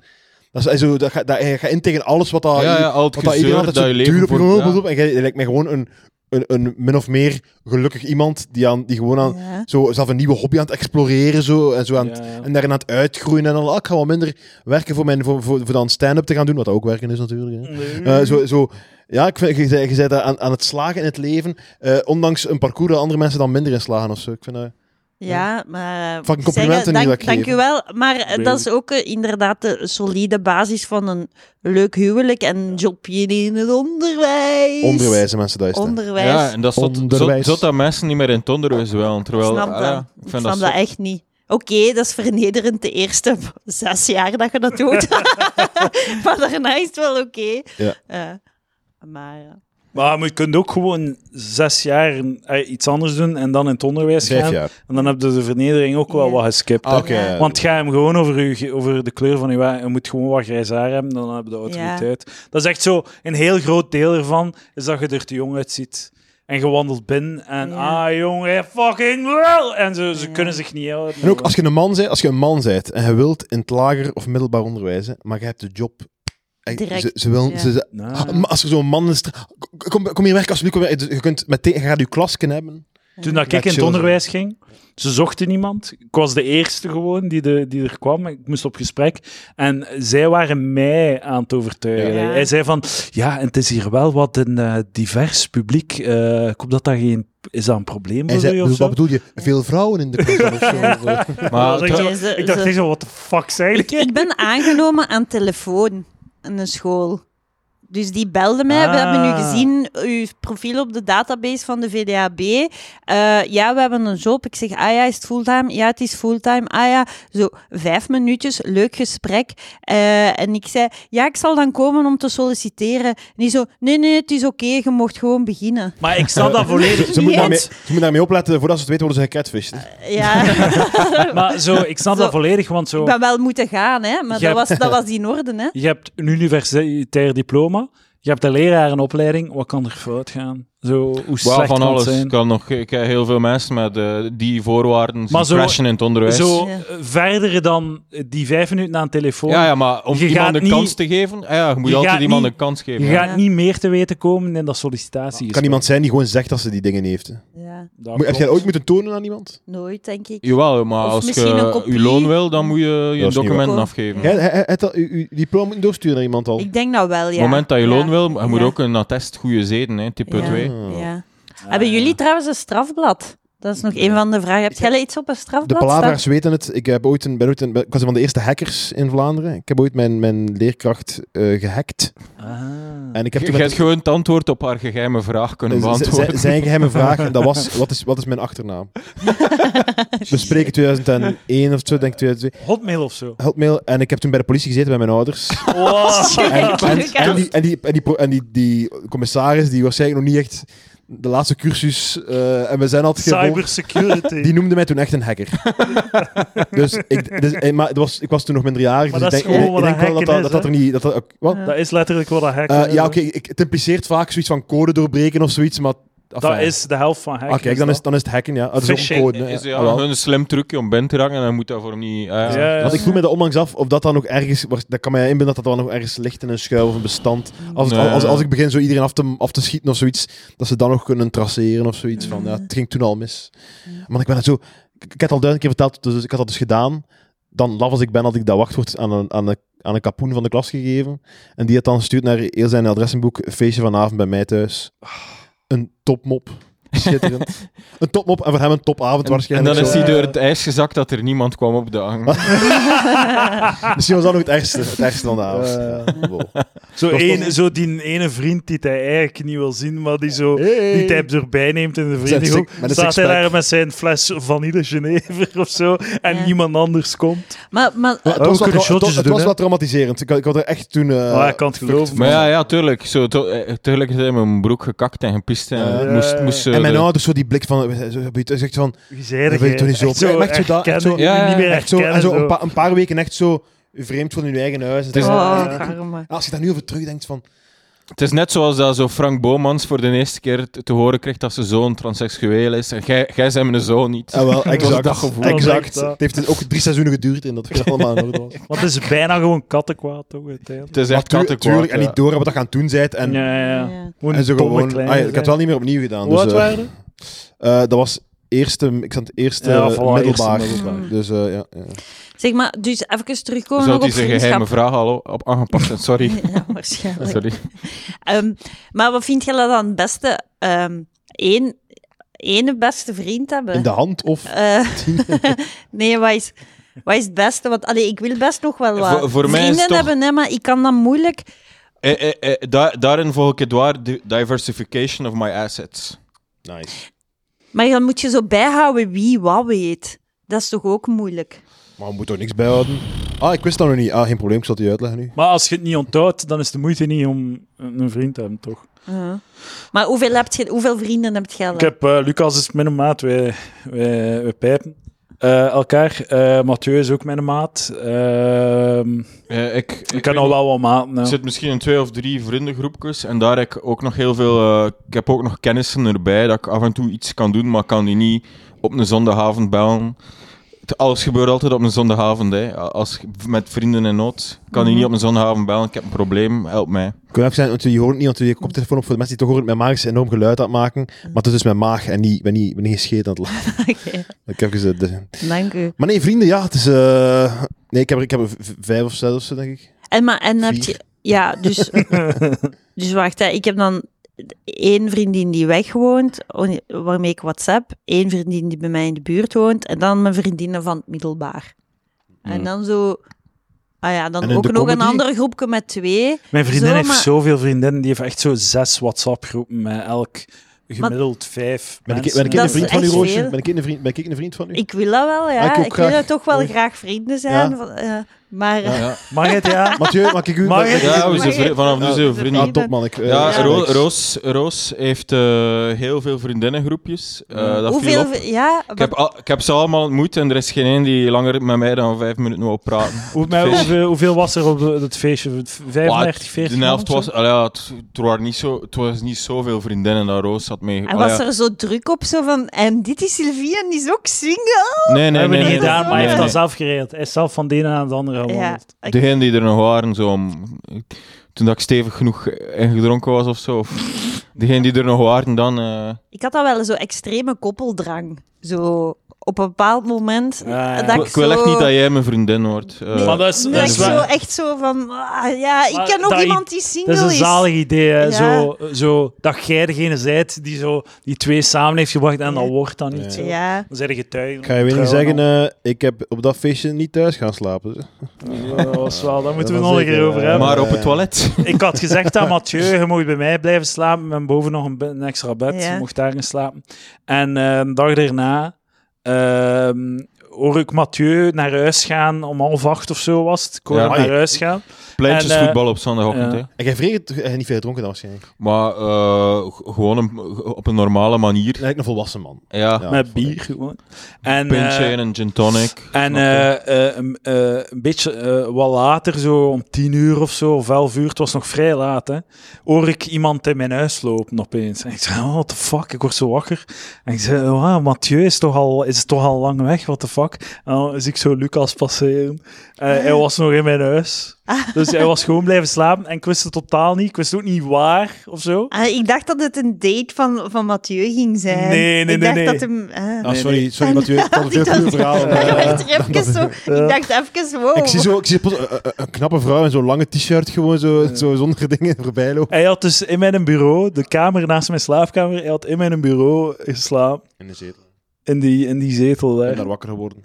A: Dat is, zo, dat, ga- dat, je gaat in tegen alles wat dat,
D: Ja, ja, al het
A: wat dat iedereen
D: gezeur
A: altijd
D: dat je
A: zo duur
D: leven
A: op je
D: voor...
A: hoofd op. En jij jij lijkt mij gewoon een, een, een min of meer gelukkig iemand die, aan, die gewoon aan,
C: Ja.
A: zo, zelf een nieuwe hobby aan het exploreren zo, en, zo aan het-
B: Ja, ja.
A: en daarin aan het uitgroeien. En al, ah, ik ga wat minder werken voor, mijn, voor, voor, voor dan stand-up te gaan doen, wat ook werken is natuurlijk. Hè. Eh, zo, zo, ja, ik vind, je, zei- je zei dat aan, aan het slagen in het leven, eh, ondanks een parcours dat andere mensen dan minder in slagen of zo. Ik vind, eh,
C: Ja, maar... eh,
A: Fucking complimenten
C: zeggen,
A: die dat
C: dank,
A: ik
C: dank
A: geef.
C: u wel. Maar eh,
B: Leuk.
C: dat is ook eh, inderdaad de solide basis van een leuk huwelijk en een jobje in het onderwijs.
A: onderwijzen mensen dat is. het, hè.
C: Onderwijs.
D: Ja, en dat is zot,
A: Onderwijs.
D: zot, zot dat mensen niet meer in het onderwijs wel.
C: Ik
D: Terwijl,
C: snap
D: ah
C: dat.
D: ja,
C: ik
D: ik
C: snap
D: vind
C: dat,
D: dat zot.
C: echt niet. Oké, dat is vernederend de eerste zes jaar dat je dat doet. maar daarna is het wel oké.
A: Ja.
C: Eh, maar... eh,
B: Maar je kunt ook gewoon zes jaar eh, iets anders doen en dan in het onderwijs
A: Vijf
B: gaan.
A: jaar.
B: En dan heb je de vernedering ook wel
C: Ja.
B: wat geskipt. hè.
A: Ah, oké, ja.
B: Want ga hem gewoon over, uw ge- over de kleur van je haar. Je moet gewoon wat grijs haar hebben, dan heb je de autoriteit. Dat is echt zo. Een heel groot deel ervan is dat je er te jong uitziet. En je wandelt binnen en
C: Ja.
B: ah jongen, fucking wel! En ze, ze kunnen zich niet helpen.
A: En ook als je een man bent, als je een man bent en je wilt in het lager of middelbaar onderwijs, hè, maar je hebt de job. En
C: Direct,
A: Ze, ze willen,
C: ja.
A: ze- ze-
B: Nou.
A: Ah, maar als er zo'n man is, kom, kom hier werken alsjeblieft. Kom, hier- Dus je kunt meteen, je gaat je klasken hebben.
B: Toen dat
A: Ja,
B: ik in het
A: chill,
B: onderwijs ging, ze zochten iemand. Ik was de eerste gewoon die, de, die er kwam. Ik moest op gesprek. En zij waren mij aan het overtuigen.
C: Ja.
B: Hij zei van, ja, en het is hier wel wat een eh, divers publiek. Eh, ik hoop dat dat geen... Is dat een probleem
A: En
B: voor
A: zei,
B: u of
A: wat
B: zo?
A: bedoel je? Veel vrouwen in de klas dan of zo? Of, eh,
D: Maar
B: Ik dacht-
C: Ja, ze-
B: ik dacht
C: ze-
B: echt zo, what the fuck zei ik?
C: Ik ben aangenomen aan telefoon in de school. Dus die belden mij. We
B: Ah.
C: hebben nu gezien uw profiel op de database van de VDAB. Eh, ja, we hebben een job. Ik zeg, ah ja, is het fulltime? Ja, het is fulltime. Ah ja, zo vijf minuutjes, leuk gesprek. Eh, en ik zei, ja, ik zal dan komen om te solliciteren. En die zo, nee, nee, het is oké, je mocht gewoon beginnen.
B: Maar ik snap dat volledig.
A: ze, moet
C: Yes.
A: daarmee, ze moet daarmee opletten, voordat ze het weten worden ze gecatfished.
C: Ja,
B: Maar zo, ik snap
C: Zo.
B: dat volledig, want zo...
C: ik ben wel moeten gaan, hè. Maar
B: Je
C: dat
B: hebt-
C: was, dat was in orde, hè.
B: Je hebt een universitair diploma. Je hebt een lerarenopleiding. Wat kan er fout gaan? Zo, hoe
D: Wauw,
B: slecht
D: van
B: kan het
D: alles.
B: zijn?
D: Ik kan nog ik heb heel veel mensen met eh, die voorwaarden
B: Maar
D: zien
B: zo-
D: crashen in het onderwijs.
B: Zo
C: Ja.
B: eh, verder dan eh, die vijf minuten aan de telefoon.
D: ja, ja, maar om
B: Je gaat
D: iemand een
B: niet-
D: kans te geven, ah ja, je moet
B: Je
D: altijd
B: gaat
D: iemand
B: niet-
D: een kans geven.
B: Je
D: ja.
B: gaat niet meer te weten komen in dat sollicitatie.
A: kan iemand zijn die gewoon zegt dat ze die dingen heeft. hè?
C: Ja,
B: Dat
A: Moet- heb jij
B: klopt.
A: dat ooit moeten tonen aan iemand?
C: nooit, denk ik.
D: Jawel, maar
C: Of
D: als
C: misschien een
D: je
C: kopie.
D: je loon wil, dan moet je je
A: niet
D: documenten
C: waar.
D: afgeven.
A: Jij jij- jij hebt dat- je- je diploma moeten doorsturen naar iemand al.
C: Ik denk dat wel, ja.
D: Op het moment dat je
C: Ja.
D: loon wil, je moet
C: Ja.
D: ook een attest goede zeden, hè, type
C: Ja.
D: 2.
A: Ah.
C: Ja. Hebben jullie trouwens een strafblad? Dat is nog een van de vragen. Hebt jij iets op een
A: De
C: strafblad staan?
A: palavera's weten het. Ik, heb ooit een, ben ooit een, ik was een van de eerste hackers in Vlaanderen. Ik heb ooit mijn, mijn leerkracht eh, gehackt.
B: Ah.
A: En ik heb toen
D: Je je
A: met- Eh,
D: hebt gewoon het antwoord op haar geheime vraag kunnen
A: z- z-
D: beantwoorden.
A: z- zijn geheime vraag, en dat was, wat is, wat is mijn achternaam? We spreken 2001 of zo, denk ik 2002.
B: Hotmail of zo.
A: Hotmail. En ik heb toen bij de politie gezeten bij mijn ouders.
B: Wow.
A: En, en,
C: Ja.
A: en die, en, die, en, die, pro- en die, die commissaris, die waarschijnlijk nog niet echt de laatste cursus... eh, en we zijn altijd gevolgd.
B: Cybersecurity.
A: Die noemde mij toen echt een hacker. dus ik, dus, eh, maar het was, ik was toen nog minderjarig.
B: Maar
A: dus
B: dat
A: ik
B: is
A: denk, ik-
B: gewoon
A: ik
B: wat
A: denk wel dat dat, dat,
B: hacken is,
A: dat er
B: hè?
A: niet. Dat, dat, ook- wat?
B: Dat is letterlijk wat dat hacken
A: Eh,
B: is,
A: ja,
B: hè.
A: oké. ik- het impliceert vaak zoiets van code doorbreken of zoiets. Maar,
B: Dat is de helft van hacken.
A: Ah, kijk, dan is, dan is het hacken, ja. Ah, Dat is ook een
B: Phishing
A: code. hè.
D: Is
A: Ah,
D: ja,
A: wel.
D: een slim trucje om binnen te raken en dan moet dat voor hem niet... ah, ja.
B: Ja, ja.
A: Want ik voel me dat onlangs af of dat dan ook ergens. waar- Dat kan mij inbeelden dat dat dan nog ergens ligt in een schuil of een bestand. Als, het-
D: Nee.
A: als, als ik begin zo iedereen af te, af te schieten of zoiets, dat ze dan nog kunnen traceren of zoiets. Van, ja, het ging toen al mis. Maar ik ben het zo. Ik, ik heb het al duizend keer verteld, dus ik had dat dus gedaan. Dan, laf als ik ben, had ik dat wachtwoord aan een, aan, een, aan een kapoen van de klas gegeven. En die had dan gestuurd naar heel zijn adressenboek. Feestje vanavond bij mij thuis. Een topmop. Schitterend. een topmop en voor hem een topavond
D: En
A: waarschijnlijk.
D: dan is
A: zo.
D: hij door het ijs gezakt dat er niemand kwam op de hang.
A: Misschien was dat nog het ergste, het ergste van de avond. Ja, wow.
B: zo,
A: dat is
B: één-
A: pas-
B: zo die ene vriend die hij eigenlijk niet wil zien, maar die zo...
A: Hey.
B: Die hij erbij neemt in de
A: Zijn
B: vriendengroep.
A: six- met een
B: Staat hij
A: sixpack.
B: daar met zijn fles vanille Genever of zo. En
C: Ja.
B: niemand anders komt.
C: Maar, maar,
A: Maar
B: Oh,
A: het was,
B: we
A: wel,
B: kunnen
A: tra- het
B: shotjes
A: was- het
B: doen,
A: was
B: hè? Ah,
A: wel traumatiserend. Ik, had- ik had er echt toen... eh,
B: Maar ik kan het geloven.
D: Maar ja, ja, tuurlijk. Zo, to- eh, tegelijkertijd in mijn broek gekakt en gepist en
A: Ja.
D: moest, moest eh,
A: en mijn ouders zo die blik van... Ze zegt van...
B: Wie zei
A: Dat wil ik toch niet zo op-
B: Zo,
A: maar echt zo dat-
B: herkennen,
A: zo-
B: je
D: Ja,
B: niet meer
A: Echt zo,
B: herkennen,
A: en zo
B: zo.
A: een, pa- een paar weken echt zo vreemd van hun eigen huis. Het
D: is-
C: Oh,
B: Ja.
C: arme.
A: als je daar nu over terugdenkt van...
D: Het is net zoals dat zo Frank Bomans voor de eerste keer te, te horen kreeg dat zijn zoon transseksueel is. En jij jij bent mijn zoon niet.
A: Ah, wel,
D: was
A: exact.
D: dat gevoel.
A: exact.
B: Dat was echt,
A: Het heeft dus ook drie seizoenen geduurd in dat het allemaal in orde was.
B: Want het is bijna gewoon kattenkwaad, toch, uiteindelijk.
D: Het is echt
A: Natuurlijk,
D: kattenkwaad.
A: en niet door wat dat gaan doen zijt. En,
B: ja, ja, ja.
C: Ja.
B: Gewoon
A: en ze
B: domme
A: gewoon...
B: kleine
A: ah, ja, ik heb
B: zijn.
A: het wel niet meer opnieuw gedaan.
B: Hoe
A: Dus,
B: oud
A: eh,
B: waren ze?
A: eh, dat was eerste... Ik zat het eerste
B: Ja,
A: eh,
B: voilà,
A: middelbaar.
B: eerste
C: middelbaar.
A: Dus eh, ja, ja.
C: Zeg maar, dus even terugkomen
D: Zou
C: nog op
D: die zijn geheime
C: vriendschap.
D: vraag al op aangepakt zijn? Sorry.
C: Ja, waarschijnlijk.
D: Sorry.
C: Ehm, maar wat vind je dat dan het beste? Eén één, ene beste vriend hebben?
A: In de hand of...
C: Eh, nee, wat is, wat is het beste? Want allee, ik wil best nog wel wat
D: Voor- voor mij is
C: vrienden
D: toch-
C: hebben, hè, maar ik kan dat moeilijk.
D: Eh, eh, eh, da- daarin volg ik Edouard, di- diversification of my assets.
A: Nice.
C: Maar dan moet je zo bijhouden wie wat weet. Dat is toch ook moeilijk?
A: Maar we moeten er niks bijhouden. Ah, ik wist dat nog niet. Ah, geen probleem. Ik zal het je uitleggen nu.
B: Maar als je het niet onthoudt, dan is de moeite niet om een een vriend te hebben, toch?
C: Ja. Maar hoeveel, heb je, hoeveel vrienden heb je al?
B: Ik heb, eh, Lucas is mijn maat, wij, wij, wij pijpen eh, elkaar. Eh, Mathieu is ook mijn maat. Ehm,
D: Eh, ik, ik,
B: ik heb al wel wat maten. hè.
D: Ik zit misschien in twee of drie vriendengroepjes en daar heb ik ook nog heel veel. eh, ik heb ook nog kennissen erbij dat ik af en toe iets kan doen, maar ik kan die niet op een zondagavond bellen. Het- Alles gebeurt altijd op een zondagavond. Hè. Als ik met vrienden in nood kan die niet op een zondagavond bellen. Ik heb een probleem, help mij.
A: Ik wil even zijn, want je hoort niet, want je koptelefoon op voor de mensen die toch horen, mijn maag is enorm geluid aan het maken. Maar het is dus mijn maag en niet, ik ben niet, ik ben niet gescheet aan het laten.
C: Oké,
A: Ik heb even de-
C: dank u.
A: Maar nee, vrienden, ja, het is... eh, Nee, ik heb, er- ik heb er v- vijf of zes of zo, denk ik.
C: En, maar, en heb
A: Vier.
C: je... Ja, dus... dus wacht, hè. ik heb dan één vriendin die weg woont, on- waarmee ik WhatsApp. één vriendin die bij mij in de buurt woont. En dan mijn vriendinnen van het middelbaar. En dan zo... Ah ja,
A: Hmm. En
C: dan
A: in
C: ook
A: de
C: nog een
A: comedy?
C: ander groepje met twee.
B: Mijn vriendin
C: Zo,
B: heeft
C: maar-
B: zoveel vriendinnen. Die heeft echt zo zes WhatsApp-groepen met elk gemiddeld vijf
A: Ben ik,
B: mensen.
A: ben ik een
C: Dat is
A: vriend van u,
C: echt
A: Roosje?
C: veel.
A: Ben ik een vriend, ben ik een vriend van u?
C: Ik wil dat wel, ja.
A: Ah, ik
C: ik
A: ook
C: wil
A: graag.
C: dat toch wel
A: Oei.
C: graag vrienden zijn.
A: Ja.
C: van- eh, maar...
A: Ja.
B: Mag het, ja?
A: Mathieu, mag ik u...
B: Mag ik?
D: Ja, we
C: Maar
D: zijn
C: je-
D: vri- vanaf nu
A: Ja,
D: zijn we
C: de
D: vrienden.
A: Ah, top man. Ik, eh,
D: Ja,
C: Ja.
D: Ro-
A: niks.
D: Roos, Roos heeft eh, heel veel vriendinnengroepjes. Eh, dat viel
C: hoeveel...
D: op.
C: Ja,
D: Ik heb, al- ik heb ze allemaal ontmoet en er is geen één die langer met mij dan vijf minuten wil praten.
B: Hoe, maar
D: Feestje.
B: hoeveel, hoeveel was er op de- dat feestje? V- 35, 40?
D: De helft
B: man of
D: was,
B: zo?
D: allee, ja, het, het, waren niet zo, het was niet zoveel vriendinnen dat Roos had mee.
C: En
D: allee,
C: was
D: Oh ja.
C: er zo druk op, zo van... En dit is Sylvie en die is ook single.
D: Nee, nee,
B: hebben
D: nee.
B: we
D: nee,
B: niet gedaan,
D: nee,
B: maar hij heeft
D: nee.
B: dat zelf geregeld. Hij is zelf van de ene aan de andere
C: Ja,
B: gewandeld.
C: ik-
D: Degenen die er nog waren, zo om, toen dat ik stevig genoeg ingedronken was of zo. Of, degenen die er nog waren, dan. eh,
C: Ik had al wel zo'n extreme koppeldrang. Zo op een bepaald moment.
B: Ja, ja.
C: eh, Dat ik,
D: ik wil
C: zo,
D: echt niet dat jij mijn vriendin wordt. eh.
B: Maar dat is,
C: dat
B: dat
C: ik
B: is
C: zo
B: wel-
C: echt zo van... ah, ja, ik
B: Maar
C: ken ook
B: dat-
C: iemand die
B: dat is
C: single
B: een
C: is.
B: zalig idee, hè.
C: Ja.
B: zo, zo, dat jij degene zijt die zo, die twee samen heeft gebracht en dat
C: Ja.
B: wordt dan niet. zo.
C: Ja.
B: Dan zijn je getuige.
A: Ik ga je weer niet
B: Trouwen
A: zeggen,
B: al.
A: eh, ik heb op dat feestje niet thuis gaan slapen. dus. zeg.
B: dat was wel, daar moeten we
A: dat
B: nog een
A: zeker,
B: keer over
A: ja.
B: hebben.
D: maar op het toilet.
B: Ik had gezegd aan Mathieu, je mocht bij mij blijven slapen. En boven nog een, be- een extra bed.
C: Ja.
B: Je mocht daarin slapen. En eh, een dag daarna ehm, hoor ik Mathieu naar huis gaan. Om half acht of zo was het. Ik hoor
D: Ja.
B: hem naar
A: Amai.
B: huis gaan.
D: Pleintjesvoetbal op zondagochtend.
B: eh, ja.
D: hè.
A: En jij vreet het, eh, niet veel gedronken dan waarschijnlijk.
D: Maar eh, g- gewoon een- op een normale manier.
A: Je lijkt een volwassen man.
D: Ja,
A: Ja,
B: Ah, met
A: vond
B: bier
A: ik.
B: gewoon. En,
D: pintje
B: eh,
D: en een gin tonic.
B: En
D: Snap je?
B: eh, eh, een- eh, een beetje eh, wat later, zo om tien uur of zo, of elf uur, het was nog vrij laat, hè, hoor ik iemand in mijn huis lopen opeens. En ik zeg, oh, what the fuck, ik word zo wakker. En ik zeg, oh, Mathieu is toch, al, is toch al lang weg, what the fuck. En dan zie ik zo Lucas passeren. Eh, hij was nog in mijn huis. Dus hij was gewoon blijven slapen en ik wist het totaal niet. Ik wist ook niet waar, of zo.
C: Ah, ik dacht dat het een date van, van Mathieu ging zijn.
B: Nee, nee,
C: ik
B: nee,
C: dacht
B: nee.
C: Dat hem, ah.
A: Ah, sorry, sorry, Mathieu. Ik had een veel
C: Die
A: goede
C: dat-
A: verhaal.
C: Ik
A: Eh,
C: dacht even zo... Ik dacht even, wow.
A: Ik zie, zo, ik zie plots een, een- een knappe vrouw in zo'n lange t-shirt gewoon zo, zo zonder dingen voorbij lopen.
B: Hij had dus in mijn bureau, de kamer naast mijn slaapkamer, hij had in mijn bureau geslapen.
A: In de zetel.
B: In die, in die zetel daar.
A: En daar wakker geworden.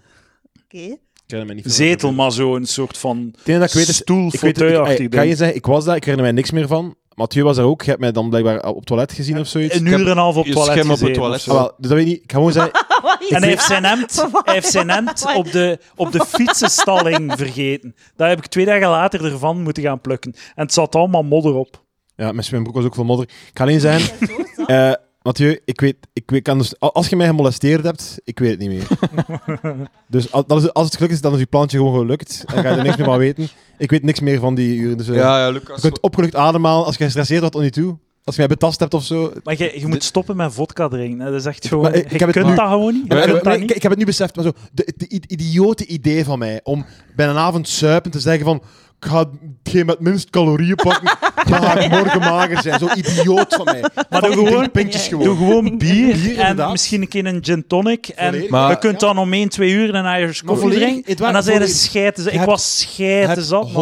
A: Ik
C: Oké.
A: herinner me niet veel
B: zetel,
A: meer.
B: maar zo een soort van
A: Het enige dat ik weet is...
B: stoel
A: Ik, weet, ik,
B: fauteuilachtig
A: ik, kan je
B: ding.
A: zeggen, ik was daar, ik herinner mij niks meer van. Mathieu was daar ook. Je hebt mij dan blijkbaar op het toilet gezien of zoiets.
B: Een
D: Ik heb
B: uur en een half op
D: je
B: het toilet
D: scherm op het
B: gezeten
D: toilet.
B: of zo.
A: Ah, wel, dus dat weet ik niet. Ik ga gewoon zeggen...
B: En hij heeft zijn hemd, hij heeft zijn hemd op, de, op de fietsenstalling vergeten. Dat heb ik twee dagen later ervan moeten gaan plukken. En het zat allemaal modder op.
A: Ja, mijn mijn broek was ook veel modder. Ik ga alleen zeggen... eh, Mathieu, ik weet, ik weet, kan dus, a- als je mij gemolesteerd hebt, ik weet het niet meer. dus al- dat is, als het gelukt is, dan is je plantje gewoon gelukt. Dan ga je er niks meer van weten. Ik weet niks meer van die uren. Dus, eh,
D: Ja, ja,
A: je
D: Lucas.
A: kunt opgelucht ademhalen als je gestresseerd wordt, dan niet toe. Als je mij betast hebt of zo.
B: Maar je, je moet stoppen met vodka drinken. hè. Dat is echt gewoon...
A: Maar, eh,
B: je
A: ik heb het
B: kunt
A: nu-
B: dat gewoon niet. Je
A: Maar-
B: kunt
A: maar-
B: dat
A: nee,
B: niet.
A: ik, ik heb het nu beseft, maar zo, de, de i- idiote idee van mij om bij een avond suipen te zeggen van ik ga geen met minst calorieën pakken, dan ga ik morgen mager zijn. Zo idioot van mij. Maar
B: doe gewoon-
A: Pintjes gewoon.
B: Doe gewoon bier, en
A: inderdaad.
B: misschien een keer een gin tonic. En
A: Volledig.
D: Maar-
B: je kunt dan om 1, 2 uur een Irish coffee
A: volledig,
B: drinken.
A: Edouard,
B: En dan zijn er
A: volledig.
B: scheiden. Ik
A: hebt-
B: was scheiden zat, man.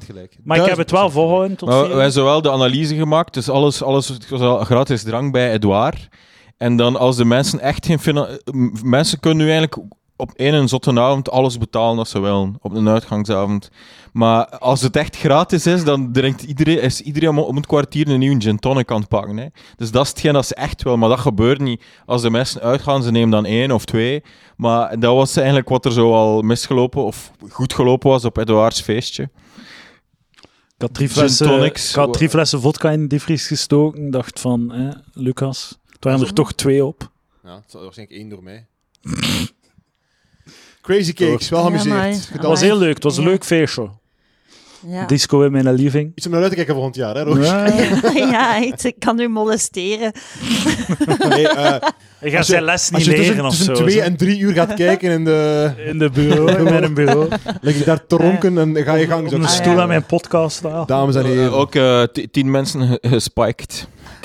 A: 100% gelijk.
B: Maar ik heb het wel volgehouden tot
D: Maar
B: vier
D: wij Nou, hebben
B: uur.
D: zowel de analyse gemaakt, dus alles, alles het was al gratis drank bij Edouard. En dan als de mensen echt geen finan- m- Mensen kunnen nu eigenlijk op één en zotte avond alles betalen als ze willen, op een uitgangsavond. Maar als het echt gratis is, dan drinkt iedereen, is iedereen om- om het kwartier een nieuwe gin tonic aan het pakken. Hè. Dus dat is hetgeen dat ze echt willen, maar dat gebeurt niet. Als de mensen uitgaan, ze nemen dan één of twee. Maar dat was eigenlijk wat er zo al misgelopen of goed gelopen was op Edouards feestje.
B: Ik had drie
D: Gin
B: flessen,
D: tonics.
B: ik had drie flessen vodka in de diepvries gestoken. dacht van, hè, Lucas, het waren er toch twee op.
A: Ja, het was waarschijnlijk één door mij. Crazy Cakes, wel
C: Ja, amai.
A: geamuseerd.
B: Het was
A: Gedanst.
B: heel leuk. Het was een
C: Ja.
B: leuk feestje.
C: Ja,
B: Disco in mijn living.
A: Iets om naar uit te kijken volgend jaar, hè, Roos?
B: Ja.
C: ja echt, ik kan u molesteren.
A: Nee, eh,
B: Je gaat
A: Als je-
B: zijn les niet
A: als je
B: leren
A: tussen,
B: of
A: tussen
B: zo.
A: twee
B: zo.
A: en drie uur gaat kijken en de,
B: In de bureau, in mijn bureau.
A: lig je daar te ronken en ga je gang.
B: Op een
A: zo.
B: stoel
C: ja.
B: aan mijn podcast. Ah.
A: Dames en heren.
D: Eh, ook eh, ti- tien mensen ge- gespiked.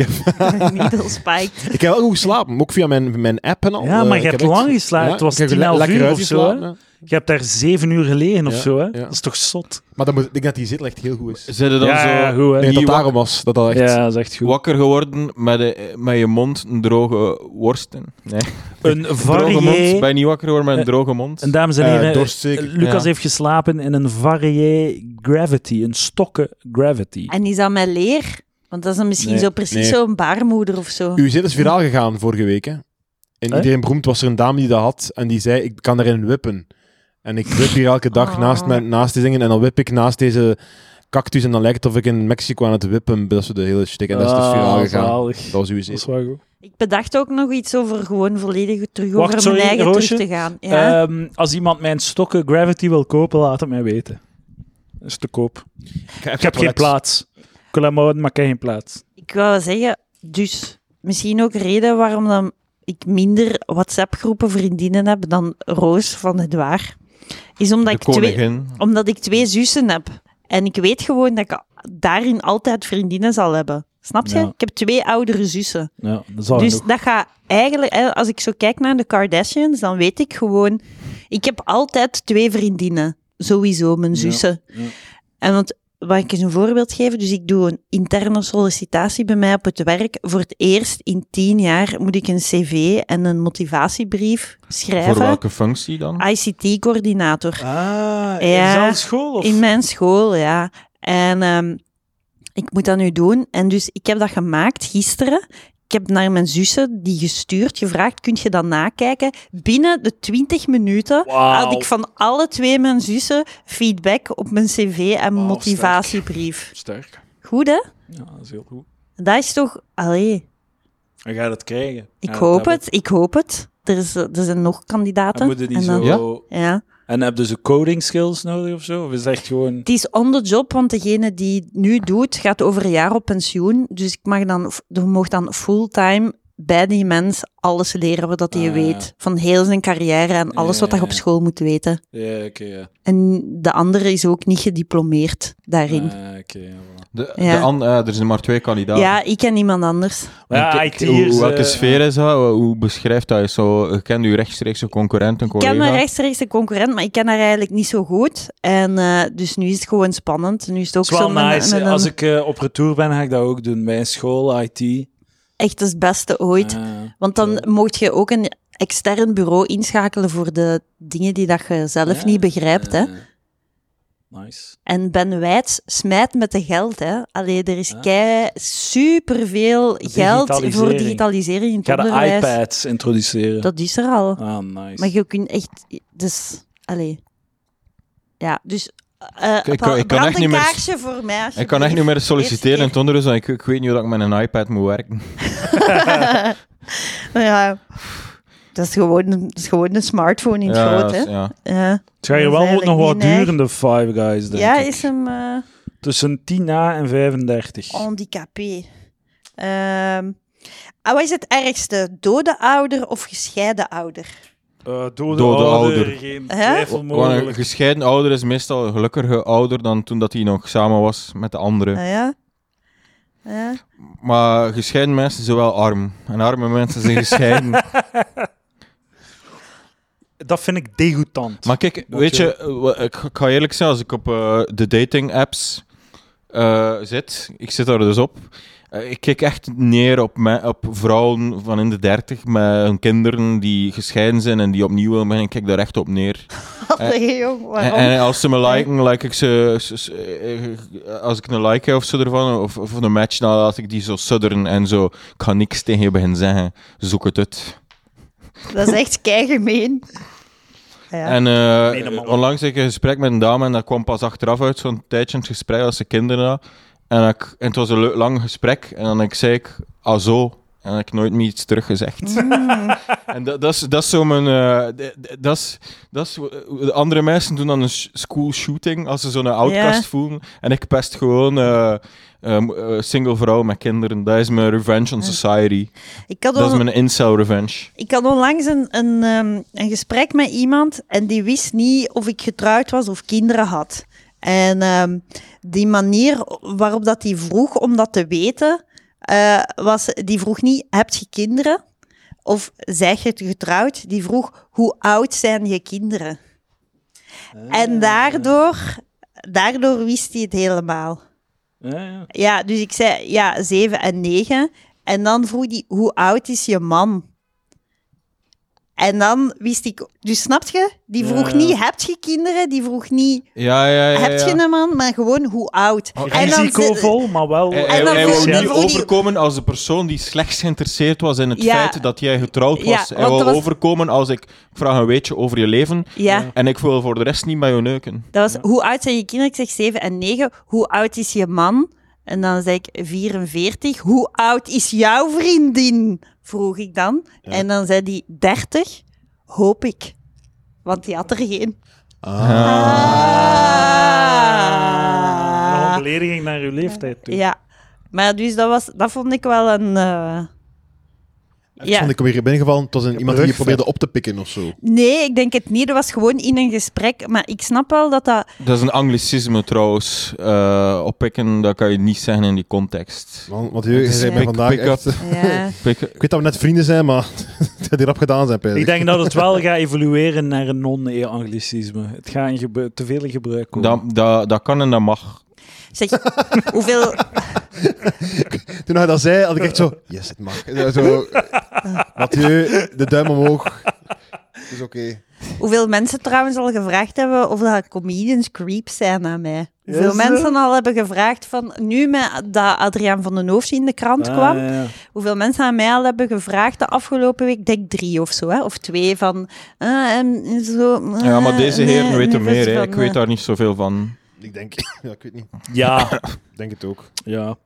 C: Middel spiked.
A: Ik heb wel goed geslapen, ook via mijn, mijn app en al.
B: Ja,
A: Eh,
B: maar
A: ik
B: je hebt
A: heb echt-
B: lang geslapen.
A: Ja,
B: het was
A: ik heb
B: tien,
A: le-
B: elf
A: lekker
B: uur of zo.
A: uitgeslapen,
B: hè.
A: ja.
B: Je hebt daar zeven uur geleden of
A: Ja,
B: zo. Hè?
A: ja.
B: Dat is toch zot?
A: Maar dan moet, ik denk dat die zitlicht heel goed is.
D: Zijn er dan
B: ja,
D: zo
B: ja, goed. Hè?
A: Nee,
D: die
A: dat
D: wak-
A: daarom was. Dat dat echt... eh,
B: Ja, dat is echt goed.
D: wakker geworden met, de- met je mond een droge worsten? Nee.
B: Een
D: Droge mond. Ben
B: varié...
D: je niet wakker geworden met
B: Eh,
D: een droge mond?
B: En dames en
A: Eh,
B: heren,
A: dorst zeker.
B: Lucas
D: Ja.
B: heeft geslapen in een varié gravity, een stokken gravity.
C: En is dat met leer? Want dat is dan misschien
A: Nee,
C: zo precies
A: nee.
C: zo'n baarmoeder of zo.
A: Uw zit is viraal gegaan vorige week, hè? En
B: Hè?
A: iedereen beroemd was er een dame die dat had. En die zei, ik kan erin wippen. En ik wip hier elke dag
C: Ah.
A: naast, mijn, naast die dingen. En dan wip ik naast deze cactus. En dan lijkt het of ik in Mexico aan het wippen. Dat is zo de hele shtick. En dat is dus viraal
B: Ah,
A: gegaan.
B: zalig.
A: Dat was uw
B: Dat is
A: zit.
B: wel goed.
C: Ik bedacht ook nog iets over gewoon volledig terug
B: Wacht,
C: over
B: sorry,
C: mijn eigen
B: Roosje.
C: terug te gaan. Ja.
B: Ehm, als iemand mijn stokken Gravity wil kopen, laat het mij weten. Dat is te koop. Ik heb geen plaats. Ik wil hem houden, maar ik heb geen plaats.
C: Ik wou zeggen, dus misschien ook reden waarom dan ik minder WhatsApp-groepen vriendinnen heb dan Roos van het Waar. Is omdat
D: de
C: ik, twee,
D: koningin.
C: omdat ik twee zussen heb. En ik weet gewoon dat ik daarin altijd vriendinnen zal hebben. Snap je?
B: Ja.
C: Ik heb twee oudere zussen.
B: Ja, dat zal
C: dus
B: genoeg.
C: dat gaat eigenlijk, eh, als ik zo kijk naar de Kardashians, dan weet ik gewoon, ik heb altijd twee vriendinnen. Sowieso, mijn
B: Ja,
C: zussen.
B: ja.
C: En want, wat ik eens een voorbeeld geef, dus ik doe een interne sollicitatie bij mij op het werk. Voor het eerst in tien jaar moet ik een cv en een motivatiebrief
D: Voor
C: schrijven. Ah,
D: welke functie dan?
C: ICT-coördinator.
B: Ah,
C: Ja.
B: dezelfde school? Of?
C: In mijn school, ja. En ehm, ik moet dat nu doen. En dus ik heb dat gemaakt gisteren. Ik heb naar mijn zussen die gestuurd, gevraagd, kun je dat nakijken? Binnen de 20 minuten
B: Wauw.
C: had ik van alle twee mijn zussen feedback op mijn cv en
B: Wauw,
C: motivatiebrief.
B: Sterk.
C: Goed, hè?
B: Ja, dat is heel goed.
C: Dat is toch... Allee,
B: Dan ga je dat krijgen.
C: ik
B: Ja,
C: hoop
B: dat
C: het, ik hoop het. Er, is, er zijn nog
B: moet- Dan
C: kandidaten.
B: moet je die
C: En
B: zo...
C: dan- ja.
B: En heb je dus coding skills nodig of zo? Of is het echt gewoon...
C: Het is on the job, want degene die het nu doet, gaat over een jaar op pensioen. Dus ik mag dan, je mag dan fulltime bij die mens alles leren wat hij
B: Ah,
C: weet.
B: ja.
C: Van heel zijn carrière en alles
B: Ja,
C: wat
B: ja,
C: hij op
B: ja.
C: school moet weten.
B: Ja, oké, ja.
C: En de andere is ook niet gediplomeerd daarin.
B: Ah, oké, ja, voilà.
D: De,
C: Ja.
D: de an- eh, er zijn maar twee kandidaten.
C: ja, ik en niemand anders.
D: En
B: Ja,
D: ki-
B: IT
D: hoe-
B: is,
D: welke
B: eh,
D: sfeer is dat? Hoe- Hoe beschrijft dat? Is Zo, je kent uw rechtstreekse concurrent, een
C: Ik ken
D: collega?
C: mijn rechtstreeks de concurrent, maar ik ken haar eigenlijk niet zo goed. En eh, dus nu is het gewoon spannend. Nu is het ook
B: Het is wel
C: zo met-
B: nice.
C: met een-
B: Als ik eh, op retour ben, ga ik dat ook doen. Bij een school, IT.
C: echt het beste ooit.
B: Ah.
C: Want dan mocht je ook een extern bureau inschakelen voor de dingen die dat je zelf
B: Ja.
C: niet begrijpt. Hè.
B: Eh, Nice.
C: En Ben Wijts smijt met de geld. Hè. Allee, er is
B: Ja.
C: kei superveel geld voor
B: Digitalisering.
C: digitalisering in
B: Ik ga
C: het
B: de
C: onderwijs.
B: iPads introduceren.
C: Dat is er al.
B: Ah, nice.
C: Maar je kunt echt... Dus, allee. Ja, dus eh
D: ik kan- ik kan
C: brand
D: echt
C: een
D: niet meer-
C: kaarsje voor mij.
D: Ik kan echt niet meer solliciteren in het onderwijs, want ik, ik weet niet hoe dat ik met een iPad moet werken.
C: alsjeblieft. Ja. Dat is gewoon een, dat is gewoon een smartphone in het
D: Ja,
C: groot, hè.
D: ja, ja.
C: Ja,
B: Het gaat hier
C: Dat
B: wel ook
C: is
B: nog
C: eigenlijk
B: wat
C: niet neig.
B: duren, de Five Guys, denk
C: ja
B: ik.
C: is Oh. hem eh
B: Tussen 10 na en 35.
C: handicapé. Ehm, ah, wat is het ergste? Dode ouder of gescheiden ouder?
B: Eh, dode,
D: Dode
B: ouder,
D: ouder.
B: geen
C: Hè?
B: twijfel
D: Want een
B: mogelijk.
D: gescheiden ouder is meestal een gelukkige ouder dan toen dat hij nog samen was met de andere.
C: Ah, ja. Ja.
D: Maar gescheiden mensen zijn wel arm. En arme mensen zijn gescheiden.
B: Dat vind ik degoutant.
D: maar kijk,
B: Wat
D: weet
B: je-
D: je, eh, wa- ik, ik ga eerlijk zijn, als ik op eh, de dating apps eh, zit, ik zit daar dus op. eh, ik kijk echt neer op, me- op vrouwen van in de dertig met hun kinderen die gescheiden zijn en die opnieuw willen beginnen. Ik kijk daar echt op neer.
C: Allee, jong,
D: En,
C: waarom?
D: en als ze me liken, like ik ze, ze- ze- eh, Als ik een like heb of zo ervan, of, of een match, dan laat ik die zo sudderen en zo. Ik ga niks tegen je beginnen zeggen. Zoek het uit.
C: Dat is echt keigemeen. Ah, Ja.
D: En eh,
B: Nee, dat mag wel.
D: onlangs had ik een gesprek met een dame en dat kwam pas achteraf uit, zo'n tijdje het gesprek als ze kinderen had. En, ik, en het was een leu- lang gesprek en dan ik zei ik, ah zo. En dan heb ik nooit meer iets teruggezegd.
C: Mm.
D: en dat, dat, is, dat is zo mijn... eh, d- d- dat is, dat is, de andere mensen doen dan een sh- school shooting als ze zo'n outcast voelen. En ik pest gewoon eh, ehm, eh, single vrouw met kinderen. Dat is mijn revenge on society.
C: ik, had
D: Dat is
C: on-
D: mijn incel revenge.
C: ik had onlangs een, een, ehm, een gesprek met iemand en die wist niet of ik getrouwd was of kinderen had. En ehm, die manier waarop dat die vroeg om dat te weten, eh, was, die vroeg niet, heb je kinderen? Of zeg je getrouwd? Die vroeg, hoe oud zijn je kinderen? En daardoor, daardoor wist hij het helemaal.
B: Ja, ja.
C: Ja, dus ik zei ja, zeven en negen. En dan vroeg hij, hoe oud is je man? En dan wist ik, dus snap je? Die
B: Ja,
C: vroeg
B: ja.
C: niet, heb je kinderen? Die vroeg niet,
D: Ja, ja, ja.
C: heb
D: ja. Oh,
C: je een man? Maar gewoon, hoe oud? en dan
B: Risicovol, maar wel...
D: Hij,
C: En
D: hij,
C: dan
D: hij
C: voel-
D: wou
C: dan
D: niet
C: voel je die-
D: overkomen als de persoon die slechts geïnteresseerd was in het
C: Ja.
D: feit dat jij getrouwd
C: Ja,
D: was. hij
C: want
D: wou
C: dat was-
D: overkomen als ik vraag een weetje over je leven
C: Ja,
D: en ik wil voor de rest niet bij je neuken.
C: dat was, hoe oud zijn je kinderen? Ik zeg zeven en negen. Hoe oud is je man? En dan zei ik 44. Hoe oud is jouw vriendin? Vroeg ik dan. En dan zei hij 30. Hoop ik. Want die had er geen.
A: Ah.
B: Nog een
C: Ah.
B: belediging naar uw leeftijd toe.
C: Ja, maar dus dat, was, dat vond ik wel een. eh,
A: Ja.
C: Ja.
A: Ik kom hier binnengevallen, het was een, iemand die je
B: rugvet.
A: probeerde op te pikken of zo.
C: Nee, ik denk het niet. Dat was gewoon in een gesprek. Maar ik snap wel dat dat.
D: Dat is een anglicisme trouwens. eh oppikken, dat kan je niet zeggen in die context.
A: Want, want
D: Het
A: je, je
D: is
A: zei mij
D: pick-
A: vandaag
D: pick-up.
A: echt...
C: Ja.
D: Pick-
A: Ik weet dat we net vrienden zijn, maar het gaat hierop gedaan zijn, Peter.
B: Ik denk dat het wel gaat evolueren naar een non-anglicisme. Het gaat in gebru- te veel in gebruik komen.
D: Dat, dat, dat kan en dat mag.
C: Zeg, hoeveel.
A: Toen hij dat zei, had ik echt zo... Yes, het mag. Zo, Mathieu, de duim omhoog. Het is oké.
C: Hoeveel mensen trouwens al gevraagd hebben of dat comedians creeps zijn aan mij. Hoeveel
B: Is dat?
C: mensen al hebben gevraagd van nu met dat Adriaan van den Hoofd in de krant
B: Ah,
C: kwam.
B: ja, ja.
C: Hoeveel mensen aan mij al hebben gevraagd de afgelopen week, Ik denk drie of zo, hè? of twee van. ah, en zo, ah,
D: Ja, maar deze
C: nee,
D: heren weten
C: nee, dus van,
D: meer.
C: eh,
D: hè. Ik weet daar niet zoveel van.
A: Ik denk... Ja, ik weet niet.
B: Ja,
A: Ik denk het ook. Maar
B: ja.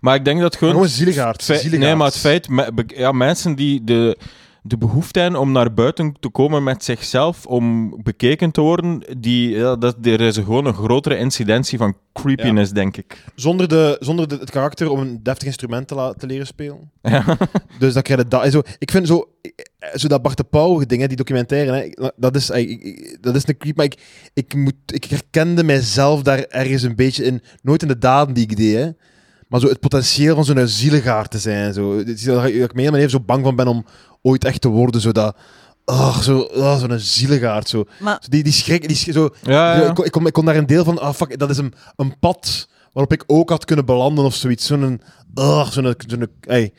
D: Maar ik denk dat gewoon
A: gewoon zieligaard.
D: Het feit- nee, maar het feit, me- be- ja, mensen die de, de behoefte hebben om naar buiten te komen met zichzelf, om bekeken te worden, die, ja, dat, er is gewoon een grotere incidentie van creepiness, denk ik.
A: Zonder, de, zonder de, het karakter om een deftig instrument te, la- te leren spelen.
D: Ja.
A: Dus dan krijg je dat. en Zo, ik vind zo, eh, zo dat Bart de Pauw ding, hè, die documentaire, hè, ik- dat, is, eh, ik- ik- dat is een creep. Maar ik, ik, moet, ik herkende mijzelf daar ergens een beetje in. Nooit in de daden die ik deed, hè. maar zo het potentieel van zo'n zieligaar te zijn. Zo. Het is Dat ik dat ik me helemaal even zo bang van ben om ooit echt te worden. Zo dat, ah, zo, ah, zo'n zieligaard. Zo.
C: Maar-
A: Zo die, die schrik, die schrik- zo,
D: Ja, ja.
A: ik, kon- ik, kon, ik kon daar een deel van, ah fuck, dat is een, een pad waarop ik ook had kunnen belanden of zoiets. Zo'n, ah, zo'n, zo'n, hey.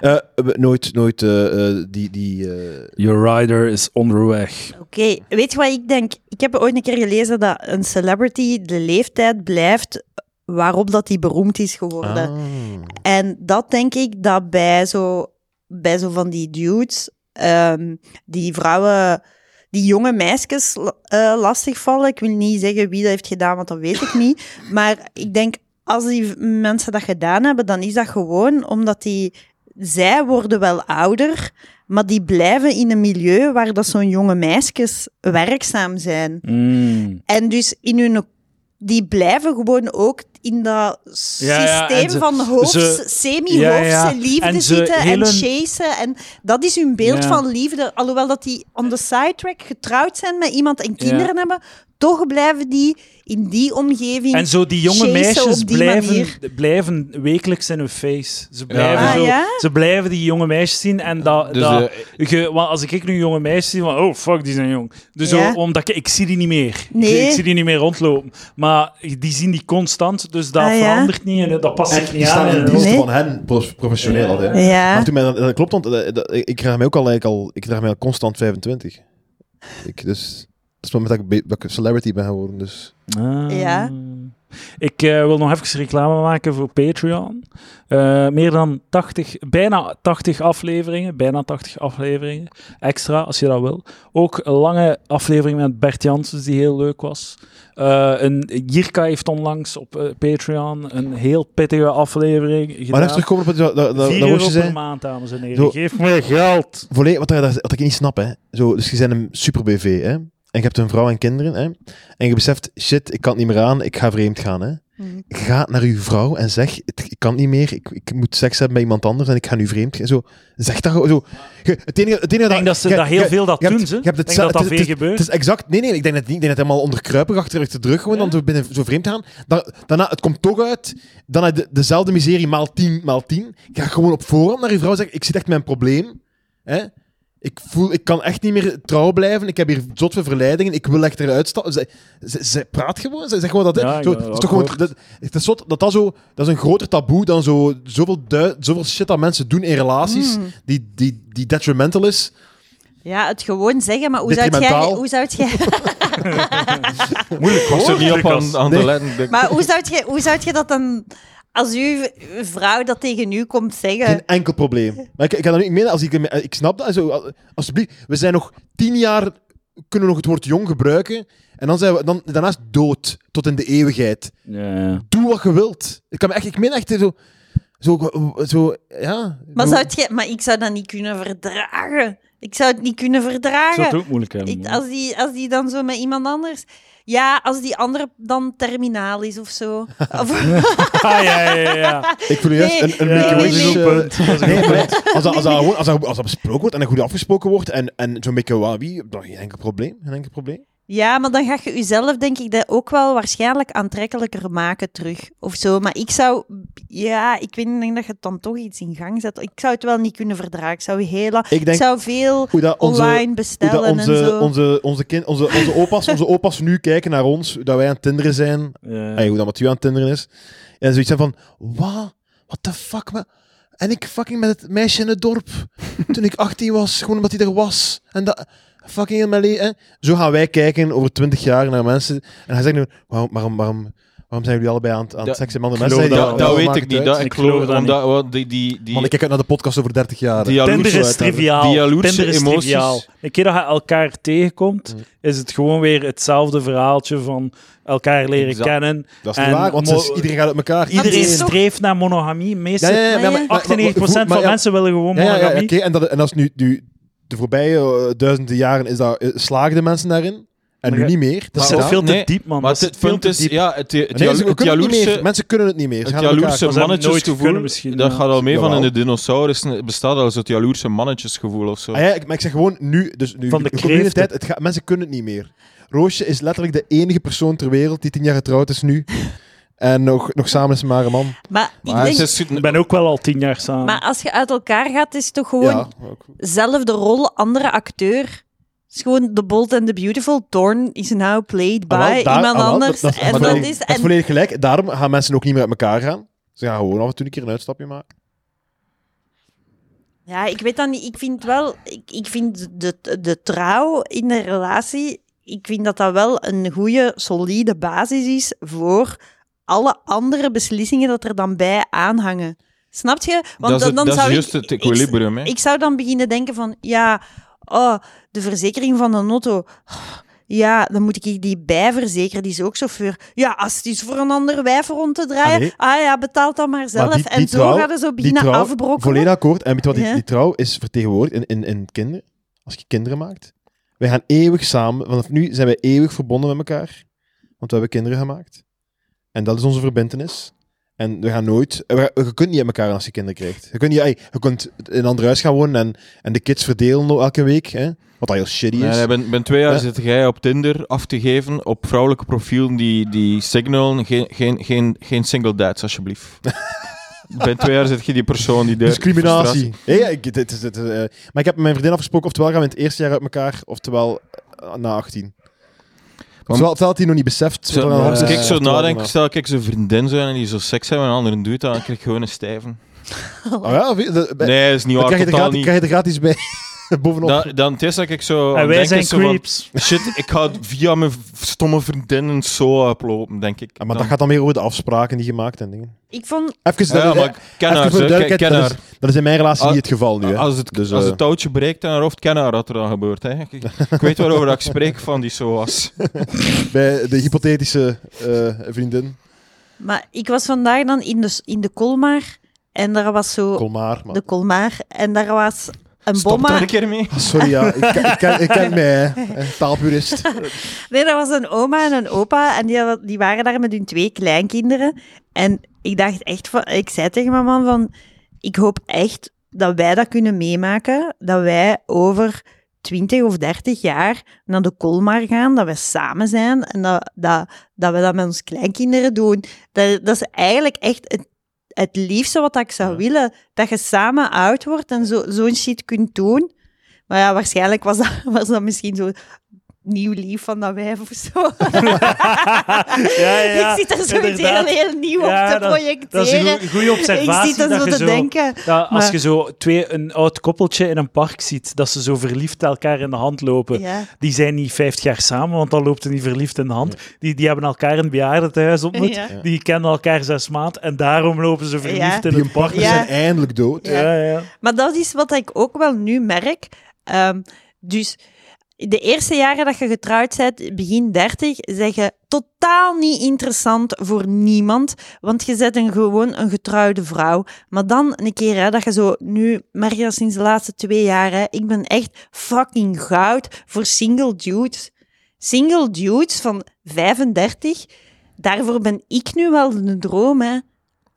A: Eh, we- nooit, nooit, eh, eh, die, die, eh,
B: Your rider is onderweg.
C: Oké, weet je wat ik denk? Ik heb ooit een keer gelezen dat een celebrity de leeftijd blijft waarop dat hij beroemd is geworden. En dat denk ik dat bij zo, bij zo van die dudes, ehm, die vrouwen die jonge meisjes la- eh, lastigvallen. Ik wil niet zeggen wie dat heeft gedaan, want dat weet ik niet. Maar ik denk, als die v- mensen dat gedaan hebben, dan is dat gewoon omdat die... Zij worden wel ouder, maar die blijven in een milieu waar dat zo'n jonge meisjes werkzaam zijn.
B: Mm.
C: En dus in hun... Die blijven gewoon ook in dat systeem
B: Ja, ja, en ze-
C: van hoofd,
B: ze-
C: semi-hoofdse
B: ja, ja.
C: liefde
B: En ze
C: zitten
B: heel
C: en
B: hun-
C: chasen. En dat is hun beeld
B: Ja.
C: van liefde. Alhoewel dat die on the sidetrack getrouwd zijn met iemand en kinderen hebben, toch blijven die in die omgeving...
B: En zo die jonge
C: chasen
B: meisjes
C: op die
B: blijven,
C: manier.
B: blijven wekelijks in hun face. Ze blijven,
C: Ah,
B: zo,
C: ja?
B: ze blijven die jonge meisjes zien. En dat,
D: Dus,
B: dat,
D: eh,
B: je- want als ik nu jonge meisjes zie, van, oh fuck, die zijn jong. Dus
C: Ja.
B: zo, omdat ik, ik zie die niet meer.
C: Nee.
B: Ik, ik zie die niet meer rondlopen. Maar die zien die constant, dus dat
C: Ah, ja.
B: verandert niet en dat past zich
A: Die
B: niet
A: staan
B: aan.
A: in
B: En-
A: dienst
C: Nee.
A: van hen, pro- professioneel. al, hè. Maar
C: Ja,
A: toen mij dat, dat klopt, want eh, dat- ik draag mij ook al, eigenlijk al, ik draag mij al constant 25. Ik, dus, dat is het moment dat ik, be- dat ik celebrity ben geworden. Dus.
B: Ah.
C: Ja.
B: Ik eh, wil nog even reclame maken voor Patreon. Eh, meer dan 80, bijna 80 afleveringen. Bijna 80 afleveringen. Extra, als je dat wil. Ook een lange aflevering met Bert Janssens, die heel leuk was. Eh, een, Jirka heeft onlangs op eh, Patreon een heel pittige aflevering gedaan.
A: Maar even terugkomen op dat, dat, dat, dat
B: 4
A: woordje
B: euro
A: zei.
B: per maand, dames en heren.
A: Zo.
B: Geef me geld.
A: Volledig, wat, daar- daar- wat ik niet snap, hè. Zo, dus je bent een super BV, hè. En je hebt een vrouw en kinderen, hè. En je beseft, shit, ik kan het niet meer aan, ik ga vreemd gaan, hè.
C: Mm.
A: Ga naar uw vrouw en zeg, "Het- ik kan het niet meer, ik, ik moet seks hebben met iemand anders en ik ga nu vreemd gaan. Zo, zeg dat gewoon, zo. Je- het enige, het enige
B: Ik denk dat ze dat heel veel dat
A: je hebt-
B: doen, ze.
A: je hebt het
B: Ik denk dat
A: za-
B: dat
A: het-
B: veel gebeurt.
A: Het is exact, nee, nee, ik denk dat niet. Ik denk dat het helemaal onderkruipig achter de rug gewoon, dan zo binnen zo vreemd gaan. Da- daarna, het komt toch uit, dan heb je de- dezelfde miserie maal tien, maal tien. Ga gewoon op voorhand naar je vrouw zeggen, ik zit echt met een probleem. Hè? Ik, voel, ik kan echt niet meer trouw blijven. Ik heb hier zot veel verleidingen. Ik wil echt eruit stappen. Zij, zij- zij praat gewoon. Zij zegt gewoon dat. hè.
B: Ja, ik
A: zo,
B: ben
A: het is
B: wel
A: toch gewoon,
B: akkoord.
A: dat, het is zot dat, dat, zo, dat is een groter taboe dan zo, zoveel, dui- zoveel shit dat mensen doen in relaties. Die, die, die detrimental is.
C: ja, het gewoon zeggen, maar hoe zou jij...
A: Detrimentaal.
C: Hoe zou jij
D: Moeilijk, was er niet op
B: Lucas.
D: aan, aan
A: Nee.
D: te letten. denk ik.
C: Maar hoe zou je, hoe zou je dat dan, als uw vrouw dat tegen u komt zeggen?
A: Geen enkel probleem. Maar ik, ik kan dat niet menen. Als ik, ik snap dat. Zo, al- alsjeblieft, we zijn nog tien jaar. kunnen we nog het woord jong gebruiken. En dan zijn we dan, daarnaast dood. Tot in de eeuwigheid. Doe wat je wilt. Ik, kan me echt, ik meen echt zo. Zo, zo ja.
C: maar,
A: Zo-
C: zou jij, maar ik zou dat niet kunnen verdragen. Ik zou het niet kunnen
B: Ik zou het
C: verdragen.
B: ook moeilijk hebben.
C: Ik, als, die, als die dan zo met iemand anders... Ja, als die andere dan terminaal is of zo. Of,
B: Ah, ja, ja, ja. ja.
A: Ik voel juist
C: Nee,
A: een, een beetje
B: Ja, dat is
A: wish,
B: een
A: eh,
B: punt. Dat is een
A: nee, maar als, dat, als, dat gewoon, als, dat, als dat besproken wordt en dat goed afgesproken wordt en, en zo'n beetje wabi, dan geen enkel probleem. Geen enkel probleem.
C: ja, maar dan ga je jezelf denk ik dat ook wel waarschijnlijk aantrekkelijker maken terug. Of zo. Maar ik zou... Ja, ik weet niet, ik denk dat je het dan toch iets in gang zet. Ik zou het wel niet kunnen verdragen. Ik zou, heel, la-
A: Ik
C: ik
A: denk
C: zou veel...
A: hoe dat onze,
C: online
A: hoe dat
C: bestellen en
A: onze,
C: zo.
A: onze, onze, kind, onze, onze, opa's, onze opa's nu kijken naar ons, hoe dat wij aan het tinderen zijn,
B: Ja.
A: Hey, hoe dat Mathieu aan het tinderen is. En zoiets zijn van, wat? What the fuck, man? En ik fucking met het meisje in het dorp, toen ik 18 was, gewoon omdat hij er was. En dat, fucking in mijn leven. Zo gaan wij kijken over 20 jaar naar mensen. En hij zegt nu, waarom, waarom, waarom, waarom zijn jullie allebei aan het, aan het
D: Dat-
A: seksen met andere
B: geloof
A: mensen?
B: dat-
A: Hij
D: dat
A: zegt,
D: dat weet
A: maakt
D: ik
A: het
D: niet.
A: uit.
D: Dat,
B: Ik
D: ik geloof
B: geloof dat
D: omdat, want die, die, die,
A: Man, ik kijk uit naar de podcast over 30 jaar.
D: die
B: Tinder is
D: jaloerse-
B: triviaal.
D: Die jaloerse
B: Tinder is
D: emoties.
B: triviaal. Een keer dat je elkaar tegenkomt, is het gewoon weer hetzelfde verhaaltje van elkaar leren
D: Exact.
B: kennen.
A: dat is
B: en
A: niet waar, want
B: mo-
A: ze- iedereen gaat uit elkaar.
C: Maar het
B: Iedereen
C: is toch-
B: streeft naar monogamie. Meestal
A: Ja, ja, ja,
C: maar-
B: 98%
C: maar-
A: maar- maar- maar-
B: van
A: ja.
B: mensen willen gewoon
A: Ja, ja, ja,
B: monogamie.
A: oké. En, dat, en als nu, nu de voorbije eh, duizenden jaren is dat, eh, slagen de mensen daarin. En
B: Maar
A: nu
B: ja,
A: niet meer.
B: Dat
A: is
B: zit
D: wel-
B: veel te
D: nee,
B: diep, man.
D: Maar
B: dat
D: het,
B: zit
D: het
B: veel
D: punt
B: te
D: is,
B: diep.
D: ja, het, het,
A: Nee,
D: jalo-
A: ze- we
D: het
A: kunnen het niet
D: jaloerse...
A: meer. Mensen kunnen het niet meer. Ze
D: Het
A: gaan uit
D: jaloerse
A: elkaar.
B: Dat zou ik nooit
D: mannetjesgevoel,
B: kunnen misschien,
D: dat
B: ja.
D: gaat al mee van in
A: Jawel.
D: de dinosaurussen. Bestaat als het jaloerse mannetjesgevoel of zo.
A: Ah ja, ik- maar ik zeg gewoon nu, dus nu
B: Van de
A: we komen in
B: kreeften.
A: tijd, het gaat, mensen kunnen het niet meer. Roosje is letterlijk de enige persoon ter wereld die tien jaar getrouwd is nu. En nog, nog samen is maar een man.
C: Maar,
D: Maar
C: ik
D: ze
C: denk,
D: is-
B: Ik ben ook wel al tien jaar samen.
C: maar als je uit elkaar gaat, is het toch gewoon
A: Ja, ook.
C: zelf de rol, andere acteur. Het is gewoon The Bold and the Beautiful. Thorn is now played by
A: Ah, wel, daar-
C: iemand
A: ah, wel,
C: anders.
A: dat- dat-
C: en
A: maar
C: dat
A: daar-
C: is...
A: dat is
C: En,
A: volledig gelijk. Daarom gaan mensen ook niet meer uit elkaar gaan. Ze gaan gewoon af en toe een keer een uitstapje maken.
C: ja, ik weet dat niet. Ik vind wel... Ik, ik vind de, de trouw in de relatie... Ik vind dat dat wel een goede, solide basis is voor alle andere beslissingen dat er dan bij aanhangen. Snap je?
D: dat is,
C: dan,
D: het-
C: dan
D: dat is
C: zou ik-
D: juist
C: ik-
D: het equilibrium. hè.
C: Ik zou dan beginnen denken van, ja, oh, de verzekering van een auto. Ja, dan moet ik die bijverzekeren, die is ook chauffeur. Ja, als het is voor een ander wijf rond te draaien,
A: Allee.
C: ah ja, betaalt dat maar zelf.
A: Maar die-
C: en
A: die
C: zo
A: trouw-
C: gaat het zo
A: Die
C: beginnen
A: trouw,
C: afbrokkelen.
A: Volledig akkoord. En weet je wat, die,
C: Ja.
A: die trouw is vertegenwoordigd in, in, in kinderen. Als je kinderen maakt. Wij gaan eeuwig samen, vanaf nu zijn wij eeuwig verbonden met elkaar. Want we hebben kinderen gemaakt. En dat is onze verbintenis. En we gaan nooit... we- je kunt niet met elkaar als je kinderen krijgt. Je kunt, niet, ey, je kunt in een ander huis gaan wonen en, en de kids verdelen elke week. Hè? Wat al heel shitty is.
D: Nee, nee, ben, ben twee jaar
A: Ja.
D: zit jij op Tinder af te geven op vrouwelijke profielen die, die signalen. Geen, geen, geen, geen single dads, alsjeblieft. ben twee jaar zit je die persoon die de frustratie-
A: Discriminatie. Ja, ja, ik, dit, is- dit is, eh, maar ik heb met mijn vriendin afgesproken, oftewel gaan we in het eerste jaar uit elkaar, oftewel eh, na 18. Oftewel, oftewel had hij nog niet beseft. Dus-
D: Zo,
A: oftewel
D: als
A: dan-
D: ik zo
A: oftewel
D: nadenk,
A: dan-
D: stel ik zo'n vriendin zo en die zo seks hebben en een ander doet, dat, dan krijg je gewoon een stijven.
A: Oh ja, of- dat- bij-
D: Nee, dat is niet
A: dat
D: waar,
A: krijg, je er
D: totaal
A: gratis,
D: niet.
A: krijg je er gratis bij. Bovenop.
D: Dan, dan het eerste dat ik zo
A: Oh,
D: aan
B: En wij
D: denk
B: zijn
D: is zo van,
B: creeps.
D: Shit, ik ga via mijn v- stomme vriendin een zo oplopen, denk ik.
A: Ah, maar dat gaat dan meer over de afspraken die gemaakt en dingen.
C: Ik vond,
A: Even,
D: Ja,
A: dat,
D: maar
A: eh,
D: ik ken haar,
A: even voor de
D: zo, ik ken-
A: duidelijkheid,
D: ken
A: dat,
D: haar.
A: is, dat is in mijn relatie
D: Ah,
A: niet het geval nu. Hè.
D: Als het,
A: Dus,
D: als
A: eh,
D: het touwtje breekt aan haar hoofd, ken haar wat er dan gebeurt. Hè. Ik, ik weet waarover dat ik spreek van die SOAS.
A: Bij de hypothetische eh, vriendin,
C: maar ik was vandaag dan in de, in de Colmar en daar was zo
A: Colmar. Maar,
C: de Colmar en daar was een
D: Stop daar
C: bomma.
D: een keer mee.
A: Sorry, ja, ik, ik, ken, ik ken mij, hè. Eh, taalpurist.
C: Nee, dat was een oma en een opa. En die, hadden- die waren daar met hun twee kleinkinderen. En ik dacht echt van... Ik zei tegen mijn man van... Ik hoop echt dat wij dat kunnen meemaken. Dat wij over 20 of 30 jaar naar de Colmar gaan. Dat we samen zijn. En dat, dat, dat we dat met onze kleinkinderen doen. Dat, dat is eigenlijk echt het, het liefste wat ik zou willen. Dat je samen oud wordt en zo- zo'n shit kunt doen. Maar ja, waarschijnlijk was dat, was dat misschien zo nieuw lief van dat wijf of zo.
B: Ja, ja, ja,
C: ik zit er zo
B: inderdaad.
C: meteen heel nieuw
B: Ja,
C: op te
B: dat-
C: projecteren.
B: Dat is een goede
C: ik
B: observatie.
C: zit er
B: dat
C: zo
B: je
C: te denken.
B: dat als
C: maar-
B: je zo twee, een oud koppeltje in een park ziet, dat ze zo verliefd elkaar in de hand lopen.
C: Ja.
B: Die zijn niet 50 jaar samen, want dan loopt er niet verliefd in de hand. Die, die hebben elkaar in het bejaardentehuis ontmoet.
C: Ja.
B: Die kennen elkaar zes maand en daarom lopen ze verliefd
C: Ja.
B: in
A: Die
B: een park.
A: partners
C: Ja.
A: zijn eindelijk dood.
C: Ja.
B: Ja, ja.
C: Maar dat is wat ik ook wel nu merk. Ehm, dus de eerste jaren dat je getrouwd bent, begin 30, zeg je totaal niet interessant voor niemand. Want je bent een, gewoon een getrouwde vrouw. Maar dan een keer hè, dat je zo, nu merk je dat sinds de laatste twee jaar, hè, ik ben echt fucking goud voor single dudes. Single dudes van 35, daarvoor ben ik nu wel een droom, hè.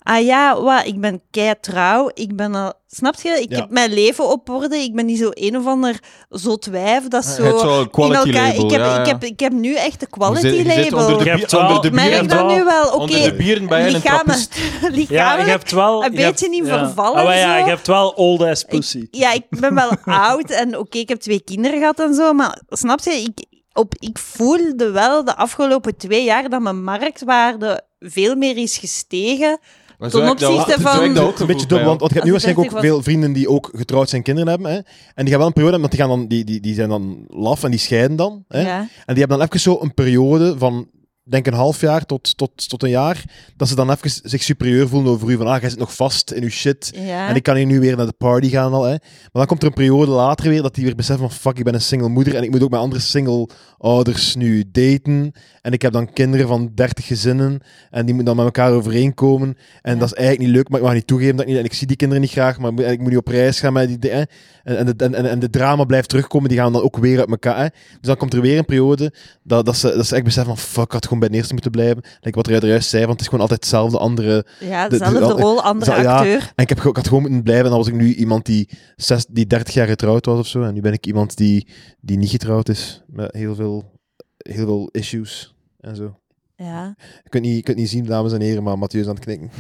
C: Ah ja, wa, ik ben kei trouw. Ik ben al, snap je? Ik
A: Ja.
C: heb mijn leven op orde. Ik ben niet zo een of ander zot wijf. Dat is zo.
D: Het zo'n quality
C: in elkaar.
D: label.
C: Ik heb,
D: ja, ja.
C: ik, heb, ik heb nu echt de
D: Je
C: quality
D: zit- je zit
C: label.
D: onder de,
B: Je
D: bier-
B: hebt wel-
D: onder de
C: Merk
B: bier-
C: ik
D: bieren,
C: dat
B: wel-
C: nu wel? Oké,
D: onder de bieren bij een
C: lichamen,
D: trappist.
B: Ja, je
C: lichamelijk.
B: hebt wel...
C: een
B: je hebt-
C: beetje niet
B: ja.
C: vervallen
B: Ah, maar ja,
C: zo.
B: je hebt wel old ass pussy.
C: Ja, ik ben wel oud en oké, ik heb twee kinderen gehad en zo, maar snap je, ik, op, ik voelde wel de afgelopen twee jaar dat mijn marktwaarde veel meer is gestegen.
D: Maar
C: Ten
D: zo heb ik dat ook-
C: opzichte
D: zo heb ik
C: van-
D: dat ook
A: Een beetje
D: gevoeld bij
A: dubbel, want, want je hebt nu
C: Als ik
A: waarschijnlijk ook
C: dertig
A: veel vrienden die ook getrouwd zijn kinderen hebben. Hè? En die gaan wel een periode hebben, want die, gaan dan, die, die, die zijn dan laf en die scheiden dan. Hè?
C: Ja.
A: En die hebben dan even zo een periode van, denk een half jaar tot, tot, tot een jaar, dat ze dan even zich superieur voelen over u. Van, ah, jij zit nog vast in uw shit.
C: Ja.
A: En ik kan hier nu weer naar de party gaan al. Hè? Maar dan komt er een periode later weer dat die weer beseffen van, fuck, ik ben een single moeder en ik moet ook mijn andere single ouders nu daten. En ik heb dan kinderen van 30 gezinnen en die moeten dan met elkaar overeenkomen. En
C: Ja.
A: dat is eigenlijk niet leuk, maar ik mag niet toegeven dat ik niet... En ik zie die kinderen niet graag, maar ik moet- en ik moet niet op reis gaan met die... di- Hè? En, en, de, en, en- en de drama blijft terugkomen, die gaan dan ook weer uit elkaar. Hè? Dus dan komt er weer een periode dat, dat, ze, dat ze echt beseffen van fuck, ik had gewoon bij de eerste moeten blijven. Like wat jij er juist zei, want het is gewoon altijd hetzelfde, andere...
C: Ja,
A: de- de-
C: dezelfde rol, andere
A: Zo- ja.
C: acteur.
A: En ik, heb, ge- ik had gewoon moeten blijven, en dan was ik nu iemand die, zes, die 30 jaar getrouwd was of zo. En nu ben ik iemand die, die niet getrouwd is, met heel veel, heel veel issues en zo.
C: Ja.
A: Je kunt niet, je kunt niet zien, dames en heren, maar Mathieu is aan het knikken.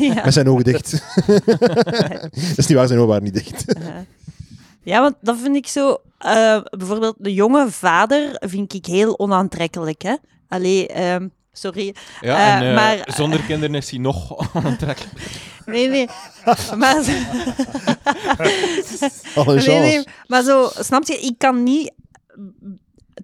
C: ja.
A: Met zijn ogen dicht. dat is niet waar, zijn ogen waren niet dicht.
C: Ja. Ja, want dat vind ik zo... eh, bijvoorbeeld de jonge vader vind ik heel onaantrekkelijk, hè. Allee, ehm, sorry.
D: Ja, en,
C: Eh,
D: eh,
C: maar-
D: zonder kinderen is hij nog aantrekkelijk.
C: Nee, nee. Maar...
A: Alle chance.
C: Nee, nee, maar zo, snap je, ik kan niet...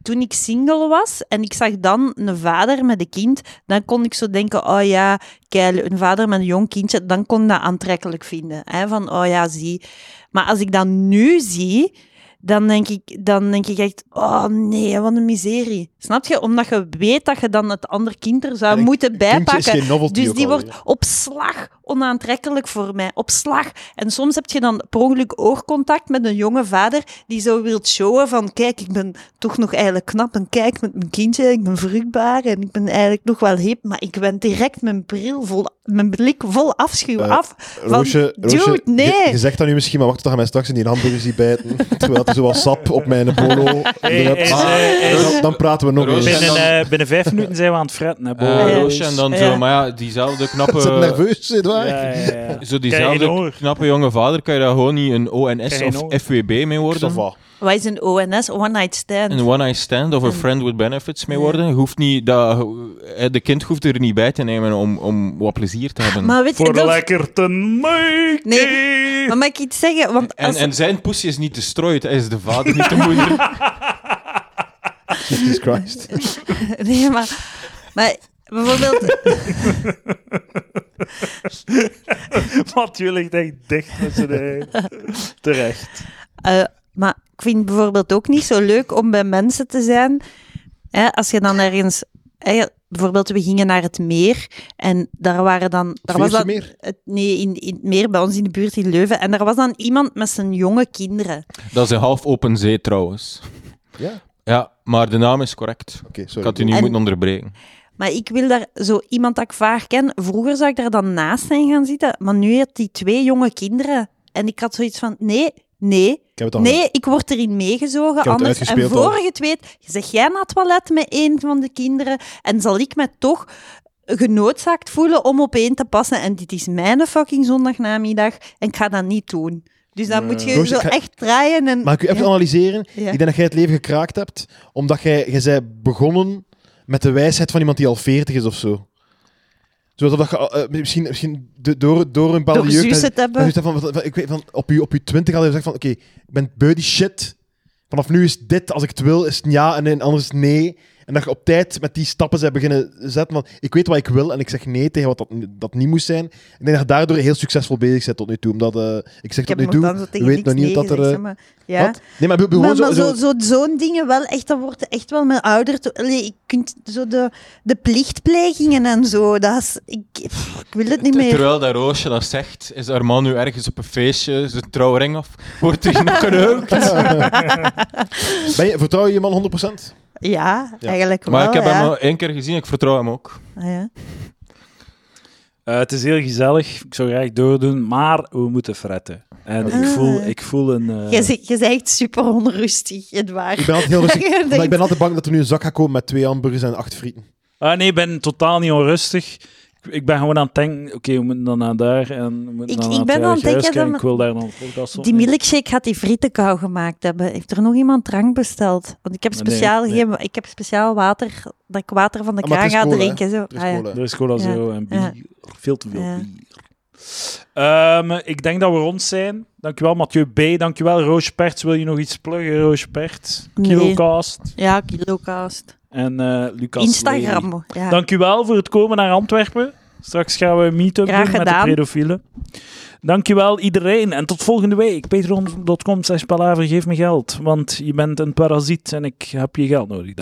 C: Toen ik single was en ik zag dan een vader met een kind, dan kon ik zo denken, oh ja, kijk, een vader met een jong kindje, dan kon ik dat aantrekkelijk vinden. Hè? Van, oh ja, zie. Maar als ik dat nu zie, dan denk ik, dan denk ik echt, oh nee, wat een miserie. Snap je? Omdat je weet dat je dan het ander kind er zou
A: En een
C: moeten
A: Kindje is
C: bijpakken.
A: geen novelty
C: Dus
A: ook
C: die
A: al, hè.
C: wordt op slag onaantrekkelijk voor mij. Op slag. En soms heb je dan per ongeluk oogcontact met een jonge vader die zo wilt showen van kijk, ik ben toch nog eigenlijk knap en kijk met mijn kindje, ik ben vruchtbaar en ik ben eigenlijk nog wel hip, maar ik wend direct mijn bril vol, mijn blik vol afschuw
A: Eh,
C: af. Van,
A: Roosje,
C: dude,
A: Roosje, je-
C: nee.
A: Je, zegt dat nu misschien, maar wacht tot je mij straks in die hamburger ziet bijten. terwijl er zoals sap op mijn polo.
B: Hey,
A: drupt.
B: hey,
D: hey,
B: hey.
A: dan, dan praten we nog
D: Roosje,
A: eens.
B: Binnen,
D: dan-
B: eh, binnen vijf minuten zijn we aan het fretten, hè, Bo.
D: Eh,
C: Ah, ja.
D: Roosje en dan
C: Ja.
D: zo, maar ja, diezelfde
A: Is het
D: knappe...
A: nerveus, zit waar?
B: Ja, ja, ja.
D: Zo
B: Krijg je geen
D: diezelfde
B: honger.
D: knappe jonge vader, kan je daar gewoon niet een
B: Krijg
D: ONS
B: je geen
D: of
B: honger.
D: FWB mee worden?
A: Ça va.
C: Wat is een ONS, One Night Stand?
D: Een one-night stand of een friend with benefits mee worden. Je hoeft niet, dat, eh, de kind hoeft er niet bij te nemen om, om wat plezier te hebben.
C: Maar weet je,
B: Voor
C: dat-
B: lekker te maken.
C: Nee, maar mag ik iets zeggen? Want
D: En,
C: als,
D: en zijn poesje is niet destrooid, hij is de vader, niet de moeder.
A: Jesus Christ.
C: Nee, maar, maar bijvoorbeeld...
B: Want je ligt echt dicht met z'n eigen. Terecht.
C: Eh, maar ik vind het bijvoorbeeld ook niet zo leuk om bij mensen te zijn. Hè, als je dan ergens. hè, bijvoorbeeld, we gingen naar het meer en daar waren dan. Daar was dan
A: meer.
C: het, nee, in, in het meer bij ons in de buurt in Leuven. En daar was dan iemand met zijn jonge kinderen.
D: dat is een half open zee trouwens.
A: Ja, oké,
D: Ja, maar de naam is correct. Ik
A: sorry.
D: had u niet
C: En-
D: moeten onderbreken.
C: Maar ik wil daar zo iemand dat ik vaak ken. Vroeger zou ik daar dan naast zijn gaan zitten, maar nu had die twee jonge kinderen. En ik had zoiets van: nee, nee,
A: Ik heb het al
C: Nee, ik word erin meegezogen.
A: heb het
C: Anders, en
A: uitgespeeld al.
C: voor je het weet, zeg jij naar het toilet met een van de kinderen en zal ik me toch genoodzaakt voelen om op één te passen. En dit is mijn fucking zondagnamiddag en ik ga dat niet doen. Dus dan moet je
A: Roos,
C: zo
A: ik ga-
C: echt draaien. En...
A: Mag ik u even analyseren?
C: Ja.
A: Ik denk dat jij het leven gekraakt hebt, omdat jij, jij zei begonnen met de wijsheid van iemand die al 40 is of zo. Zoals dat je eh, misschien, misschien de- door, door een bepaalde
C: Door
A: jeugd...
C: zus
A: dat-
C: het hebben.
A: dat je zegt van, wat- wat- ik weet, van, op je op je 20 had je gezegd van, oké, ik ben beu die shit. Vanaf nu is dit, als ik het wil, is het ja en nee, anders nee. En dat je op tijd met die stappen zij beginnen zetten van, ik weet wat ik wil en ik zeg nee tegen wat dat, dat niet moest zijn. Ik denk dat je daardoor heel succesvol bezig bent tot nu toe. Omdat, eh, ik zeg
C: ik
A: tot
C: heb
A: nu
C: nog
A: toe,
C: dan zo
A: je
C: tegen
A: weet nog
C: niks
A: niet
C: nee
A: dat er...
C: gezegd,
A: eh,
C: maar- ja.
A: wat? Nee, maar, ik bedoel
C: Maar,
A: gewoon
C: maar
A: zo,
C: zo,
A: zo-
C: zo, zo'n dingen wel echt, dat wordt echt wel met ouder. toe- Allee, je kunt zo de, de plichtplegingen en zo, dat is, ik, pff, ik wil het niet meer.
D: Terwijl dat Roosje dat zegt, is haar man nu ergens op een feestje, zijn trouwring af, wordt hij nog geneukt.
A: Ben je, vertrouw je je man 100%?
C: Ja,
A: Ja.
C: eigenlijk wel.
D: Maar ik heb
C: ja.
D: hem al één keer gezien, ik vertrouw hem ook.
C: Ah, ja.
B: Eh, het is heel gezellig. Ik zou graag doordoen, maar we moeten fretten. En ik,
C: Ah.
B: voel, ik voel een... eh,
C: Je, zegt- je zegt echt super onrustig, het waar.
A: Ik ben altijd heel rustig.
C: Je
A: maar
C: denkt-
A: ik ben altijd bang dat er nu een zak gaat komen met twee hamburgers en acht frieten.
B: Ah, nee, ik ben totaal niet onrustig. Ik- Ik ben gewoon aan het denken, oké, we moeten dan naar daar en we moeten
C: Ik-
B: dan
C: ik
B: naar
C: ben
B: het
C: aan het denken
B: Heilighuis kijken.
C: dat-
B: Ik wil daar dan een podcast op
C: Die
B: nemen.
C: milkshake gaat die frietenkou gemaakt hebben. Heeft er nog iemand drank besteld? Want ik heb
B: Nee,
C: speciaal,
B: nee.
C: geen- ik heb speciaal water, dat ik water van de
A: Ah, maar
C: kraan
A: het is
C: ga
A: cola, hè?
C: drinken. Zo.
A: Er is
C: Ah, ja.
A: cola.
B: Er is cola
C: Ja.
B: zero en bier.
C: Ja.
B: Veel te veel
C: Ja.
B: bier. Ehm, ik denk dat we rond zijn. Dankjewel Mathieu B. Dankjewel Roosje Perts. Wil je nog iets pluggen, Roosje Perts?
C: Nee.
B: Kilocast.
C: Ja, kilocast.
B: En eh, Lucas Lely.
C: Instagram. Ja.
B: Dankjewel voor het komen naar Antwerpen. Straks gaan we een meet-up
C: Graag
B: doen met de
C: gedaan.
B: pedofielen. Dankjewel iedereen. En tot volgende week. Patreon.com slash palaver. Geef me geld. Want je bent een parasiet en ik heb je geld nodig. Dag.